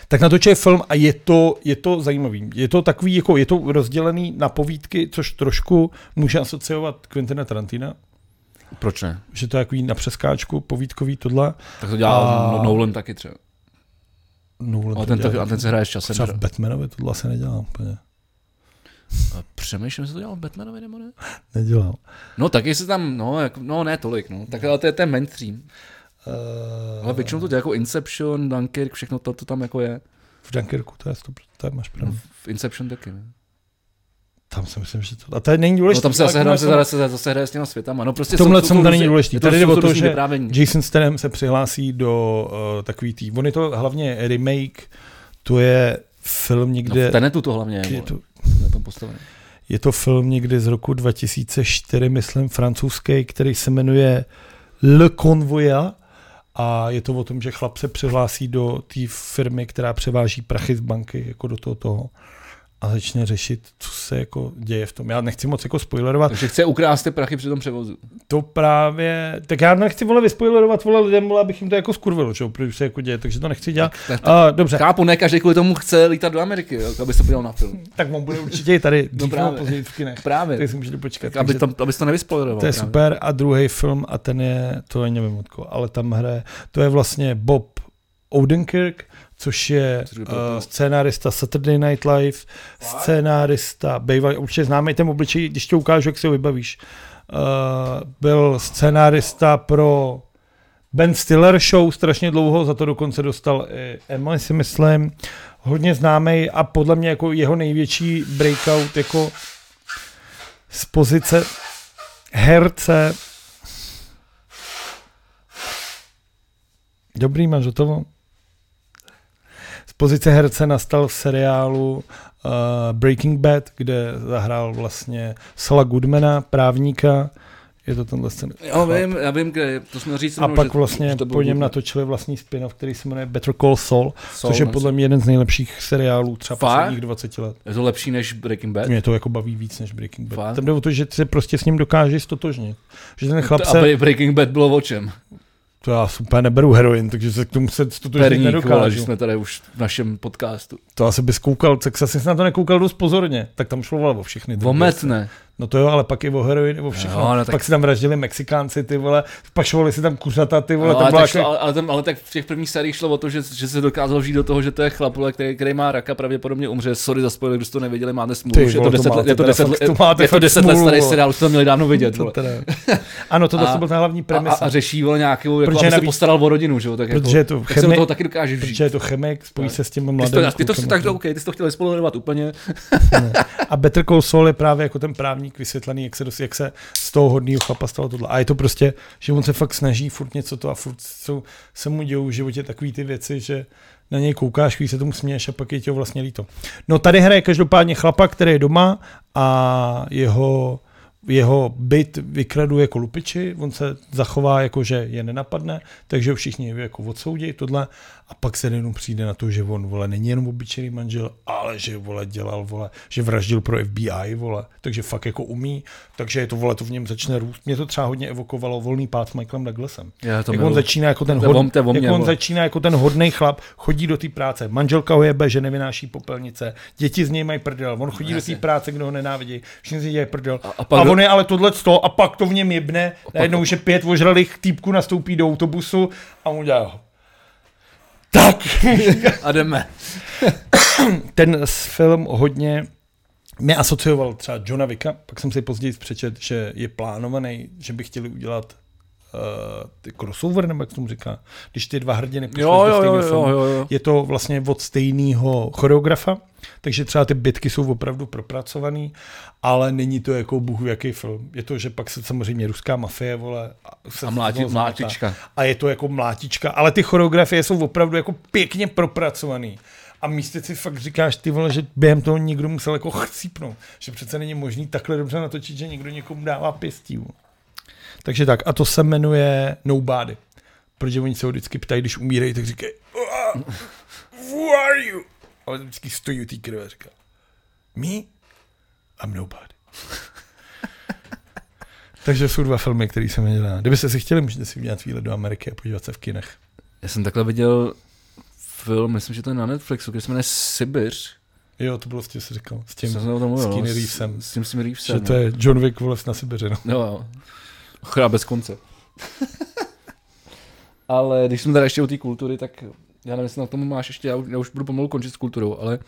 Speaker 2: Tak natočil film a je to, je to zajímavý. Je to takový, jako je to rozdělený na povídky, což trošku může asociovat Quentina Tarantina,
Speaker 1: Proč ne?
Speaker 2: že to je takový na přeskáčku, povídkový tohle.
Speaker 1: Tak to dělal
Speaker 2: A-
Speaker 1: a... Nolan taky třeba.
Speaker 2: Nolan
Speaker 1: A
Speaker 2: No, to
Speaker 1: ten,
Speaker 2: dělá.
Speaker 1: to, a ten se hraje s časem.
Speaker 2: Třeba
Speaker 1: že?
Speaker 2: v Batmanovi tohle asi nedělal úplně.
Speaker 1: A Přemýšlím, jestli to dělal v Batmanovi nebo ne?
Speaker 2: Nedělal.
Speaker 1: No tak jestli tam, no, jako, no ne tolik, no. Tak ale to je ten mainstream.
Speaker 2: Uh,
Speaker 1: Ale většinou to dělá jako Inception, Dunkirk, všechno to, to tam jako je. No,
Speaker 2: v Dunkerku to je 100%, to je máš pravdu.
Speaker 1: V Inception taky, ne?
Speaker 2: Tam si myslím, že to... A to je není důležité.
Speaker 1: No
Speaker 2: jako-
Speaker 1: tam se zase, tam se zase, zase hraje s těma světama. No prostě
Speaker 2: V tomhle
Speaker 1: jsou- jsou
Speaker 2: jsem to není
Speaker 1: různý-
Speaker 2: důležitý.
Speaker 1: je
Speaker 2: Tady jde
Speaker 1: jsou
Speaker 2: o to,
Speaker 1: různý
Speaker 2: že
Speaker 1: vyprávění.
Speaker 2: Jason Statham se přihlásí do uh, takový tý... On je to hlavně remake, to je film
Speaker 1: No,
Speaker 2: někde...
Speaker 1: v Tenetu to hlavně je,
Speaker 2: je,
Speaker 1: vole,
Speaker 2: to,
Speaker 1: na tom postavené.
Speaker 2: je to film někdy z roku 2004, myslím, francouzský, který se jmenuje Le Convoya a je to o tom, že chlap se přihlásí do té firmy, která převáží prachy z banky, jako do toho toho a začne řešit, co se jako děje v tom. Já nechci moc jako spoilerovat,
Speaker 1: Takže chce ukrást ty prachy při tom převozu.
Speaker 2: To právě, tak já nechci vole vyspoilerovat vole lidem, vole, abych jim to jako skurvil, čo, proč se jako děje, takže to nechci dělat.
Speaker 1: Tak, tak,
Speaker 2: A, dobře,
Speaker 1: chápu, ne každý kvůli tomu chce lítat do Ameriky, jo, aby se podíval na film.
Speaker 2: tak on bude určitě i tady dřív nebo
Speaker 1: No právě.
Speaker 2: později v kinech,
Speaker 1: Právě.
Speaker 2: tak si můžete počkat.
Speaker 1: Tak, aby,
Speaker 2: takže
Speaker 1: tam, aby se to nevyspoileroval.
Speaker 2: to je
Speaker 1: právě.
Speaker 2: super a druhý film a ten je, to je nevím odko, ale tam hraje, to je vlastně Bob Odenkirk, což je
Speaker 1: Což
Speaker 2: uh,
Speaker 1: byl to-
Speaker 2: scénárista Saturday Night Live, scénárista, bývalý, určitě známý ten obličej, když to ukážu, jak si ho vybavíš. Uh, byl scénárista pro Ben Stiller show strašně dlouho, za to dokonce dostal i Emily, si myslím. Hodně známý a podle mě jako jeho největší breakout jako z pozice herce. Dobrý, máš hotovo? Z pozice herce nastal v seriálu uh, Breaking Bad, kde zahrál vlastně Sala Goodmana, právníka. Je to tenhle scén.
Speaker 1: Jo, vím, já vím, kde, je. to jsme říct.
Speaker 2: A
Speaker 1: mnou,
Speaker 2: pak
Speaker 1: že- že
Speaker 2: vlastně
Speaker 1: to byl
Speaker 2: po něm
Speaker 1: Google.
Speaker 2: natočili vlastní spin-off, který se jmenuje Better Call Saul,
Speaker 1: Soul,
Speaker 2: což je
Speaker 1: no,
Speaker 2: podle mě jeden z nejlepších seriálů třeba
Speaker 1: Fakt?
Speaker 2: posledních 20 let.
Speaker 1: Je to lepší než Breaking Bad?
Speaker 2: Mě to jako baví víc než Breaking Bad.
Speaker 1: Fakt?
Speaker 2: Tam jde o to, že se prostě s ním dokáže stotožnit. Že ten chlap
Speaker 1: A
Speaker 2: se,
Speaker 1: Bre- Breaking Bad bylo o čem?
Speaker 2: to já super neberu heroin, takže se k tomu se stotožnit
Speaker 1: Perník, vole, že
Speaker 2: nedokážu.
Speaker 1: jsme tady už v našem podcastu.
Speaker 2: To asi bys koukal, tak asi jsi na to nekoukal dost pozorně. Tak tam šlo vole o všechny. ty věci.
Speaker 1: Vomet ne.
Speaker 2: No to jo, ale pak i o heroin, i o všechno.
Speaker 1: Jo, no
Speaker 2: tak...
Speaker 1: tak-
Speaker 2: Pak si tam vraždili Mexikánci, ty vole, pašovali si tam kuřata, ty vole,
Speaker 1: No,
Speaker 2: tam
Speaker 1: ale,
Speaker 2: byla
Speaker 1: tak
Speaker 2: jako-
Speaker 1: šlo, ale, ale, tam, ale tak v těch prvních sériích šlo o to, že, že se dokázal žít do toho, že to je chlap, vole, který, který má raka, pravděpodobně umře. Sorry za spoiler, když jste to nevěděli, máte smůlu.
Speaker 2: Ty
Speaker 1: už je
Speaker 2: vole,
Speaker 1: to
Speaker 2: to
Speaker 1: 10,
Speaker 2: máte
Speaker 1: je to
Speaker 2: teda
Speaker 1: 10,
Speaker 2: fakt- to
Speaker 1: je,
Speaker 2: máte
Speaker 1: je to
Speaker 2: fakt
Speaker 1: 10 let
Speaker 2: smůlu,
Speaker 1: starý
Speaker 2: vole.
Speaker 1: seriál, už to měli dávno vidět.
Speaker 2: To
Speaker 1: Vole.
Speaker 2: teda... Ano, tohle
Speaker 1: A-
Speaker 2: to byl ten hlavní
Speaker 1: A, a,
Speaker 2: premisa.
Speaker 1: a řeší vole nějakého, jako,
Speaker 2: Protože
Speaker 1: aby se
Speaker 2: navíc-
Speaker 1: postaral o rodinu, že jo? Tak,
Speaker 2: Protože je
Speaker 1: jako,
Speaker 2: to
Speaker 1: tak se do
Speaker 2: chemi-
Speaker 1: toho taky dokáže žít.
Speaker 2: Protože je to chemik, spojí se s těmi
Speaker 1: Ty jsi to,
Speaker 2: mladými
Speaker 1: ty to,
Speaker 2: klukama.
Speaker 1: tak to, OK, ty jsi to chtěl spoilerovat úplně.
Speaker 2: A Better Call Saul je právě jako ten právník vysvětlený, jak se, dos, jak se z toho hodného chlapa stalo tohle. A je to prostě, že on se fakt snaží furt něco to a furt jsou, se mu dějou v životě takové ty věci, že na něj koukáš, když se tomu směješ a pak je ti ho vlastně líto. No tady hraje každopádně chlapa, který je doma a jeho jeho byt vykraduje jako lupiči, on se zachová jako, že je nenapadne, takže ho všichni jako odsoudějí tohle a pak se jenom přijde na to, že on vole není jenom obyčejný manžel, ale že vole dělal vole, že vraždil pro FBI vole, takže fakt jako umí, takže je to vole, to v něm začne růst. Mě to třeba hodně evokovalo volný pád s Michaelem Douglasem.
Speaker 1: Já to
Speaker 2: jak on
Speaker 1: miluju.
Speaker 2: začíná jako ten
Speaker 1: To je o-
Speaker 2: hodný,
Speaker 1: to je o
Speaker 2: jak
Speaker 1: mně,
Speaker 2: on
Speaker 1: vole.
Speaker 2: začíná jako ten hodný chlap, chodí do té práce, manželka ho jebe, že nevynáší popelnice, děti z něj mají prdel, on chodí do té práce, kdo ho nenávidí, všichni z něj dělají prdel. A, a,
Speaker 1: a pak do-
Speaker 2: on je ale tohle a pak to v něm jebne, najednou, že pět ožralých týpků nastoupí do autobusu a on udělá tak,
Speaker 1: A jdeme.
Speaker 2: ten s- film hodně mě asocioval třeba Johna Vicka, pak jsem si později přečet, že je plánovaný, že by chtěli udělat uh, ty crossover, nebo jak se tomu říká, když ty dva hrdiny pošleš
Speaker 1: Jo,
Speaker 2: do
Speaker 1: jo, jo,
Speaker 2: stejného
Speaker 1: jo,
Speaker 2: filmu.
Speaker 1: jo, jo.
Speaker 2: Je to vlastně od stejného choreografa, takže třeba ty bitky jsou opravdu propracovaný, ale není to jako bůh ví jaký film. Je to, že pak se samozřejmě ruská mafie, vole, se
Speaker 1: A mláti-
Speaker 2: znovu zmátá.
Speaker 1: mlátička.
Speaker 2: A je to jako mlátička, ale ty choreografie jsou opravdu jako pěkně propracovaný. A místě si fakt říkáš, ty vole, že během toho někdo musel jako chcípnout, že přece není možný takhle dobře natočit, že někdo někomu dává pěstí. vole. Takže tak, a to se jmenuje Nobody. Protože oni se ho vždycky ptají, když umírají, tak říkají "Ah, Who are you? A on vždycky stojí u té krve a říká Me? I'm nobody. Takže jsou dva filmy, které jsem viděl. Kdybyste si chtěli, můžete si udělat výlet do Ameriky a podívat se v kinech.
Speaker 1: Já jsem takhle viděl film, myslím, že to je na Netflixu, který se jmenuje Sibiř.
Speaker 2: Jo, to bylo, vlastně, co jsi říkal. S tím,
Speaker 1: Jsem se o tom mluvil,
Speaker 2: s
Speaker 1: no,
Speaker 2: Keanu Reevesem.
Speaker 1: S, s tím s tím Reevesem.
Speaker 2: že to je John Wick vole na Sibiři. No.
Speaker 1: No, jo. Chra bez konce. ale když jsme teda ještě u té kultury, tak já nevím, jestli na tom máš ještě, já už, já už budu pomalu končit s kulturou, ale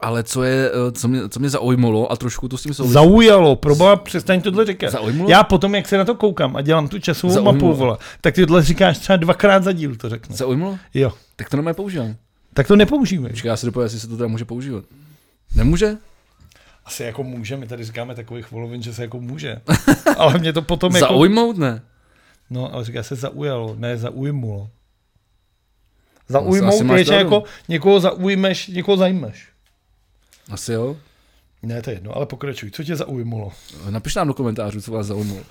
Speaker 1: ale co je, eh, co mě, co mě zaujmulo a trošku to s tím souvisí.
Speaker 2: Zaujalo, proboha, přestaň tohle říkat.
Speaker 1: Zaujmulo?
Speaker 2: Já potom, jak se na to koukám a dělám tu časovou
Speaker 1: Zaujmulo.
Speaker 2: mapu, vole, tak ty tohle říkáš třeba dvakrát za díl, to řeknu.
Speaker 1: Zaujmulo?
Speaker 2: Jo.
Speaker 1: Tak to normálně používám.
Speaker 2: Tak to nepoužívej.
Speaker 1: Počkej, já se dopověděl, jestli se to teda může používat. Nemůže?
Speaker 2: Asi jako může, my tady říkáme takových volovin, že se jako může. Ale mě to potom jako...
Speaker 1: Zaujmout ne.
Speaker 2: No, ale říká se zaujalo, ne zaujmulo.
Speaker 1: No, asi
Speaker 2: Zaujmout
Speaker 1: máš
Speaker 2: je, že
Speaker 1: pravdu.
Speaker 2: jako někoho zaujmeš, někoho zajmeš.
Speaker 1: Asi jo.
Speaker 2: Ne, to je jedno, ale pokračuj. Co tě zaujmulo?
Speaker 1: Napiš nám do komentářů, co vás zaujmulo.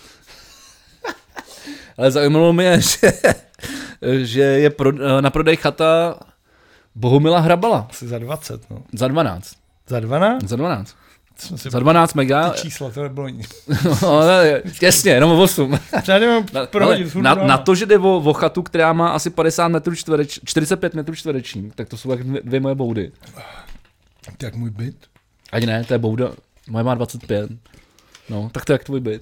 Speaker 1: Ale zaujmulo mě, že, že je pro, na prodej chata Bohumila Hrabala
Speaker 2: Asi za 20, no.
Speaker 1: za 12.
Speaker 2: Za 12?
Speaker 1: Za 12.
Speaker 2: Jsem si
Speaker 1: Za 12 mega.
Speaker 2: ty čísla, to nebylo nic.
Speaker 1: No, ale těsně, jenom o 8.
Speaker 2: Já nevím,
Speaker 1: Na, ale
Speaker 2: prohodit furt
Speaker 1: na,
Speaker 2: doma.
Speaker 1: na, to, že jde o, o, chatu, která má asi 50 metrů čtvereč, 45 metrů čtverečních, tak to jsou jak dvě, dvě moje boudy.
Speaker 2: Tak můj byt.
Speaker 1: Ani ne, to je bouda. Moje má 25. No, tak to je jak tvůj byt.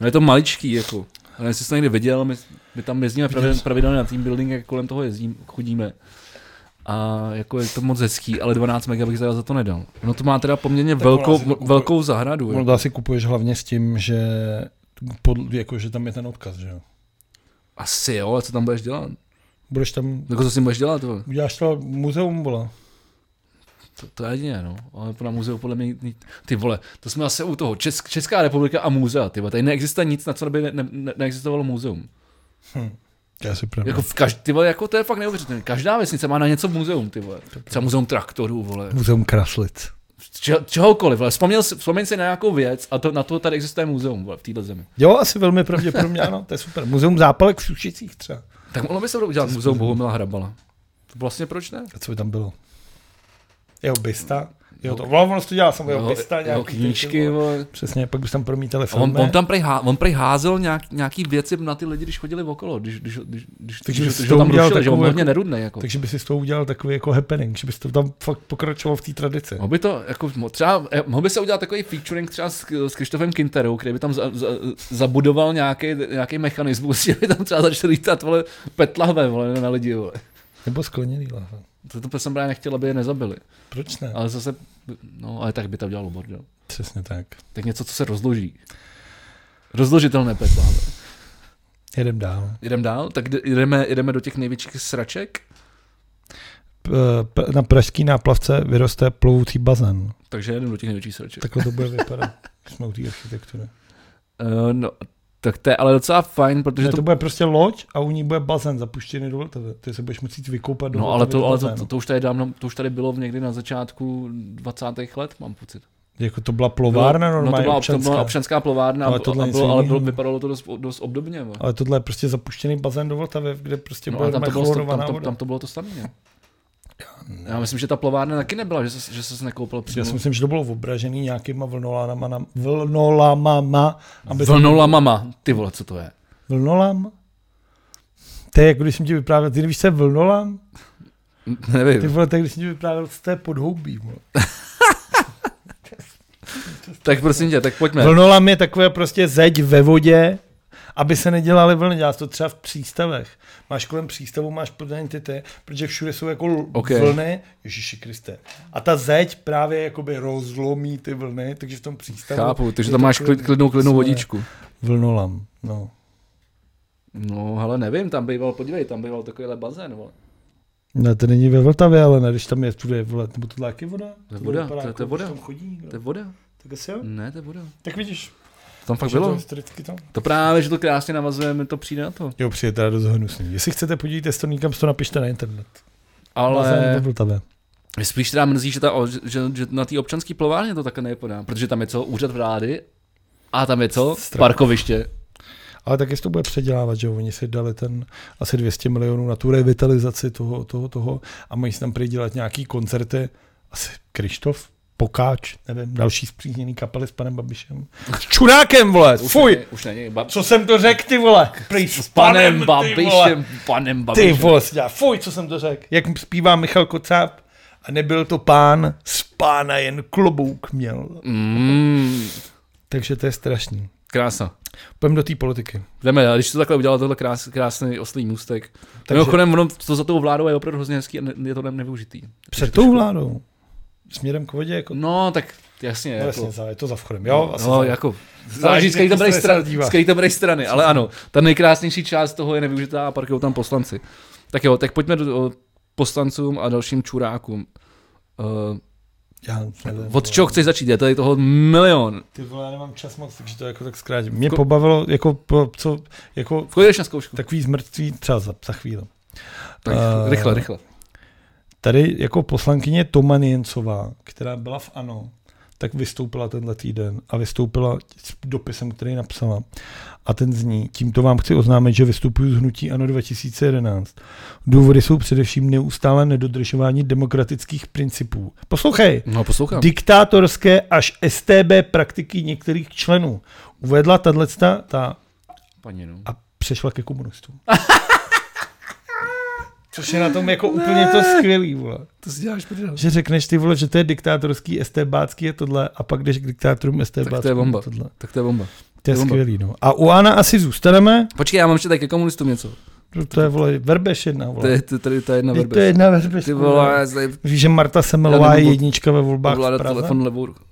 Speaker 1: No je to maličký, jako. Já nevím, jestli jsi to někdy viděl, my, my tam jezdíme pravidel- pravidelně na team building, jak kolem toho jezdím, chodíme. A jako je to moc hezký, ale 12 mega bych teda za to nedal. No to má teda poměrně velkou,
Speaker 2: ona si to kupuje.
Speaker 1: velkou zahradu.
Speaker 2: Ono
Speaker 1: Jo.
Speaker 2: to asi kupuješ hlavně s tím, že, pod, jako, že tam je ten odkaz, že jo.
Speaker 1: Asi jo, ale co tam budeš dělat? No,
Speaker 2: Budeš tam,
Speaker 1: Jako co s tím budeš dělat? vole?
Speaker 2: uděláš to muzeum, vole.
Speaker 1: To, to je jediné, no. Ale na muzeu podle mě... ni- Ty vole, to jsme asi u toho. Česk, Česká republika a muzea, ty vole. Tady neexistuje nic, na co by ne, ne, ne, neexistovalo muzeum.
Speaker 2: Já si pravdu.
Speaker 1: Jako, v každ- ty vole, jako to je fakt neuvěřitelné. Každá vesnice má na něco muzeum, ty vole. Třeba muzeum traktorů, vole.
Speaker 2: Muzeum Kraslic.
Speaker 1: Če- čehokoliv, vole. Vzpomněl, si- vzpomeň si na nějakou věc a to, na to tady existuje muzeum, vole, v této zemi.
Speaker 2: Jo, asi velmi pravděpodobně, ano, to je super. Muzeum zápalek v Sušicích třeba.
Speaker 1: Tak mohlo by se to udělat muzeum Bohumila Hrabala. To vlastně proč ne?
Speaker 2: A co by tam bylo? Jeho bysta. Jo, to, no, ono to dělá samo, jeho bysta,
Speaker 1: jeho
Speaker 2: nějaký
Speaker 1: knížky, vole.
Speaker 2: Přesně, pak by tam promítali
Speaker 1: A On,
Speaker 2: filmy.
Speaker 1: on, tam prej, há, on prej házel nějak, nějaký věci na ty lidi, když chodili okolo, když, když, když, když,
Speaker 2: Takže
Speaker 1: když,
Speaker 2: jsi
Speaker 1: když
Speaker 2: to
Speaker 1: ho tam
Speaker 2: udělal
Speaker 1: rušili, že on
Speaker 2: takovou
Speaker 1: byl hodně
Speaker 2: jako-
Speaker 1: nerudný. Jako.
Speaker 2: Takže by si s tou udělal takový jako happening, že bys to tam fakt pokračoval v té tradici.
Speaker 1: Mohl by to, jako, mo- třeba, eh, mohl by se udělat takový featuring třeba s, s Krištofem Kinterou, který by tam za, za, zabudoval nějaký, nějaký mechanismus, že by tam třeba začaly lítat, vole, petlahve, vole, na lidi, vole.
Speaker 2: Nebo skleněný láhve.
Speaker 1: To, to jsem právě nechtěl, aby je nezabili.
Speaker 2: Proč ne?
Speaker 1: Ale zase, no, ale tak by to udělalo bordel.
Speaker 2: Přesně tak.
Speaker 1: Tak něco, co se rozloží. Rozložitelné petlahve.
Speaker 2: Jedem dál.
Speaker 1: Jdeme dál, tak jde- jdeme, jdeme do těch největších sraček.
Speaker 2: P- p- na pražský náplavce vyroste plovoucí bazén.
Speaker 1: Takže jdeme do těch největších sraček.
Speaker 2: Takhle to bude vypadat. Jsme u té architektury.
Speaker 1: Eh, no, tak to je ale docela fajn, protože
Speaker 2: Ne,
Speaker 1: to,
Speaker 2: to bude prostě loď a u ní bude bazén zapuštěný do Vltavy. Ty se budeš muset vykoupat do
Speaker 1: No ale,
Speaker 2: Vltavy
Speaker 1: to,
Speaker 2: do
Speaker 1: ale to,
Speaker 2: bazénu.
Speaker 1: to, to, už tady dávno, to už tady bylo někdy na začátku 20. let, mám pocit.
Speaker 2: Jako to byla plovárna
Speaker 1: Bylo-
Speaker 2: normálně
Speaker 1: no, to, byla,
Speaker 2: občanská.
Speaker 1: to byla občanská plovárna, ale,
Speaker 2: Ale tohle
Speaker 1: a
Speaker 2: nic
Speaker 1: bylo, ale bylo,
Speaker 2: jiného.
Speaker 1: vypadalo to dost, dost obdobně. vole.
Speaker 2: Ale tohle je prostě zapuštěný bazén do Vltavy, kde prostě
Speaker 1: No,
Speaker 2: no,
Speaker 1: ale
Speaker 2: bude
Speaker 1: tam to, bylo, tam,
Speaker 2: chlorovaná
Speaker 1: tam, tam,
Speaker 2: voda.
Speaker 1: tam to bylo to samé. ne? Já myslím, že ta plovárna taky nebyla, že se, že se nekoupil přímo.
Speaker 2: Já si myslím, že to bylo obražený nějakýma vlnolánama, na, vlnolámama, aby
Speaker 1: Vlnola mama, ty vole, co to je?
Speaker 2: Vlnolám? To je jako když jsem ti vyprávěl, ty víš, co je vlnolám? Ty
Speaker 1: Nevím.
Speaker 2: vole, tak když jsem ti vyprávěl, co to je podhoubí. Vole.
Speaker 1: Tak prosím tě, tak pojďme.
Speaker 2: Vlnolám je takové prostě zeď ve vodě, aby se nedělaly vlny. Dělá se to třeba v přístavech. Máš kolem přístavu, máš podání ty, ty protože všude jsou jako l-
Speaker 1: Ok.
Speaker 2: vlny. Ježíši Kriste. A ta zeď právě jakoby rozlomí ty vlny, takže v tom přístavu...
Speaker 1: Chápu, takže
Speaker 2: je
Speaker 1: tam máš
Speaker 2: takový
Speaker 1: klid, klidnou, klidnou
Speaker 2: jsme-
Speaker 1: vodičku.
Speaker 2: Vlnolám, no.
Speaker 1: No, ale nevím, tam býval, podívej, tam býval takovýhle bazén, vole.
Speaker 2: No to není ve Vltavě, ale ne, když tam je všude, vole, nebo tohle jak je voda?
Speaker 1: To je voda,
Speaker 2: vypadá
Speaker 1: to je-
Speaker 2: jako,
Speaker 1: to je
Speaker 2: když
Speaker 1: voda.
Speaker 2: Tam chodí někdo.
Speaker 1: To je voda?
Speaker 2: Tak asi jo.
Speaker 1: Ne, to je voda.
Speaker 2: Tak vidíš.
Speaker 1: Tam fakt
Speaker 2: že To
Speaker 1: bylo.
Speaker 2: historicky tam.
Speaker 1: To právě, že to krásně navazuje, mi to přijde na to.
Speaker 2: Jo, přijde teda dost hnusný. Jestli chcete podívat, jestli to někam, to napište na internet.
Speaker 1: Ale
Speaker 2: Byl tebe.
Speaker 1: mě spíš teda mrzí, že, ta, o- že, že na té občanské plovárně to takhle nevypadá, protože tam je co? Úřad vlády a tam je co?
Speaker 2: Strach.
Speaker 1: Parkoviště.
Speaker 2: Ale tak jestli to bude předělávat, že jo? oni si dali ten asi 200 milionů na tu revitalizaci toho, toho, toho a mají si tam prý dělat nějaký koncerty. Asi Krištof, Pokáč, nevím, další zpřízněný kapely s panem Babišem. S čurákem, vole,
Speaker 1: Už
Speaker 2: fuj!
Speaker 1: Není, už není. Ba-
Speaker 2: Co jsem to řekl, ty vole? Prý
Speaker 1: s panem
Speaker 2: Ty vole,
Speaker 1: Babišem, panem
Speaker 2: ty
Speaker 1: Babišem.
Speaker 2: vole si dělá, fuj, co jsem to řekl. Jak zpívá Michal Kocáb, a nebyl to pán, z pána jen klobouk měl.
Speaker 1: Mm,
Speaker 2: Takže to je strašný.
Speaker 1: krása.
Speaker 2: Pojďme do té politiky.
Speaker 1: Jdeme, ale když to takhle udělal, tohle krás, krásný oslý můstek. Takže... Mimochodem, ono to za tou vládou je opravdu hrozně hezký a ne- je to tam nevyužitý.
Speaker 2: Před tou vládou. Směrem k vodě, jako
Speaker 1: No, tak jasně.
Speaker 2: No
Speaker 1: jako-
Speaker 2: jasně, za, je to za vchodem, jo? Asi
Speaker 1: No,
Speaker 2: za,
Speaker 1: jako, záleží, z
Speaker 2: jak
Speaker 1: který tam
Speaker 2: se
Speaker 1: dají
Speaker 2: se
Speaker 1: strany,
Speaker 2: dívá.
Speaker 1: z který tam dají strany, ale ano, ta nejkrásnější část toho je nevyužitá a parkují tam poslanci. Tak jo, tak pojďme do, o, poslancům a dalším čurákům. Uh,
Speaker 2: já nevím,
Speaker 1: od čeho chceš začít? Je tady toho milion.
Speaker 2: Ty vole, já nemám čas moc, takže to jako tak zkrátím. Mě pobavilo, jako, po, co, jako
Speaker 1: V kolik jdeš na zkoušku? Tak,
Speaker 2: takový zmrtví třeba za, za chvíli.
Speaker 1: tak
Speaker 2: eh,
Speaker 1: rychle, rychle.
Speaker 2: Tady jako poslankyně Toman Jencová, která byla v ANO, tak vystoupila tenhle týden a vystoupila s dopisem, který napsala. A ten zní, tímto vám chci oznámit, že vystupuji z hnutí ANO 2011. Důvody jsou především neustále nedodržování demokratických principů. Poslouchej,
Speaker 1: No, poslouchám.
Speaker 2: diktátorské až STB praktiky některých členů. Uvedla tato ta
Speaker 1: Paní, no.
Speaker 2: a přešla ke komunistům. Což je na tom jako úplně to skvělý, vole.
Speaker 1: To si děláš prdel.
Speaker 2: Že řekneš ty vole, že to je diktátorský, STBácký je tohle a pak jdeš k diktátorům
Speaker 1: Tak to je
Speaker 2: STBáckým
Speaker 1: bomba.
Speaker 2: je tohle.
Speaker 1: Tak to je bomba.
Speaker 2: To je
Speaker 1: bomba.
Speaker 2: skvělý, no. A u Ana asi zůstaneme,
Speaker 1: Počkej, já mám ještě také komunistům něco.
Speaker 2: to je vole, verbeš jedna,
Speaker 1: To
Speaker 2: vole.
Speaker 1: je to- tady ta jedna
Speaker 2: Vždyť To je
Speaker 1: verbe.
Speaker 2: jedna verbeš.
Speaker 1: Ty
Speaker 2: kurva.
Speaker 1: vole, tady
Speaker 2: Víš, že Marta
Speaker 1: Já
Speaker 2: Semelová je
Speaker 1: nebudu-
Speaker 2: jednička ve volbách
Speaker 1: vláda
Speaker 2: v Praze?
Speaker 1: telefon levou. rukou.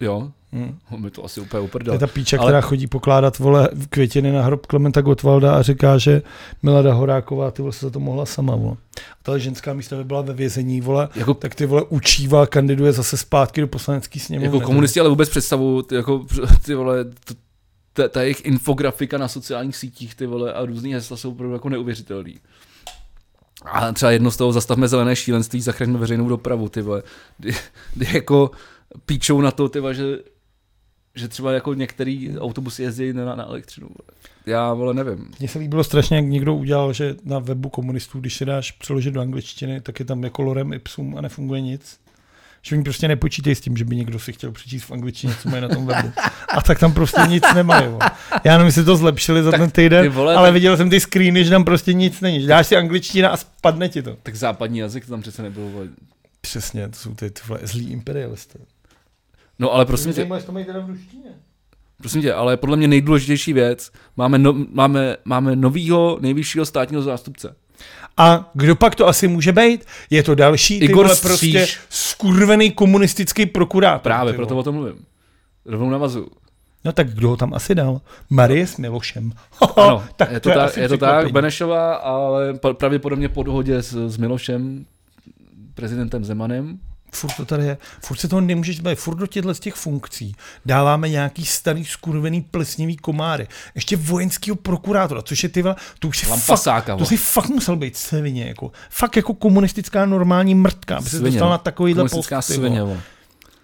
Speaker 1: Jo,
Speaker 2: Hm.
Speaker 1: mi to asi úplně
Speaker 2: To
Speaker 1: uprdel.
Speaker 2: je ta píča,
Speaker 1: Ale-
Speaker 2: ale... která chodí pokládat vole květiny na hrob Klementa Gottwalda a říká, že Milada Horáková ty vole se za to mohla sama. Vole. A ta ženská místa by byla ve vězení, vole,
Speaker 1: Jako
Speaker 2: tak ty vole učívá, kandiduje zase zpátky do poslanecký sněmovny.
Speaker 1: Jako komunisti ale vůbec představu, ty, jako, ty vole, t- ta, ta jejich infografika na sociálních sítích, ty vole, a různý hesla jsou opravdu jako neuvěřitelný. A třeba jedno z toho, zastavme zelené šílenství, zachraňme veřejnou dopravu, ty vole. Kdy, kdy jako píčou na to, ty vole, že, že třeba jako některý autobusy jezdí na, na elektřinu, vole. Já, vole, nevím.
Speaker 2: Mně se líbilo strašně, jak někdo udělal, že na webu komunistů, když se dáš přeložit do angličtiny, tak je tam jako lorem ipsum a nefunguje nic. Že oni prostě nepočítají s tím, že by někdo si chtěl přečíst v angličtině, co mají na tom webu. A tak tam prostě nic nemají. vole. Já nevím, jestli to zlepšili za
Speaker 1: Tak
Speaker 2: ten týden,
Speaker 1: ty vole,
Speaker 2: ale
Speaker 1: tak-
Speaker 2: viděl jsem ty screeny, že tam prostě nic není. Že Dáš si angličtina a spadne ti to.
Speaker 1: Tak západní jazyk to tam přece nebyl, vole.
Speaker 2: Přesně, to jsou ty, ty vole, zlí imperialisté.
Speaker 1: No ale prosím tě,
Speaker 2: to mají teda v ruštině.
Speaker 1: Prosím tě, ale podle mě nejdůležitější věc, máme, no, máme, máme novýho nejvyššího státního zástupce.
Speaker 2: A kdo pak to asi může být? Je to další ty
Speaker 1: Igor
Speaker 2: vole, prostě
Speaker 1: Stříž.
Speaker 2: skurvený komunistický prokurátor.
Speaker 1: Právě,
Speaker 2: ty
Speaker 1: proto
Speaker 2: vole.
Speaker 1: o tom mluvím. Rovnou navazu.
Speaker 2: No tak kdo ho tam asi dal? Marie s Milošem.
Speaker 1: Ano,
Speaker 2: tak
Speaker 1: je
Speaker 2: to
Speaker 1: to,
Speaker 2: je
Speaker 1: tak,
Speaker 2: asi
Speaker 1: je to tak,
Speaker 2: překvapení.
Speaker 1: Benešová, ale pa- pravděpodobně po dohodě s, s Milošem, prezidentem Zemanem.
Speaker 2: Furt to tady je. Furt se toho nemůžeš bavit. Furt do těchto z těch funkcí dáváme nějaký starý skurvený plesnivý komáry. Ještě vojenského prokurátora, což je ty vole, to už si
Speaker 1: Lampasáka,
Speaker 2: fakt,
Speaker 1: vole.
Speaker 2: to si fakt musel být svině, jako. Fakt jako komunistická normální mrtka, aby se
Speaker 1: Svině,
Speaker 2: dostal
Speaker 1: no.
Speaker 2: na takovýhle post.
Speaker 1: Komunistická
Speaker 2: ty vole.
Speaker 1: svině, vole.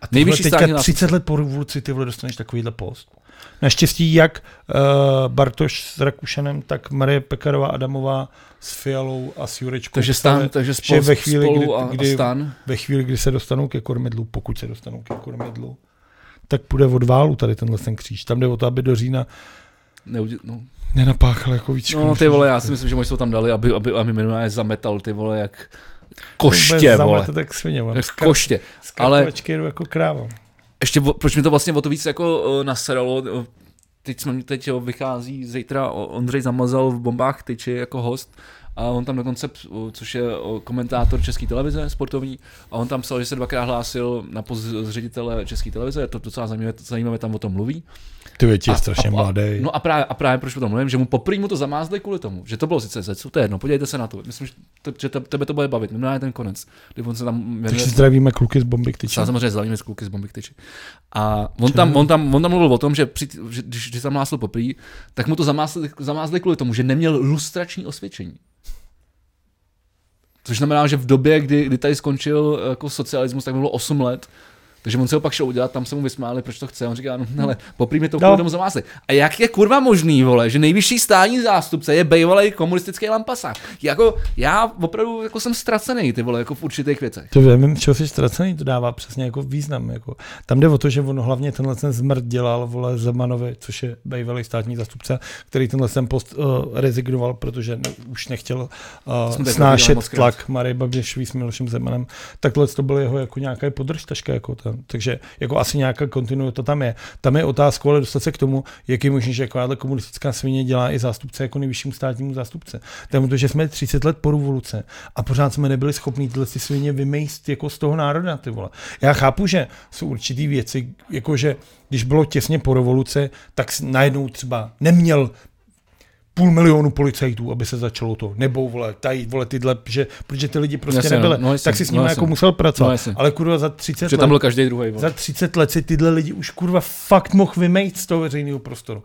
Speaker 2: A ty vole,
Speaker 1: Nejvyšší státní
Speaker 2: teďka
Speaker 1: zástupce.
Speaker 2: 30 let po revoluci ty vole dostaneš takovýhle post. Naštěstí jak uh, Bartoš s Rakušanem, tak Marie Pekarová Adamová s Fialou a s Jurečkou.
Speaker 1: Takže
Speaker 2: psali,
Speaker 1: stan, takže
Speaker 2: že
Speaker 1: spolu,
Speaker 2: ve chvíli,
Speaker 1: spolu
Speaker 2: kdy,
Speaker 1: a,
Speaker 2: kdy,
Speaker 1: a stan.
Speaker 2: ve chvíli, kdy se dostanou ke kormidlu, pokud se dostanou ke kormidlu, tak půjde od válu tady tenhle ten kříž. Tam jde o to, aby do října
Speaker 1: Neudě, no.
Speaker 2: nenapáchal jako víc škody,
Speaker 1: no ty
Speaker 2: než
Speaker 1: vole, já
Speaker 2: užitku.
Speaker 1: si myslím, že možná to tam dali, aby, aby, aby minimálně zametal ty vole jak
Speaker 2: Vůbec
Speaker 1: koště,
Speaker 2: zamete,
Speaker 1: vole.
Speaker 2: tak svině, vole.
Speaker 1: Jak koště. Ale-
Speaker 2: Ale... jdu jako kráva.
Speaker 1: ještě, o- proč mi to vlastně o to víc jako uh, naseralo, eh, teď, jsme, teď jo, vychází, zítra O- Ondřej Zamazal v Bombách tyči jako host A on tam dokonce, p- o, což je o, komentátor České televize, sportovní, a on tam psal, že se dvakrát hlásil na post z ředitele České televize, je to docela zajímavé, zajímavé tam o tom mluví.
Speaker 2: Ty větě
Speaker 1: A-
Speaker 2: je strašně
Speaker 1: a- a-
Speaker 2: mladý.
Speaker 1: No a právě, a právě proč o tom mluvím, že mu poprvé mu to zamázli kvůli tomu, že to bylo sice zecu, to je jedno, podívejte se na to, myslím, že, te, že te, tebe to bude bavit, no je ten konec, kdy on se tam jmenuje,
Speaker 2: Takže zdravíme kluky z bomby k tyči.
Speaker 1: Já samozřejmě zdravíme z kluky z Bombik Tyči. A on tam, on, tam, on tam mluvil o tom, že, při, že když, když zamásl poprý, tak mu to zamásli, zamázli kvůli tomu, že neměl lustrační osvědčení. Což znamená, že v době, kdy, kdy tady skončil jako socialismus, tak mu bylo 8 let, takže on se ho pak šel udělat, tam se mu vysmáli, proč to chce. A on říká, no ale poprý mi to kvůli
Speaker 2: No.
Speaker 1: tomu zamásli. A jak je kurva možný, vole, že nejvyšší stání zástupce je bývalý komunistický lampasář. Jako, já opravdu jako jsem ztracený, ty vole, jako v určitých věcech.
Speaker 2: To vím, čeho jsi ztracený, to dává přesně jako význam. Jako. Tam jde o to, že on hlavně tenhle ten zmrt dělal, vole Zemanovi, což je bývalý státní zastupce, který tenhle ten post uh, rezignoval, protože ne, už nechtěl
Speaker 1: jsme
Speaker 2: uh,
Speaker 1: tady probírali
Speaker 2: snášet
Speaker 1: mockrát.
Speaker 2: tlak Marej Babišový s Milošem Zemanem. Takhle to bylo jeho jako nějaká podržtaška. Jako ten. Takže jako asi nějaká kontinuita tam je. Tam je otázka, ale dostat se k tomu, jak je možné, že jakáhle komunistická svině dělá i zástupce jako nejvyššímu státnímu zástupce. Tam to, že jsme 30 let po revoluce a pořád jsme nebyli schopni tyhle ty svině vymejst jako z toho národa. Ty vole. Já chápu, že jsou určitý věci, jakože když bylo těsně po revoluce, tak s- najednou třeba neměl půl milionu policajtů, aby se začalo to. Nebo vole, tady, vole, tyhle, že, protože ty lidi prostě
Speaker 1: Jasně, no,
Speaker 2: nebyly.
Speaker 1: no jasně,
Speaker 2: tak si s nimi
Speaker 1: no
Speaker 2: jako
Speaker 1: jasně.
Speaker 2: musel
Speaker 1: No
Speaker 2: pracovat.
Speaker 1: jasně.
Speaker 2: ale kurva za 30
Speaker 1: Že
Speaker 2: let.
Speaker 1: tam byl každý druhý.
Speaker 2: Za 30 let si tyhle lidi už kurva fakt mohl vymejt z toho veřejného prostoru.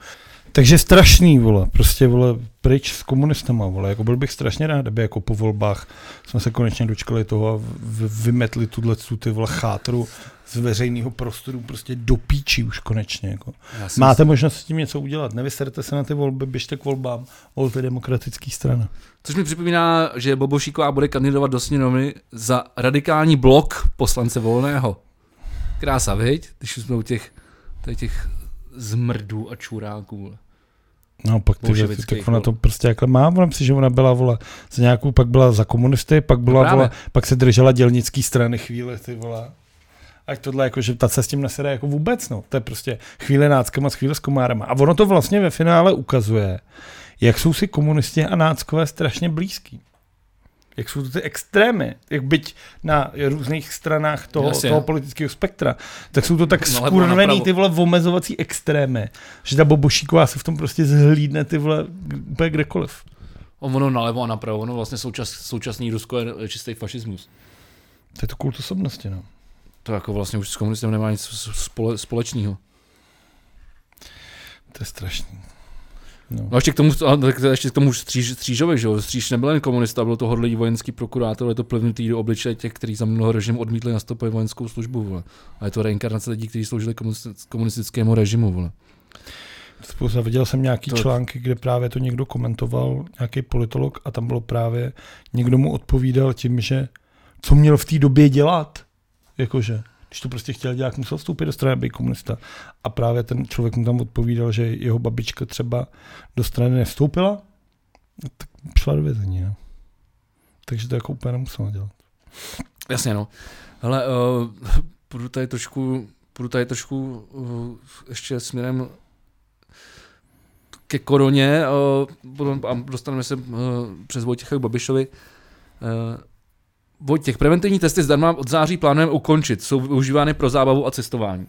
Speaker 2: Takže strašný, vole, prostě, vole, pryč s komunistama, vole, jako byl bych strašně rád, aby jako po volbách jsme se konečně dočkali toho a v- vymetli tuhle tu ty, vole, chátru z veřejného prostoru prostě do píči už konečně, jako.
Speaker 1: Já si
Speaker 2: Máte možnost s tím něco udělat, nevyserte se na ty volby, běžte k volbám, volte demokratický strana.
Speaker 1: Což mi připomíná, že Bobošíková bude kandidovat do sněmovny za radikální blok poslance Volného. Krása, viď? Když už jsme u těch, tady těch zmrdů a čuráků.
Speaker 2: No pak ty věci,
Speaker 1: Bolševických,
Speaker 2: tak ona
Speaker 1: vole.
Speaker 2: to prostě jakhle má, vám si, že ona byla, vole, za nějakou, pak byla za komunisty, pak byla,
Speaker 1: právě.
Speaker 2: vole, pak se držela dělnický strany chvíli, ty vole. Ať tohle jako, že ta se s tím nesede jako vůbec, no. To je prostě chvíle náckama, chvíle s komárama. A ono to vlastně ve finále ukazuje, jak jsou si komunisti a náckové strašně blízký. Jak jsou to ty extrémy, jak byť na různých stranách toho,
Speaker 1: Jasně.
Speaker 2: toho politického spektra, tak jsou to tak
Speaker 1: No, lebo
Speaker 2: skurvený
Speaker 1: napravo.
Speaker 2: ty vole omezovací extrémy, že ta Bobošíková se v tom prostě zhlídne ty vole úplně kdekoliv.
Speaker 1: Ono nalevo a napravo, ono vlastně součas, současný Rusko je čistý fašismus.
Speaker 2: To je to kult osobnosti, no.
Speaker 1: To jako vlastně už s komunistem nemá nic s- spole, společného.
Speaker 2: To je strašný. No.
Speaker 1: No a ještě k tomu, a tak ještě k tomu stříž, Střížovi, že jo? Stříž nebyl jen komunista, byl to hodlý vojenský prokurátor, je to plivnutý do obličeje těch, kteří za mnoho režimu odmítli nastoupit vojenskou službu, vole. A je to reinkarnace lidí, kteří sloužili komunis- komunistickému režimu, vole.
Speaker 2: Spousta, viděl jsem nějaký
Speaker 1: To-
Speaker 2: to... články, kde právě to někdo komentoval, nějaký politolog, a tam bylo právě, někdo mu odpovídal tím, že co měl v té době dělat, jakože, když to prostě chtěl dělat, musel vstoupit do strany, být komunista. A právě ten člověk mu tam odpovídal, že jeho babička třeba do strany nevstoupila, No, tak šla do vězení, no. Takže to jako úplně nemusela dělat.
Speaker 1: Jasně, no. Hele, uh, půjdu tady trošku, půjdu tady trošku uh, ještě směrem ke koroně uh, potom- a dostaneme se uh, přes Vojtěcha k Babišovi. Uh, Vojtěch, preventivní testy zdarma od září plánujeme ukončit. Jsou využívány pro zábavu a cestování.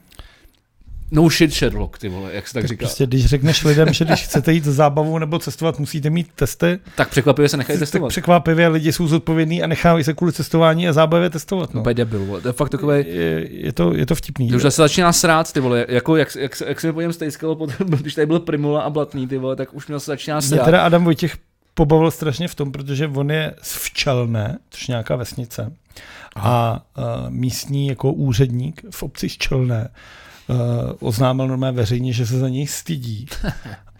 Speaker 1: No shit Sherlock, ty vole, jak se tak,
Speaker 2: Tak
Speaker 1: říká.
Speaker 2: prostě, když řekneš lidem, že když chcete jít za zábavou nebo cestovat, musíte mít testy,
Speaker 1: Tak překvapivě se nechají
Speaker 2: tak
Speaker 1: testovat.
Speaker 2: překvapivě lidi jsou zodpovědní a nechávají se kvůli cestování a zábavě testovat. No.
Speaker 1: Úplně debil, vole. to je fakt takový
Speaker 2: Je, je, to, je to vtipný.
Speaker 1: Ty už se začíná srát, ty vole, jako jak, jak, jak se mi po něm stejskalo, potom, když tady byl Primula a Blatný, ty vole, tak už mě se začíná
Speaker 2: Mě
Speaker 1: srát.
Speaker 2: teda Adam Vojtěch pobavil strašně v tom, protože on je z Včelné, což je nějaká vesnice, a uh, místní jako úředník v obci Včelné uh, oznámil normálně veřejně, že se za něj stydí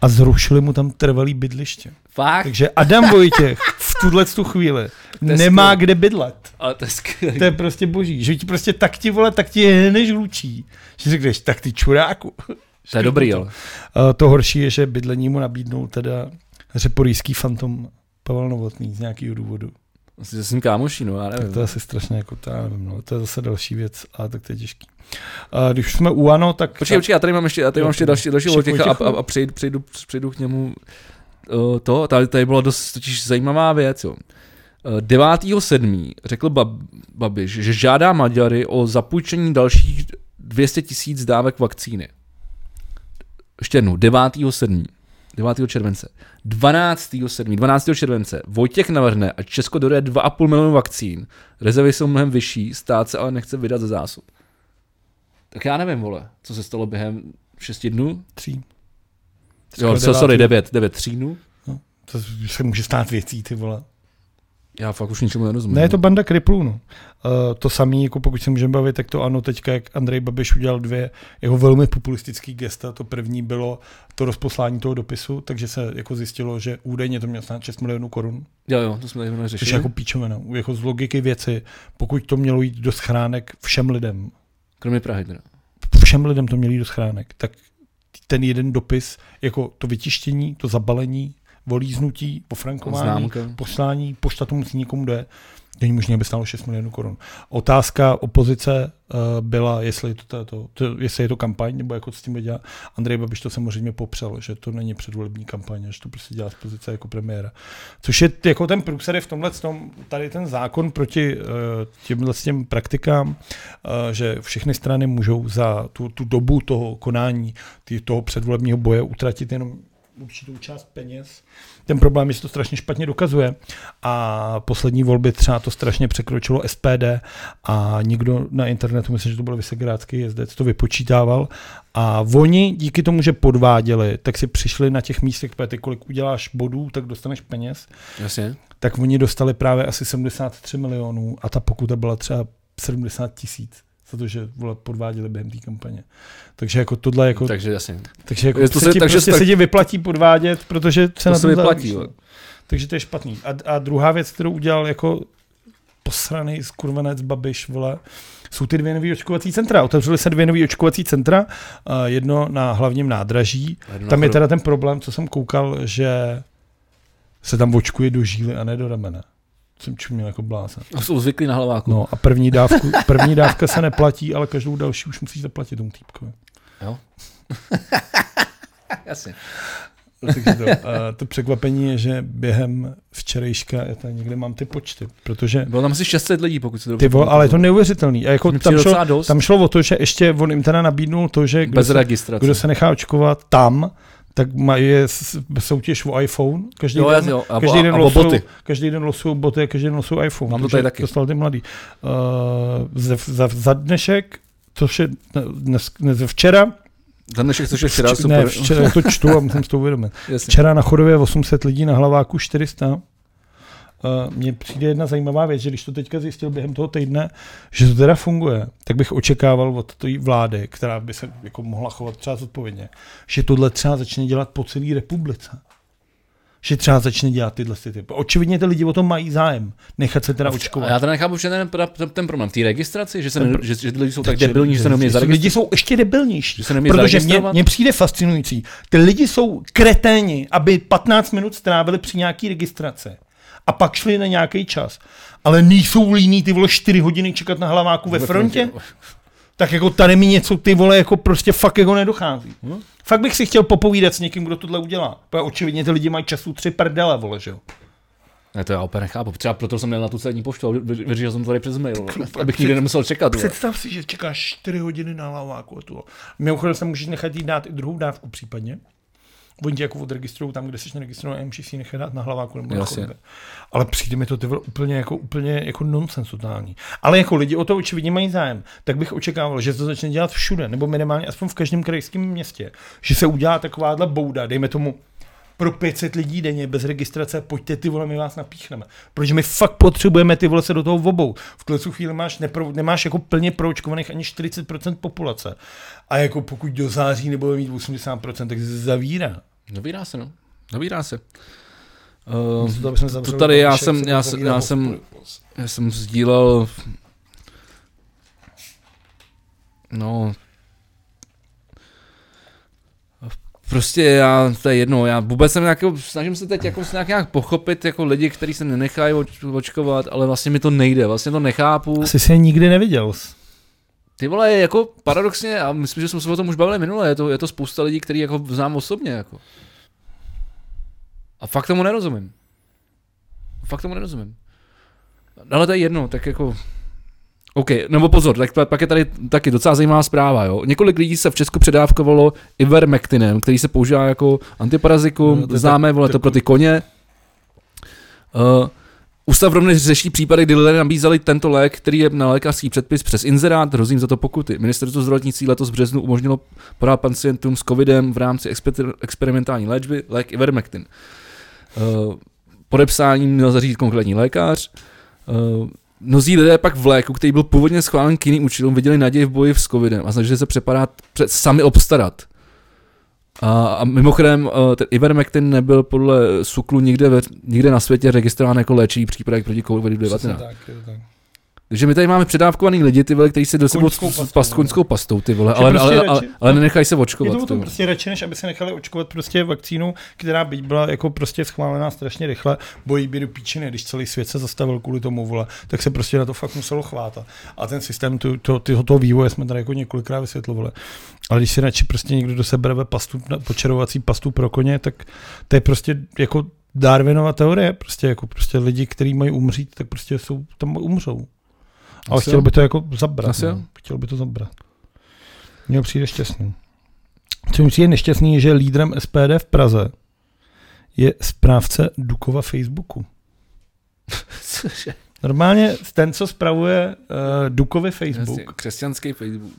Speaker 2: a zrušili mu tam trvalý bydliště.
Speaker 1: Fakt?
Speaker 2: Takže Adam Vojtěch v tuhle tu chvíli
Speaker 1: je
Speaker 2: nemá
Speaker 1: skvělý.
Speaker 2: kde bydlet.
Speaker 1: Ale to je skvělý.
Speaker 2: To je prostě boží, že ti prostě tak ti vole, tak ti je než lučí. Že řekneš, tak ty čuráku.
Speaker 1: To je dobrý, ale.
Speaker 2: Eh, To horší je, že bydlení mu nabídnou teda řeporýský fantom Pavel Novotný z nějakého důvodu.
Speaker 1: Asi že jsem kámoší, no, já
Speaker 2: Tak
Speaker 1: nevím.
Speaker 2: to je asi strašně jako, to já nevím, no, to je zase další věc, ale tak to je těžký. A když už jsme u ANO, tak...
Speaker 1: Počkej, počkej, já tady mám ještě, já tady
Speaker 2: Jo,
Speaker 1: mám ještě další, další
Speaker 2: ještě
Speaker 1: Vojtěcha a,
Speaker 2: Vojtěchu.
Speaker 1: a, a přejdu, přejdu, přejdu, k němu uh, to, tady, tady byla dost totiž zajímavá věc, jo. Eh, 9.7. řekl Bab- Babiš, že žádá Maďary o zapůjčení dalších 200 tisíc dávek vakcíny. Ještě jednou, 9.7. 9. července. 12. 7. 12. července Vojtěch navrhne, ať Česko dodá 2,5 milionu vakcín. Rezervy jsou mnohem vyšší, stát se ale nechce vydat ze zásob. Tak já nevím, vole, co se stalo během 6 dnů?
Speaker 2: Tří.
Speaker 1: Jo, so,
Speaker 2: devátý.
Speaker 1: sorry, 9, 9 třídnů.
Speaker 2: To se může stát věcí, ty vole.
Speaker 1: Já fakt už ničemu nerozumím.
Speaker 2: Ne, je to banda kriplů, no. Uh, to samý, jako pokud se můžeme bavit, tak to ano, teďka, jak Andrej Babiš udělal dvě jeho velmi populistický gesta, to první bylo to rozposlání toho dopisu, takže se jako zjistilo, že údajně to mělo stát 6 milionů korun,
Speaker 1: Jo, jo, to jsme tady
Speaker 2: což
Speaker 1: řešili.
Speaker 2: je jako píčovina, jako z logiky věci, pokud to mělo jít do schránek všem lidem,
Speaker 1: Kromě Prahy teda.
Speaker 2: všem lidem to měli do schránek, tak ten jeden dopis, jako to vytištění, to zabalení, volíznutí, pofrankování,
Speaker 1: Známka.
Speaker 2: poslání, pošta to musí někomu jde, denní možná by stálo 6 milionů korun. Otázka opozice uh, byla, jestli je to, to, to, to, jestli je to kampaň, nebo jako s tím dělá. Andrej Babiš to samozřejmě popřel, že to není předvolební kampaň, že to prostě dělá z pozice jako premiéra. Což je t- jako ten průser je v tomhle, tom, tady ten zákon proti uh, těmhle s těm praktikám, uh, že všechny strany můžou za tu, tu dobu toho konání, ty, toho předvolebního boje utratit jenom určitou část peněz. Ten problém je, že to strašně špatně dokazuje a poslední volby třeba to strašně překročilo SPD a někdo na internetu, myslím, že to byl Vysegrádský jezdec, to vypočítával a oni díky tomu, že podváděli, tak si přišli na těch místech, protože ty kolik uděláš bodů, tak dostaneš peněz,
Speaker 1: Jasně.
Speaker 2: tak oni dostali právě asi 73 milionů a ta pokuta byla třeba 70 tisíc za to, že vole, podváděli během té kampaně. Takže jako tohle jako
Speaker 1: Takže jasně.
Speaker 2: takže jako
Speaker 1: Je
Speaker 2: to se, ti, takže prostě
Speaker 1: tak-
Speaker 2: se ti vyplatí podvádět, protože se
Speaker 1: To
Speaker 2: na
Speaker 1: se
Speaker 2: tom
Speaker 1: vyplatí,
Speaker 2: zaročí.
Speaker 1: jo.
Speaker 2: Takže to je špatný. A, a druhá věc, kterou udělal jako posraný skurvenec Babiš, vole, jsou ty dvě nové očkovací centra. Otevřely se dvě nové očkovací centra, eh, jedno na hlavním nádraží. Tam je teda ten problém, co jsem koukal, že se tam očkuje do žíly a ne do ramene. Jsem čuměl jako blázen.
Speaker 1: A jsou zvyklí na hlaváku.
Speaker 2: No a první, dávku, první dávka se neplatí, ale každou další už musíš zaplatit tomu týpkovi.
Speaker 1: Jo. jasně.
Speaker 2: No, Takže to, a to překvapení je, že během včerejška já tady někde mám ty počty, protože
Speaker 1: Bylo tam asi 600 lidí, pokud se to
Speaker 2: ty vole, ale je to neuvěřitelný. A jako
Speaker 1: Mně
Speaker 2: tam,
Speaker 1: přijde
Speaker 2: šlo,
Speaker 1: docela dost.
Speaker 2: tam šlo o to, že ještě on jim teda nabídnul to, že kdo,
Speaker 1: Bez
Speaker 2: se,
Speaker 1: registrace.
Speaker 2: kdo se nechá očkovat tam, tak má, je s- soutěž o iPhone. Každý
Speaker 1: Jo,
Speaker 2: den,
Speaker 1: jasně, jo. A-
Speaker 2: každý,
Speaker 1: a-
Speaker 2: den
Speaker 1: a o
Speaker 2: losují,
Speaker 1: boty.
Speaker 2: každý den losují boty a každý den losují iPhone.
Speaker 1: Mám to
Speaker 2: Takže
Speaker 1: tady taky.
Speaker 2: Dostal ty mladý. Uh, ze, za, za dnešek, což je dnes, dnes, včera,
Speaker 1: Za dnešek, což je včera,
Speaker 2: vč-
Speaker 1: super.
Speaker 2: ne, včera to čtu a musím si to uvědomit.
Speaker 1: Jasně.
Speaker 2: Včera na chodově 800 lidí, na hlaváku 400. Uh, Mně přijde jedna zajímavá věc, že když to teďka zjistil během toho týdne, že to teda funguje, tak bych očekával od té vlády, která by se jako mohla chovat třeba zodpovědně, že tohle třeba začne dělat po celé republice. Že třeba začne dělat tyhle ty typy. Očividně ty lidi o tom mají zájem, nechat se teda
Speaker 1: A
Speaker 2: očkovat.
Speaker 1: já teda nechápu, že ten, teda ten, ten problém. Ty registraci, že, se ne, že, že ty lidi jsou tak
Speaker 2: Takže
Speaker 1: debilní, že se neumějí
Speaker 2: jsou-
Speaker 1: zaregistrovat.
Speaker 2: Lidi jsou ještě debilnější.
Speaker 1: Že se neumějí
Speaker 2: protože mě,
Speaker 1: zaregistrovat?
Speaker 2: mě přijde fascinující. Ty lidi jsou kreténi, aby 15 minut strávili při nějaký registraci. A pak šli na nějaký čas. Ale nejsou líní ty vole 4 hodiny čekat na hlaváku ve frontě. Tak jako tady mi něco ty vole jako prostě fakt jako nedochází. Hm? Fakt bych si chtěl popovídat s někým, kdo tohle udělá. Protože očividně ty lidi mají času tři prdele, vole, že jo.
Speaker 1: Ne, to já úplně nechápu. Třeba proto jsem měl na tu celní poštu a vy- vy- vyřešil jsem to tady přes mail, abych nikdy nemusel čekat. vole.
Speaker 2: Představ si, že čekáš 4 hodiny na laváku. Tu. Mimochodem se můžeš nechat jít dát i druhou dávku případně. Oni tě jako odregistrují tam, kde jsi neregistrovaný a můžeš si ji nechat dát na hlaváku nebo na
Speaker 1: Jasně.
Speaker 2: chodbě. Ale přijde mi to ty vole, úplně jako, úplně jako nonsens totální. Ale jako lidi o to očividně mají zájem, tak bych očekával, že to začne dělat všude, nebo minimálně aspoň v každém krajském městě, že se udělá takováhle bouda, dejme tomu pro 500 lidí denně bez registrace, pojďte ty vole, my vás napíchneme. Protože my fakt potřebujeme ty vole se do toho vobou. V tuhle chvíli máš nepro, nemáš jako plně proočkovaných ani 40% populace. A jako pokud do září nebude mít 80%, tak se zavírá.
Speaker 1: Dobírá se, no. Dobírá se. Ehm,
Speaker 2: To, aby jsme
Speaker 1: to
Speaker 2: zavřeli
Speaker 1: tady já
Speaker 2: Babiše,
Speaker 1: jsem,
Speaker 2: jak se
Speaker 1: já
Speaker 2: to
Speaker 1: jsem,
Speaker 2: zavírá
Speaker 1: já
Speaker 2: po-
Speaker 1: jsem, já jsem sdílel, no, prostě já, to je jedno, já vůbec jsem jako, snažím se teď jako nějak, nějak pochopit jako lidi, kteří se nenechají oč, očkovat, ale vlastně mi to nejde, vlastně to nechápu.
Speaker 2: Asi jsi je nikdy neviděl.
Speaker 1: Ty vole, jako paradoxně, a myslím, že jsme se o tom už bavili minule, je to, je to spousta lidí, který jako znám osobně, jako. A fakt tomu nerozumím. Fakt tomu nerozumím. Ale to je jedno, tak jako... OK, nebo pozor, tak pa- pak je tady taky docela zajímavá zpráva, jo. Několik lidí se v Česku předávkovalo Ivermectinem, který se používá jako antiparazikum,
Speaker 2: No, to
Speaker 1: no,
Speaker 2: je
Speaker 1: známé,
Speaker 2: tak-
Speaker 1: vole, to
Speaker 2: tak-
Speaker 1: pro ty koně. Uh, Ústav rovněž řeší případy, kdy lidé nabízeli tento lék, který je na lékařský předpis přes inzerát, hrozí jim za to pokuty. Ministerstvo zdravotnictví letos v březnu umožnilo podat pacientům s covidem v rámci exper- experimentální léčby lék Ivermectin. Uh, podepsání měl zařídit konkrétní lékař. Uh, Mnozí lidé pak v léku, který byl původně schválen k jiným účelům, viděli naději v boji s covidem a snažili se přepadat, před, sami obstarat. A, a mimochodem, eh, ten Ivermectin nebyl podle SUKLu nikde, ve, nikde na světě registrován jako léčivý přípravek proti
Speaker 2: Přesně
Speaker 1: COVID-19.
Speaker 2: tak, je to tak.
Speaker 1: Takže my tady máme předávkovaný lidi, ty vole, kteří se dosypou
Speaker 2: Koňskou
Speaker 1: s- s
Speaker 2: pastou,
Speaker 1: past,
Speaker 2: no.
Speaker 1: koňskou pastou, ty vole,
Speaker 2: Že
Speaker 1: ale,
Speaker 2: prostě
Speaker 1: ale, ale,
Speaker 2: radši-
Speaker 1: ale nenechají se
Speaker 2: Je
Speaker 1: očkovat.
Speaker 2: to
Speaker 1: ty
Speaker 2: potom
Speaker 1: vole.
Speaker 2: prostě radši, než aby se nechali očkovat prostě vakcínu, která byť byla jako prostě schválená strašně rychle, bojí by do píčiny, když celý svět se zastavil kvůli tomu, vole, tak se prostě na to fakt muselo chvátat. A ten systém tu, to, tyho, toho vývoje jsme tady jako několikrát vysvětlovali. Ale když si radši prostě někdo do sebe bere pastu, počarovací pastu pro koně, tak to je prostě jako Darwinova teorie, prostě jako prostě lidi, kteří mají umřít, tak prostě jsou, tam umřou. Ale
Speaker 1: Asi
Speaker 2: chtěl
Speaker 1: jo.
Speaker 2: by to jako zabrat.
Speaker 1: Asi jo.
Speaker 2: No. Chtěl by to zabrat. Mně přijde šťastný. Co mi přijde nešťastný, je, že lídrem SPD v Praze je správce Dukova Facebooku.
Speaker 1: Cože?
Speaker 2: Normálně ten, co spravuje uh, Dukovi Facebook,
Speaker 1: Jasně, Křesťanský Facebook.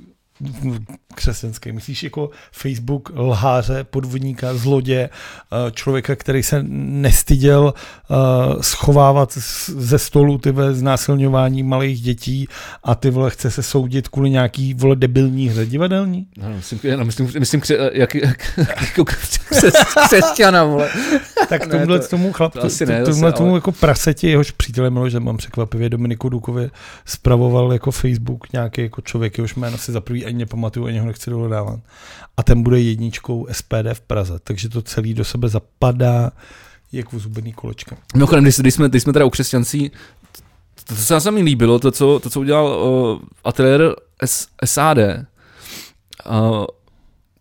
Speaker 2: křesťanský, myslíš jako Facebook lháře, podvodníka, zlodě, eh, člověka, který se nestyděl eh, schovávat z- ze stolu ty ve znásilňování malých dětí a ty vole chce se soudit kvůli nějaký vole debilní hře divadelní?
Speaker 1: No, no, myslím, no, myslím, myslím kře, jak, jak, jako křes, křesťana, vole.
Speaker 2: Tak
Speaker 1: Ne,
Speaker 2: tomhle
Speaker 1: to-
Speaker 2: tomu chlapci,
Speaker 1: to asi ne, zase,
Speaker 2: tomhle tomu
Speaker 1: ale-
Speaker 2: jako praseti, jehož přítelem Miloš Zeman překvapivě Dominiku Dukovi spravoval jako Facebook nějaký jako člověk, jehož jméno si za prvý ani nepamatuju, ani ho nechci dohledávat. A ten bude jedničkou SPD v Praze, takže to celý do sebe zapadá jako zubený kolečka.
Speaker 1: Mimochodem, když, když, jsme, když jsme teda u křesťancí, to, to se nám mi líbilo, to, co, to, co udělal uh, ateliér S, SAD, uh,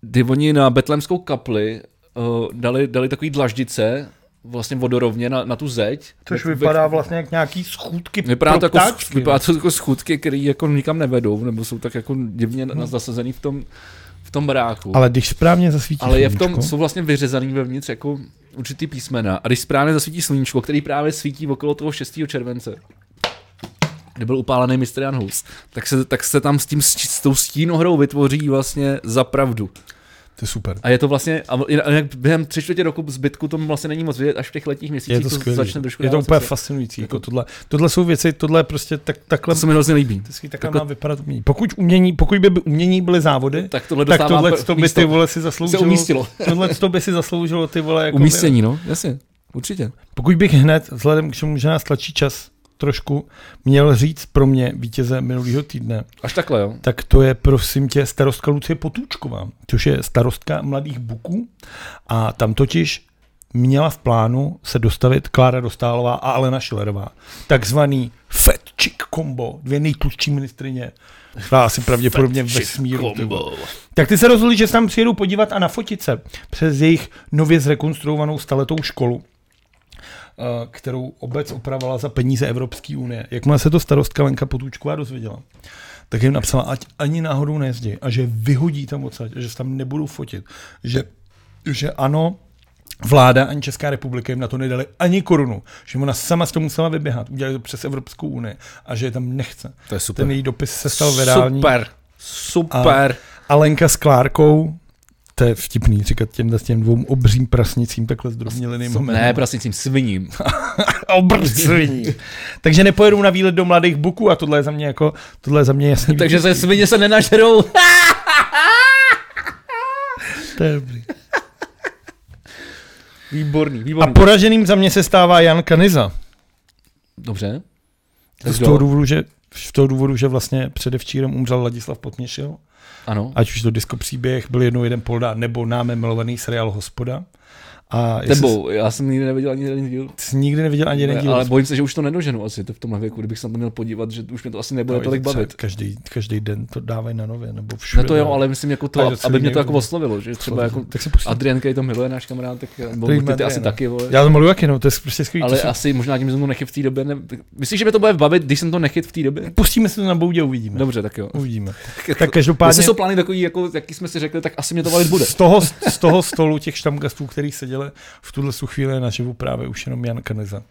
Speaker 1: kdy oni na betlemskou kapli uh, dali, dali takový dlaždice, vlastně vodorovně na, na tu zeď.
Speaker 2: Což
Speaker 1: Ve-
Speaker 2: vypadá
Speaker 1: ve-
Speaker 2: vlastně jak nějaký schůdky
Speaker 1: Vypadá to,
Speaker 2: pro
Speaker 1: jako,
Speaker 2: ptáčky,
Speaker 1: vypadá to jako schůdky, které jako nikam nevedou, nebo jsou tak jako divně
Speaker 2: Hm.
Speaker 1: hmm. zasazený v tom, v tom baráku.
Speaker 2: Ale když správně zasvítíš
Speaker 1: Ale je v tom,
Speaker 2: sluníčko,
Speaker 1: jsou vlastně vyřezaný vevnitř jako určitý písmena. A když správně zasvítí sluníčko, který právě svítí okolo toho 6. července, kde byl upálený Mr. Jan Hus, tak se, tak se tam s, tím, s, s tou stínohrou vytvoří vlastně zapravdu.
Speaker 2: to je super.
Speaker 1: A je to vlastně, a jinak během tři čtvrtě roku zbytku to vlastně není moc vidět, až v těch letních měsících
Speaker 2: Je to,
Speaker 1: to,
Speaker 2: skvělý.
Speaker 1: začne trošku
Speaker 2: je to
Speaker 1: dávat
Speaker 2: úplně
Speaker 1: smysl.
Speaker 2: fascinující. Jako tohle, tohle jsou věci, tohle je prostě tak, takhle
Speaker 1: To se mi hrozně líbí.
Speaker 2: Vždycky takhle,
Speaker 1: Takhle-
Speaker 2: má vypadat umění. Pokud, umění. pokud by by umění byly závody,
Speaker 1: Tak tohle
Speaker 2: tak
Speaker 1: dostává
Speaker 2: tohle
Speaker 1: pr-
Speaker 2: to by
Speaker 1: místo.
Speaker 2: ty vole si
Speaker 1: se
Speaker 2: zasloužilo.
Speaker 1: umístilo.
Speaker 2: Tohle to by si zasloužilo ty vole jako
Speaker 1: Umístění, no, jasně, určitě.
Speaker 2: Pokud bych hned, vzhledem k čemu, že nás tlačí čas trošku, měl říct pro mě vítěze minulého týdne,
Speaker 1: Až takhle, jo.
Speaker 2: tak to je prosím tě starostka Lucie Potůčková, což je starostka mladých buků a tam totiž měla v plánu se dostavit Klára Dostálová a Alena Šilerová. Takzvaný fat chick combo, dvě nejtlustší ministrině, která asi pravděpodobně ve smíru. ty vole. Tak ty se rozhodli, že se tam přijedou podívat a nafotit se přes jejich nově zrekonstruovanou staletou školu eh, kterou obec opravila za peníze Evropské unie. Jakmile se to starostka Lenka Potůčková dozvěděla, tak jim napsala, ať ani náhodou nejezdí a že vyhodí tam odsaď a že se tam nebudou fotit. Že, že ano, vláda ani Česká republika jim na to nedali ani korunu. Že ona sama se to musela vyběhat, udělali to přes Evropskou unii a že je tam nechce.
Speaker 1: To je
Speaker 2: Ten její dopis se stal virální.
Speaker 1: Super, super.
Speaker 2: A Lenka s Klárkou, to je vtipný říkat těm, těm dvou obřím prasnicím takhle zdrobněliným
Speaker 1: A... Ne, prasnicím sviním.
Speaker 2: obrzvní. Takže nepojedou na výlet do mladých buků a tohle je za mě jako, tohle je za mě jasný.
Speaker 1: Takže se svině se nenažerou.
Speaker 2: to je dobrý.
Speaker 1: Výborný,
Speaker 2: A
Speaker 1: výborný.
Speaker 2: poraženým za mě se stává Jan Kaniza.
Speaker 1: Dobře.
Speaker 2: To Z toho důvodu, že v toho důvodu, že vlastně předevčírem umřel Ladislav Potněšil,
Speaker 1: Ano.
Speaker 2: ať už to disco příběh, byl jednou jeden polda, nebo námi milovaný seriál Hospoda. A jestli
Speaker 1: Tebou, já jsem nikdy neviděl ani jeden díl.
Speaker 2: jsi nikdy neviděl ani jeden
Speaker 1: Ne,
Speaker 2: díl.
Speaker 1: ale bojím se, že už to nedoženu asi to v tomhle věku, kdybych se na to měl podívat, že už mě to asi nebude
Speaker 2: No,
Speaker 1: tolik
Speaker 2: třeba
Speaker 1: bavit.
Speaker 2: Každý, každý den to dávají na nově, nebo všude.
Speaker 1: Ne to jo,
Speaker 2: dávají.
Speaker 1: ale myslím jako
Speaker 2: Ale
Speaker 1: to,
Speaker 2: docela
Speaker 1: aby mě to jako
Speaker 2: nejúplně.
Speaker 1: oslovilo, že třeba jako
Speaker 2: tak se pustí.
Speaker 1: Adrian, který to miluje, náš kamarád, tak nebo
Speaker 2: Prý
Speaker 1: ty asi
Speaker 2: Adriana.
Speaker 1: taky, vole.
Speaker 2: Já to miluji jaký, no, to je prostě skvělý.
Speaker 1: Ale
Speaker 2: to se...
Speaker 1: asi možná tím, že jsem to nechyt v té době. Ne... Myslíš, že mě to bude bavit, když jsem to nechyt v té době?
Speaker 2: Pustíme se to na boudě, uvidíme.
Speaker 1: Dobře, tak jo.
Speaker 2: Uvidíme. Tak každopádně
Speaker 1: Jestli jsou plány takový, jako, jaký jsme si řekli, tak asi mě to bavit bude.
Speaker 2: z toho, z toho stolu těch štamgastů, který seděli v tuhle su chvíli naživu právě už jenom Jan Kaneza.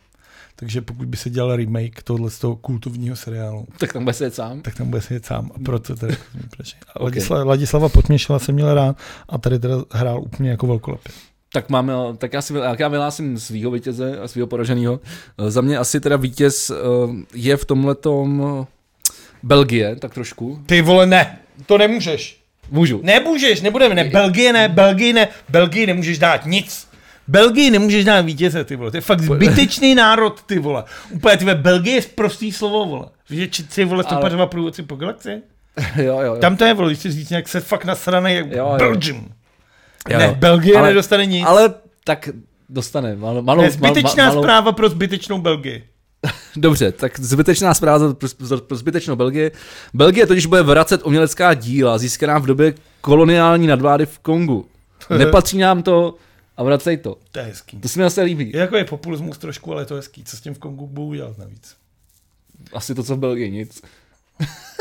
Speaker 2: Takže pokud by se dělal remake tohle z toho kultovního seriálu,
Speaker 1: Tak tam bude sedět sám.
Speaker 2: tak tam bude sedět sám. A proto teda proč? A
Speaker 1: Ok.
Speaker 2: Ladislava, Ladislava Potměšila jsem měl rád a tady teda hrál úplně jako velkolepě.
Speaker 1: Tak máme, tak já, si, tak já vyhlásím svýho vítěze a svýho poraženého. Eh, Za mě asi teda vítěz eh, je v tomhletom eh, Belgie, tak trošku.
Speaker 2: Ty vole, ne, to nemůžeš.
Speaker 1: Můžu.
Speaker 2: Nemůžeš, nebudeme, ne, Belgie ne, Belgii ne, Belgii nemůžeš dát nic. Belgii nemůžeš dát vítěze, ty vole, to je fakt zbytečný národ, ty vole. Úplně, ty vole, Belgie je prostý slovo, vole. Víš, že či- ty vole,
Speaker 1: Ale-
Speaker 2: 102 průvodci po galaxii?
Speaker 1: Jo, jo, jo.
Speaker 2: Tam to je, vole, když si říct nějak se fakt nasranej, jak
Speaker 1: Jo, jo.
Speaker 2: Belgium.
Speaker 1: jo,
Speaker 2: Ne,
Speaker 1: jo.
Speaker 2: Belgie nedostane nic.
Speaker 1: Ale tak dostane. Malou, malou,
Speaker 2: To je zbytečná
Speaker 1: malou,
Speaker 2: zpráva pro zbytečnou Belgii.
Speaker 1: Dobře, tak zbytečná zpráva pro, pro, pro zbytečnou Belgii. Belgie totiž bude vracet umělecká díla získaná v době koloniální nadvlády v Kongu. Nepatří nám to a vracej to.
Speaker 2: To je hezký.
Speaker 1: To se mi zase líbí.
Speaker 2: Je jako je populismus trošku, ale je to hezký. Co s tím v Kongu budou udělat navíc?
Speaker 1: Asi to, co v Belgii, nic.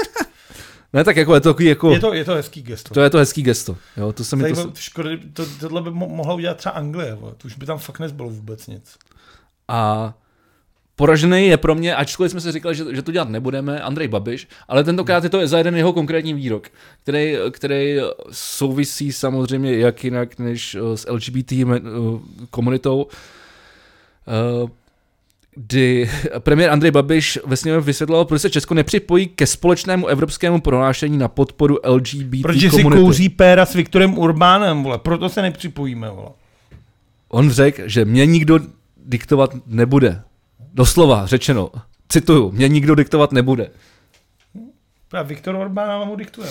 Speaker 1: ne, tak jako je to takový jako...
Speaker 2: Je to, je to hezký gesto.
Speaker 1: To je to hezký gesto. Jo, to se mi
Speaker 2: Tady
Speaker 1: to...
Speaker 2: to... Škoda, to, tohle by mo- mohla udělat třeba Anglie, vole. to už by tam fakt nezbylo vůbec nic.
Speaker 1: A poražený je pro mě, ačkoliv jsme si říkali, že, že to dělat nebudeme, Andrej Babiš, ale tentokrát je to za jeden jeho konkrétní výrok, který, který souvisí samozřejmě jak jinak než eh, s LGBT men- eh, komunitou. Eh, Kdy premiér Andrej Babiš ve sněmě vysvětloval, proč se Česko nepřipojí ke společnému evropskému prohlášení na podporu LGBT
Speaker 2: Protože si
Speaker 1: komunity.
Speaker 2: kouří péra s Viktorem Urbánem, vole. proto se nepřipojíme. Vole.
Speaker 1: On řekl, že mě nikdo diktovat nebude. Doslova řečeno, cituju, mě nikdo diktovat nebude.
Speaker 2: A Viktor Orbán nám ho diktuje.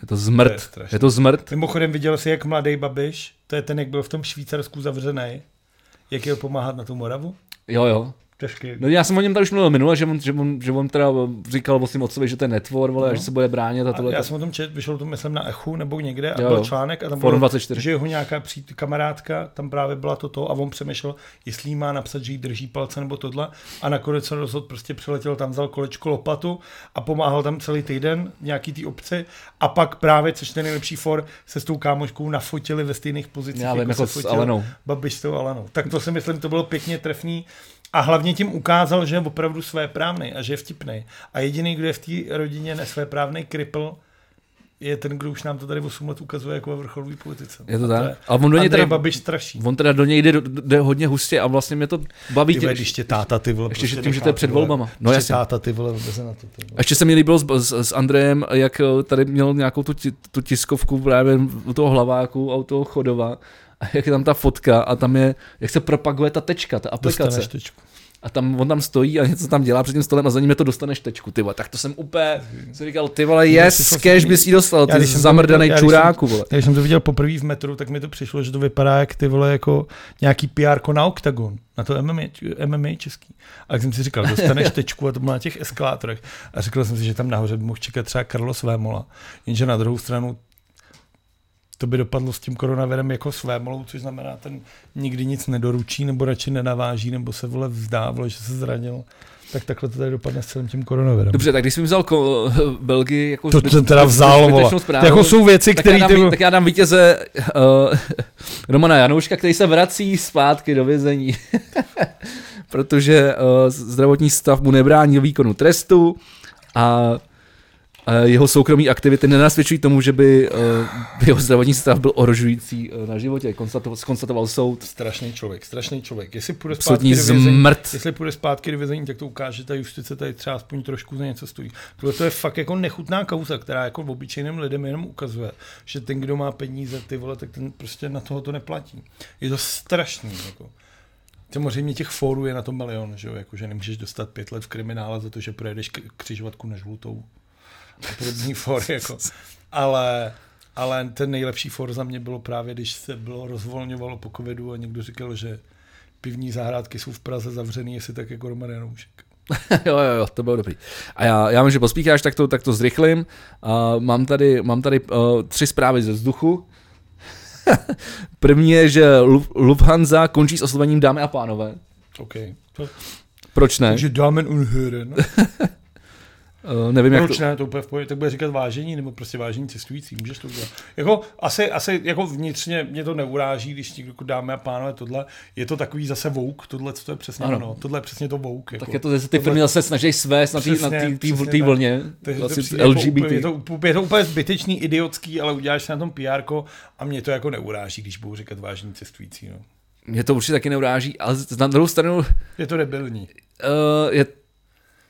Speaker 1: Je to
Speaker 2: To je
Speaker 1: zmrt.
Speaker 2: strašný.
Speaker 1: je to zmrt.
Speaker 2: Mimochodem viděl jsi, jak mladý Babiš, to je ten, jak byl v tom Švýcarsku zavřený, jak jel pomáhat na tu Moravu?
Speaker 1: Jo, jo.
Speaker 2: Těžký.
Speaker 1: No já jsem o něm tady už mluvil minule, že on, že on, že on teda eh, říkal o svým otcovi, že to je netvor, vole, no. že se bude bránit a
Speaker 2: A
Speaker 1: tohle.
Speaker 2: já jsem o tom čet, vyšel to myslím na Echu nebo někde a
Speaker 1: Jo, jo.
Speaker 2: byl článek a tam
Speaker 1: Forum
Speaker 2: bylo,
Speaker 1: 24.
Speaker 2: že jeho nějaká přít, kamarádka, tam právě byla toto a on přemýšlel, jestli jí má napsat, že jí drží palce nebo tohle a nakonec se rozhodl, prostě přiletěl tam, vzal kolečko lopatu a pomáhal tam celý týden v nějaký té obci a pak právě, což je nejlepší for, se s tou kámoškou nafotili ve stejných pozicích,
Speaker 1: Já vím, jako
Speaker 2: se
Speaker 1: s
Speaker 2: fotil
Speaker 1: Alenou.
Speaker 2: Babiš s tou Alenou. Tak to si myslím, to bylo pěkně trefný a hlavně tím ukázal, že je opravdu svéprávný a že je vtipný. A jediný, kdo je v té rodině nesvéprávný kripl, je ten, kdo už nám to tady 8 let ukazuje jako ve vrcholové politice.
Speaker 1: Je to
Speaker 2: A
Speaker 1: tak?
Speaker 2: je
Speaker 1: A on do něj
Speaker 2: Andrej
Speaker 1: teda,
Speaker 2: Babiš straší.
Speaker 1: on teda do něj jde, jde hodně hustě a vlastně mě to baví.
Speaker 2: Ty
Speaker 1: tě-
Speaker 2: vole, když tě táta, ty vole.
Speaker 1: ještě, že tím, že to je před volbama.
Speaker 2: No
Speaker 1: No
Speaker 2: ještě
Speaker 1: jasně.
Speaker 2: táta, ty vole, vůbec na to. Ty vole.
Speaker 1: A ještě se mi líbilo s, s, s Andrejem, jak eh, tady měl nějakou tu, ti- tu tiskovku právě u toho hlaváku a u toho chodova. A jak je tam ta fotka a tam je, jak se propaguje ta tečka, ta aplikace.
Speaker 2: Dostaneš tečku.
Speaker 1: A tam on tam stojí a něco tam dělá před tím stolem a za ním je to dostaneš tečku, ty vole. Tak to jsem úplně,
Speaker 2: Mhm.
Speaker 1: jsem říkal, ty
Speaker 2: No,
Speaker 1: vole, yes,
Speaker 2: fakt-
Speaker 1: cash bys jí dostal,
Speaker 2: Já
Speaker 1: ty
Speaker 2: když jsem to
Speaker 1: zamrdaný
Speaker 2: viděl- já když
Speaker 1: čuráku, vole.
Speaker 2: Když jsem to viděl poprvé v metru, tak mi to přišlo, že to vypadá jak ty vole jako nějaký PR na OKTAGON, na to MMA, MMA český. A jak jsem si říkal, dostaneš tečku a to bylo na těch eskalátorech. A říkal jsem si, že tam nahoře by mohl čekat třeba Carlos Vémola. Jenže na druhou stranu to by dopadlo s tím koronavirem jako s Vémolou, což znamená, ten nikdy nic nedoručí, nebo radši nenaváží, nebo se vole vzdá, vole, že se zranil. Tak takhle to tady dopadne s celým tím koronavirem.
Speaker 1: Dobře, tak když jsem vzal ko- Belgii jako
Speaker 2: To
Speaker 1: zbyt-
Speaker 2: jsem teda vzal, vole.
Speaker 1: zbytečnou zprávu,
Speaker 2: To jako jsou věci,
Speaker 1: tak, já
Speaker 2: které
Speaker 1: dám,
Speaker 2: ty...
Speaker 1: vý- tak já dám vítěze uh, Romana Janouška, který se vrací zpátky do vězení, protože uh, zdravotní stav mu nebrání výkonu trestu a a jeho soukromí aktivity nenasvědčují tomu, že by uh, jeho zdravotní stav byl ohrožující uh, na životě, konstatoval, konstatoval soud.
Speaker 2: Strašný člověk, strašný člověk. Jestli půjde
Speaker 1: Absolutní
Speaker 2: zpátky do vězení,
Speaker 1: zmrt.
Speaker 2: jestli půjde zpátky do vězení, tak to ukáže, že ta justice tady třeba aspoň trošku za něco stojí. Tohle to je fakt jako nechutná kauza, která jako v obyčejným lidem jenom ukazuje, že ten, kdo má peníze, ty vole, tak ten prostě na toho to neplatí. Je to strašný. Jako. Samozřejmě těch fórů je na to milion, že jo? Jako, že nemůžeš dostat pět let v kriminále za to, že projedeš k- křižovatku na žlutou. A podobný fóry, jako. Ale ale ten nejlepší for za mě bylo právě, když se bylo rozvolňovalo po covidu a někdo říkal, že pivní zahrádky jsou v Praze zavřený, jestli tak jako Roman Janoušek.
Speaker 1: jo, jo, jo, to bylo dobrý. A já, já vím, že pospícháš, tak to, tak to zrychlím. Uh, mám tady, mám tady uh, tři zprávy ze vzduchu. První je, že Lu- Lufthansa končí s oslovením dámy a pánové.
Speaker 2: OK.
Speaker 1: Proč ne?
Speaker 2: Takže Damen und Herren.
Speaker 1: Uh, nevím, jak to...
Speaker 2: Proč ne, to úplně v pohodě, tak bude říkat vážení, nebo prostě vážení cestující, můžeš to udělat. Jako, asi, asi jako vnitřně mě to neuráží, když někdo jako dámy a pánové tohle, je to takový zase vouk, tohle, co to je přesně
Speaker 1: Ano.
Speaker 2: ano. ono, tohle je přesně to vouk. Jako.
Speaker 1: Tak je to, že se ty firmy zase snaží svést na té na
Speaker 2: Přesně,
Speaker 1: tý- tý-
Speaker 2: přesně
Speaker 1: tý
Speaker 2: tak.
Speaker 1: vlně,
Speaker 2: Takže to
Speaker 1: vlastně
Speaker 2: přijde jako
Speaker 1: LGBT.
Speaker 2: Úplně, je, to, úplně- je to úplně zbytečný, idiotský, ale uděláš si na tom PR a mě to jako neuráží, když budu říkat vážení cestující. No.
Speaker 1: Mě to určitě taky neuráží, ale z- na druhou stranu
Speaker 2: Je to debilní.
Speaker 1: uh, je,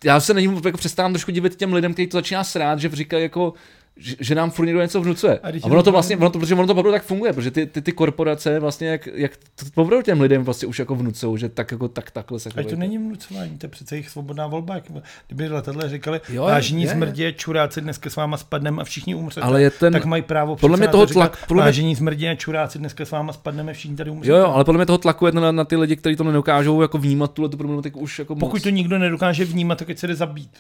Speaker 1: já se na něm jako přestávám trošku divit těm lidem, kteří to začíná srát, že říkají jako, že, že nám furt někdo něco vnucuje. A,
Speaker 2: A když
Speaker 1: ono to
Speaker 2: je-
Speaker 1: vlastně, ono to, protože ono to opravdu tak funguje, protože ty, ty, ty korporace vlastně, jak, jak to opravdu těm lidem vlastně už jako vnucou, že tak jako tak takhle se
Speaker 2: Ať to
Speaker 1: chovejte.
Speaker 2: není vnucování, to je přece jejich svobodná volba. jak- Kdyby letadle říkali,
Speaker 1: Jo,
Speaker 2: vážení
Speaker 1: je, je.
Speaker 2: smrdě, čuráci, dneska s váma spadneme a všichni umřete,
Speaker 1: Ale je ten-
Speaker 2: tak mají právo
Speaker 1: podle
Speaker 2: přece
Speaker 1: mě
Speaker 2: na
Speaker 1: toho
Speaker 2: to říkat,
Speaker 1: tlak- podle mě-
Speaker 2: vážení smrdě, čuráci, dneska s váma spadneme, všichni tady umřete.
Speaker 1: Jo, jo, ale podle mě toho tlaku je na, na ty lidi, kteří to nedokážou jako vnímat tuhle tu problematiku už jako
Speaker 2: Pokud
Speaker 1: moc.
Speaker 2: to nikdo nedokáže vnímat, tak ať se jde zabít.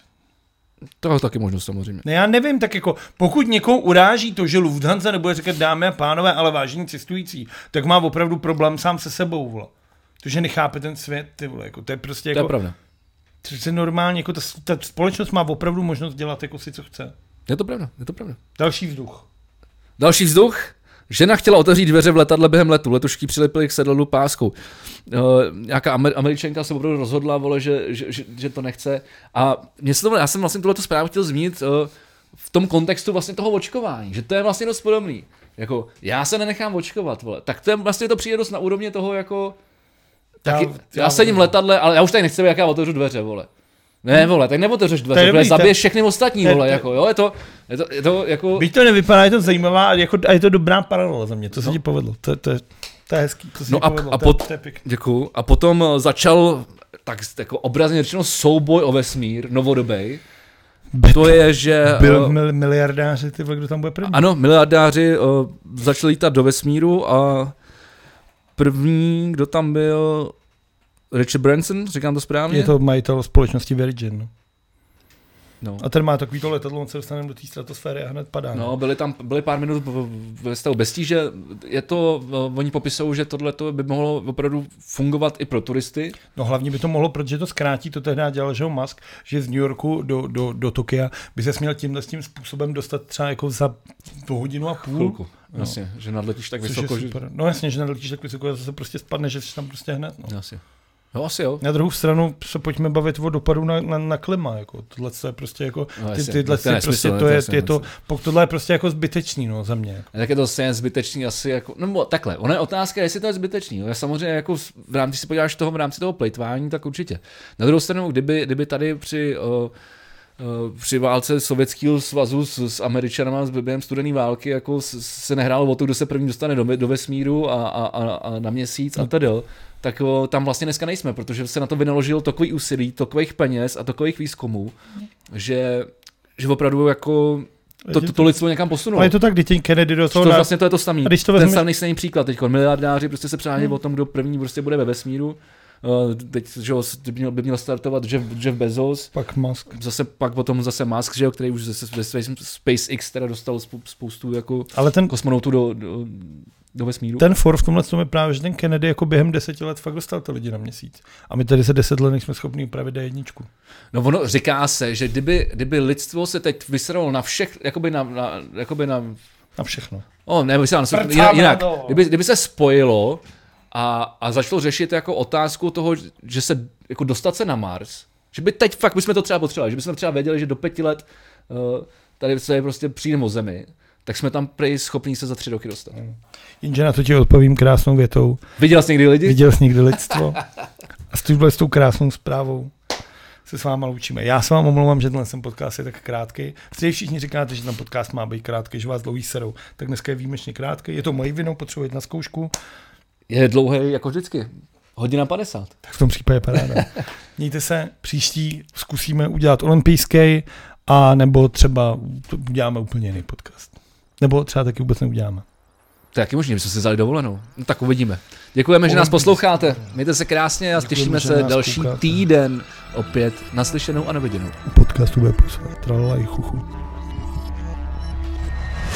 Speaker 1: To je taky možnost samozřejmě.
Speaker 2: Ne, já nevím, tak jako pokud někoho uráží to, že Lufthansa nebude říkat dámy a pánové, ale vážení cestující, tak má opravdu problém sám se sebou, vole. To, že nechápe ten svět, ty vole, jako, to je prostě
Speaker 1: To je
Speaker 2: jako,
Speaker 1: pravda.
Speaker 2: to je normálně, jako ta, ta, společnost má opravdu možnost dělat jako si, co chce.
Speaker 1: Je to pravda, je to pravda.
Speaker 2: Další vzduch.
Speaker 1: Další vzduch. Žena chtěla otevřít dveře v letadle během letu. Letušky přilepili k sedadlu páskou. Uh, nějaká Amer- američanka se opravdu rozhodla, vole, že, že, že, že to nechce. A mě se to, já jsem vlastně tuhle zprávu chtěl zmínit uh, v tom kontextu vlastně toho očkování, že to je vlastně dost podobný. Jako, já se nenechám očkovat, vole. Tak to je, vlastně to přijde dost na úrovně toho, jako, tak já, já, já
Speaker 2: no.
Speaker 1: sedím v letadle, ale já už tady nechci, být, jak já otevřu dveře, vole. Ne, vole, tak neotevřeš
Speaker 2: To je
Speaker 1: dveře, vole,
Speaker 2: dobrý, to je-
Speaker 1: zabiješ všechny ostatní,
Speaker 2: to je-
Speaker 1: vole,
Speaker 2: to je-
Speaker 1: jako, jo, je to, je to, je to jako...
Speaker 2: Byť to nevypadá, je to zajímavá a, jako, a je to dobrá paralela za mě, to se no. ti povedlo, to, je- to, je, to je hezký, to se
Speaker 1: No
Speaker 2: ti
Speaker 1: a-
Speaker 2: povedlo,
Speaker 1: a
Speaker 2: to, je-
Speaker 1: pot-
Speaker 2: to je pěkný.
Speaker 1: Děkuju. A potom eh, začal tak jako obrazně řečeno souboj o vesmír, novodobej. To je, že... eh,
Speaker 2: Byl mil, miliardáři, ty vole, kdo tam bude první.
Speaker 1: ano, miliardáři eh, začali lítat do vesmíru a první, kdo tam byl, Richard Branson, říkám to správně?
Speaker 2: Je to majitel společnosti Virgin. No.
Speaker 1: No.
Speaker 2: A ten má takový to letadlo, on se dostane do té stratosféry a hned padá.
Speaker 1: No, byly tam byly pár minut v- v- ve stavu bez tíže. Je to, eh, oni popisují, že tohle by mohlo opravdu fungovat i pro turisty.
Speaker 2: no hlavně by to mohlo, protože to zkrátí, to tehdy dělal, že jo, Musk, že z New Yorku do, do, do Tokia by se směl tímhle s tím způsobem dostat třeba jako za tu hodinu a půl.
Speaker 1: Chvilku. No. Jasně, že nadletíš tak
Speaker 2: Což
Speaker 1: vysoko,
Speaker 2: je
Speaker 1: že...
Speaker 2: super. No jasně, že neletíš tak vysoko, že se prostě spadne, že jsi tam prostě hned. No.
Speaker 1: Jasně. No, asi jo.
Speaker 2: Na druhou stranu se pojďme bavit o dopadu na, na, na klima. Jako. Tohle je prostě jako,
Speaker 1: No,
Speaker 2: ty,
Speaker 1: jasně.
Speaker 2: tyhle
Speaker 1: To je
Speaker 2: si prostě
Speaker 1: nesmysl,
Speaker 2: to
Speaker 1: to je
Speaker 2: je,
Speaker 1: jasně,
Speaker 2: je to, pokud tohle je prostě jako zbytečný no, za mě. Jako.
Speaker 1: A tak je to stejně zbytečný asi jako, no bo- takhle, ona je otázka, jestli to je zbytečný, jo. Já samozřejmě jako s- v rámci, když se podíváš toho, v rámci toho plejtvání, tak určitě. Na druhou stranu, kdyby, kdyby tady při, uh, uh, při válce Sovětského svazu s, s Američanama s během studené války jako s- se nehrálo o to, kdo se první dostane do, ve- do vesmíru a, a, a, a na měsíc a
Speaker 2: Hmm.
Speaker 1: tedy, tak o, tam vlastně dneska nejsme, protože se na to vynaložilo takový úsilí, takových peněz a takových výzkumů,
Speaker 2: Hmm.
Speaker 1: že, že opravdu jako to, to, to lidstvo někam posunulo.
Speaker 2: Ale je to tak, když Kennedy do
Speaker 1: To,
Speaker 2: toho
Speaker 1: No. to
Speaker 2: na-
Speaker 1: vlastně to je to samý.
Speaker 2: A když to Hmm.
Speaker 1: Ten
Speaker 2: vezme-
Speaker 1: samý stejný příklad teď. Miliardáři prostě se přání o tom, kdo první prostě bude ve vesmíru. Eh, Teď že jo, by, měl, by měl startovat Jeff, Jeff Bezos.
Speaker 2: pak Musk.
Speaker 1: Zase pak potom zase Musk, že jo, který už ze, ze Space, SpaceX teda dostal spou- spoustu jako
Speaker 2: Ale ten,
Speaker 1: kosmonautů do, do, do vesmíru.
Speaker 2: No. Ten for v tomhle tom je právě, že ten Kennedy jako během deseti let fakt dostal ty lidi na měsíc. A my tady se deset let nejsme schopni upravit D1.
Speaker 1: No ono říká se, že kdyby, kdyby lidstvo se teď vysralo na všech, jakoby na, na, jakoby na
Speaker 2: Na všechno.
Speaker 1: O, ne, myslím, ano,
Speaker 2: Prcáme
Speaker 1: jinak, jinak.
Speaker 2: na to.
Speaker 1: Kdyby, kdyby se spojilo a, a začalo řešit jako otázku toho, že se, jako dostat se na Mars, že by teď fakt, bychom to třeba potřebovali, že bychom třeba věděli, že do pěti let uh, tady se prostě přijdeme o zemi, tak jsme tam prej schopni se za tři roky dostat.
Speaker 2: Hmm. Jenže na to ti odpovím krásnou větou.
Speaker 1: Viděl jsi někdy lidi?
Speaker 2: Viděl jsi někdy lidstvo? A s touhle s tou krásnou zprávou se s váma loučíme. Já se vám omlouvám, že tenhle jsem podcast je tak krátký. Vždycky všichni říkáte, že ten podcast má být krátký, že vás dlouhý serou. Tak dneska je výjimečně krátký. Je to moje vinou, potřebuji jít na zkoušku.
Speaker 1: Je dlouhý jako vždycky. Hodina 50.
Speaker 2: Tak v tom případě paráda. Mějte se, příští zkusíme udělat olympijský a nebo třeba to uděláme úplně jiný podcast. Nebo třeba taky vůbec neuděláme.
Speaker 1: To je taky možné, my jsme si vzali dovolenou. No tak uvidíme. Děkujeme, že nás posloucháte. Mějte se krásně a
Speaker 2: Děkujeme,
Speaker 1: těšíme
Speaker 2: že
Speaker 1: se
Speaker 2: nás
Speaker 1: další
Speaker 2: koukáte.
Speaker 1: týden opět naslyšenou a naviděnou.
Speaker 2: Podcastu bude působit. Tralala i chuchu.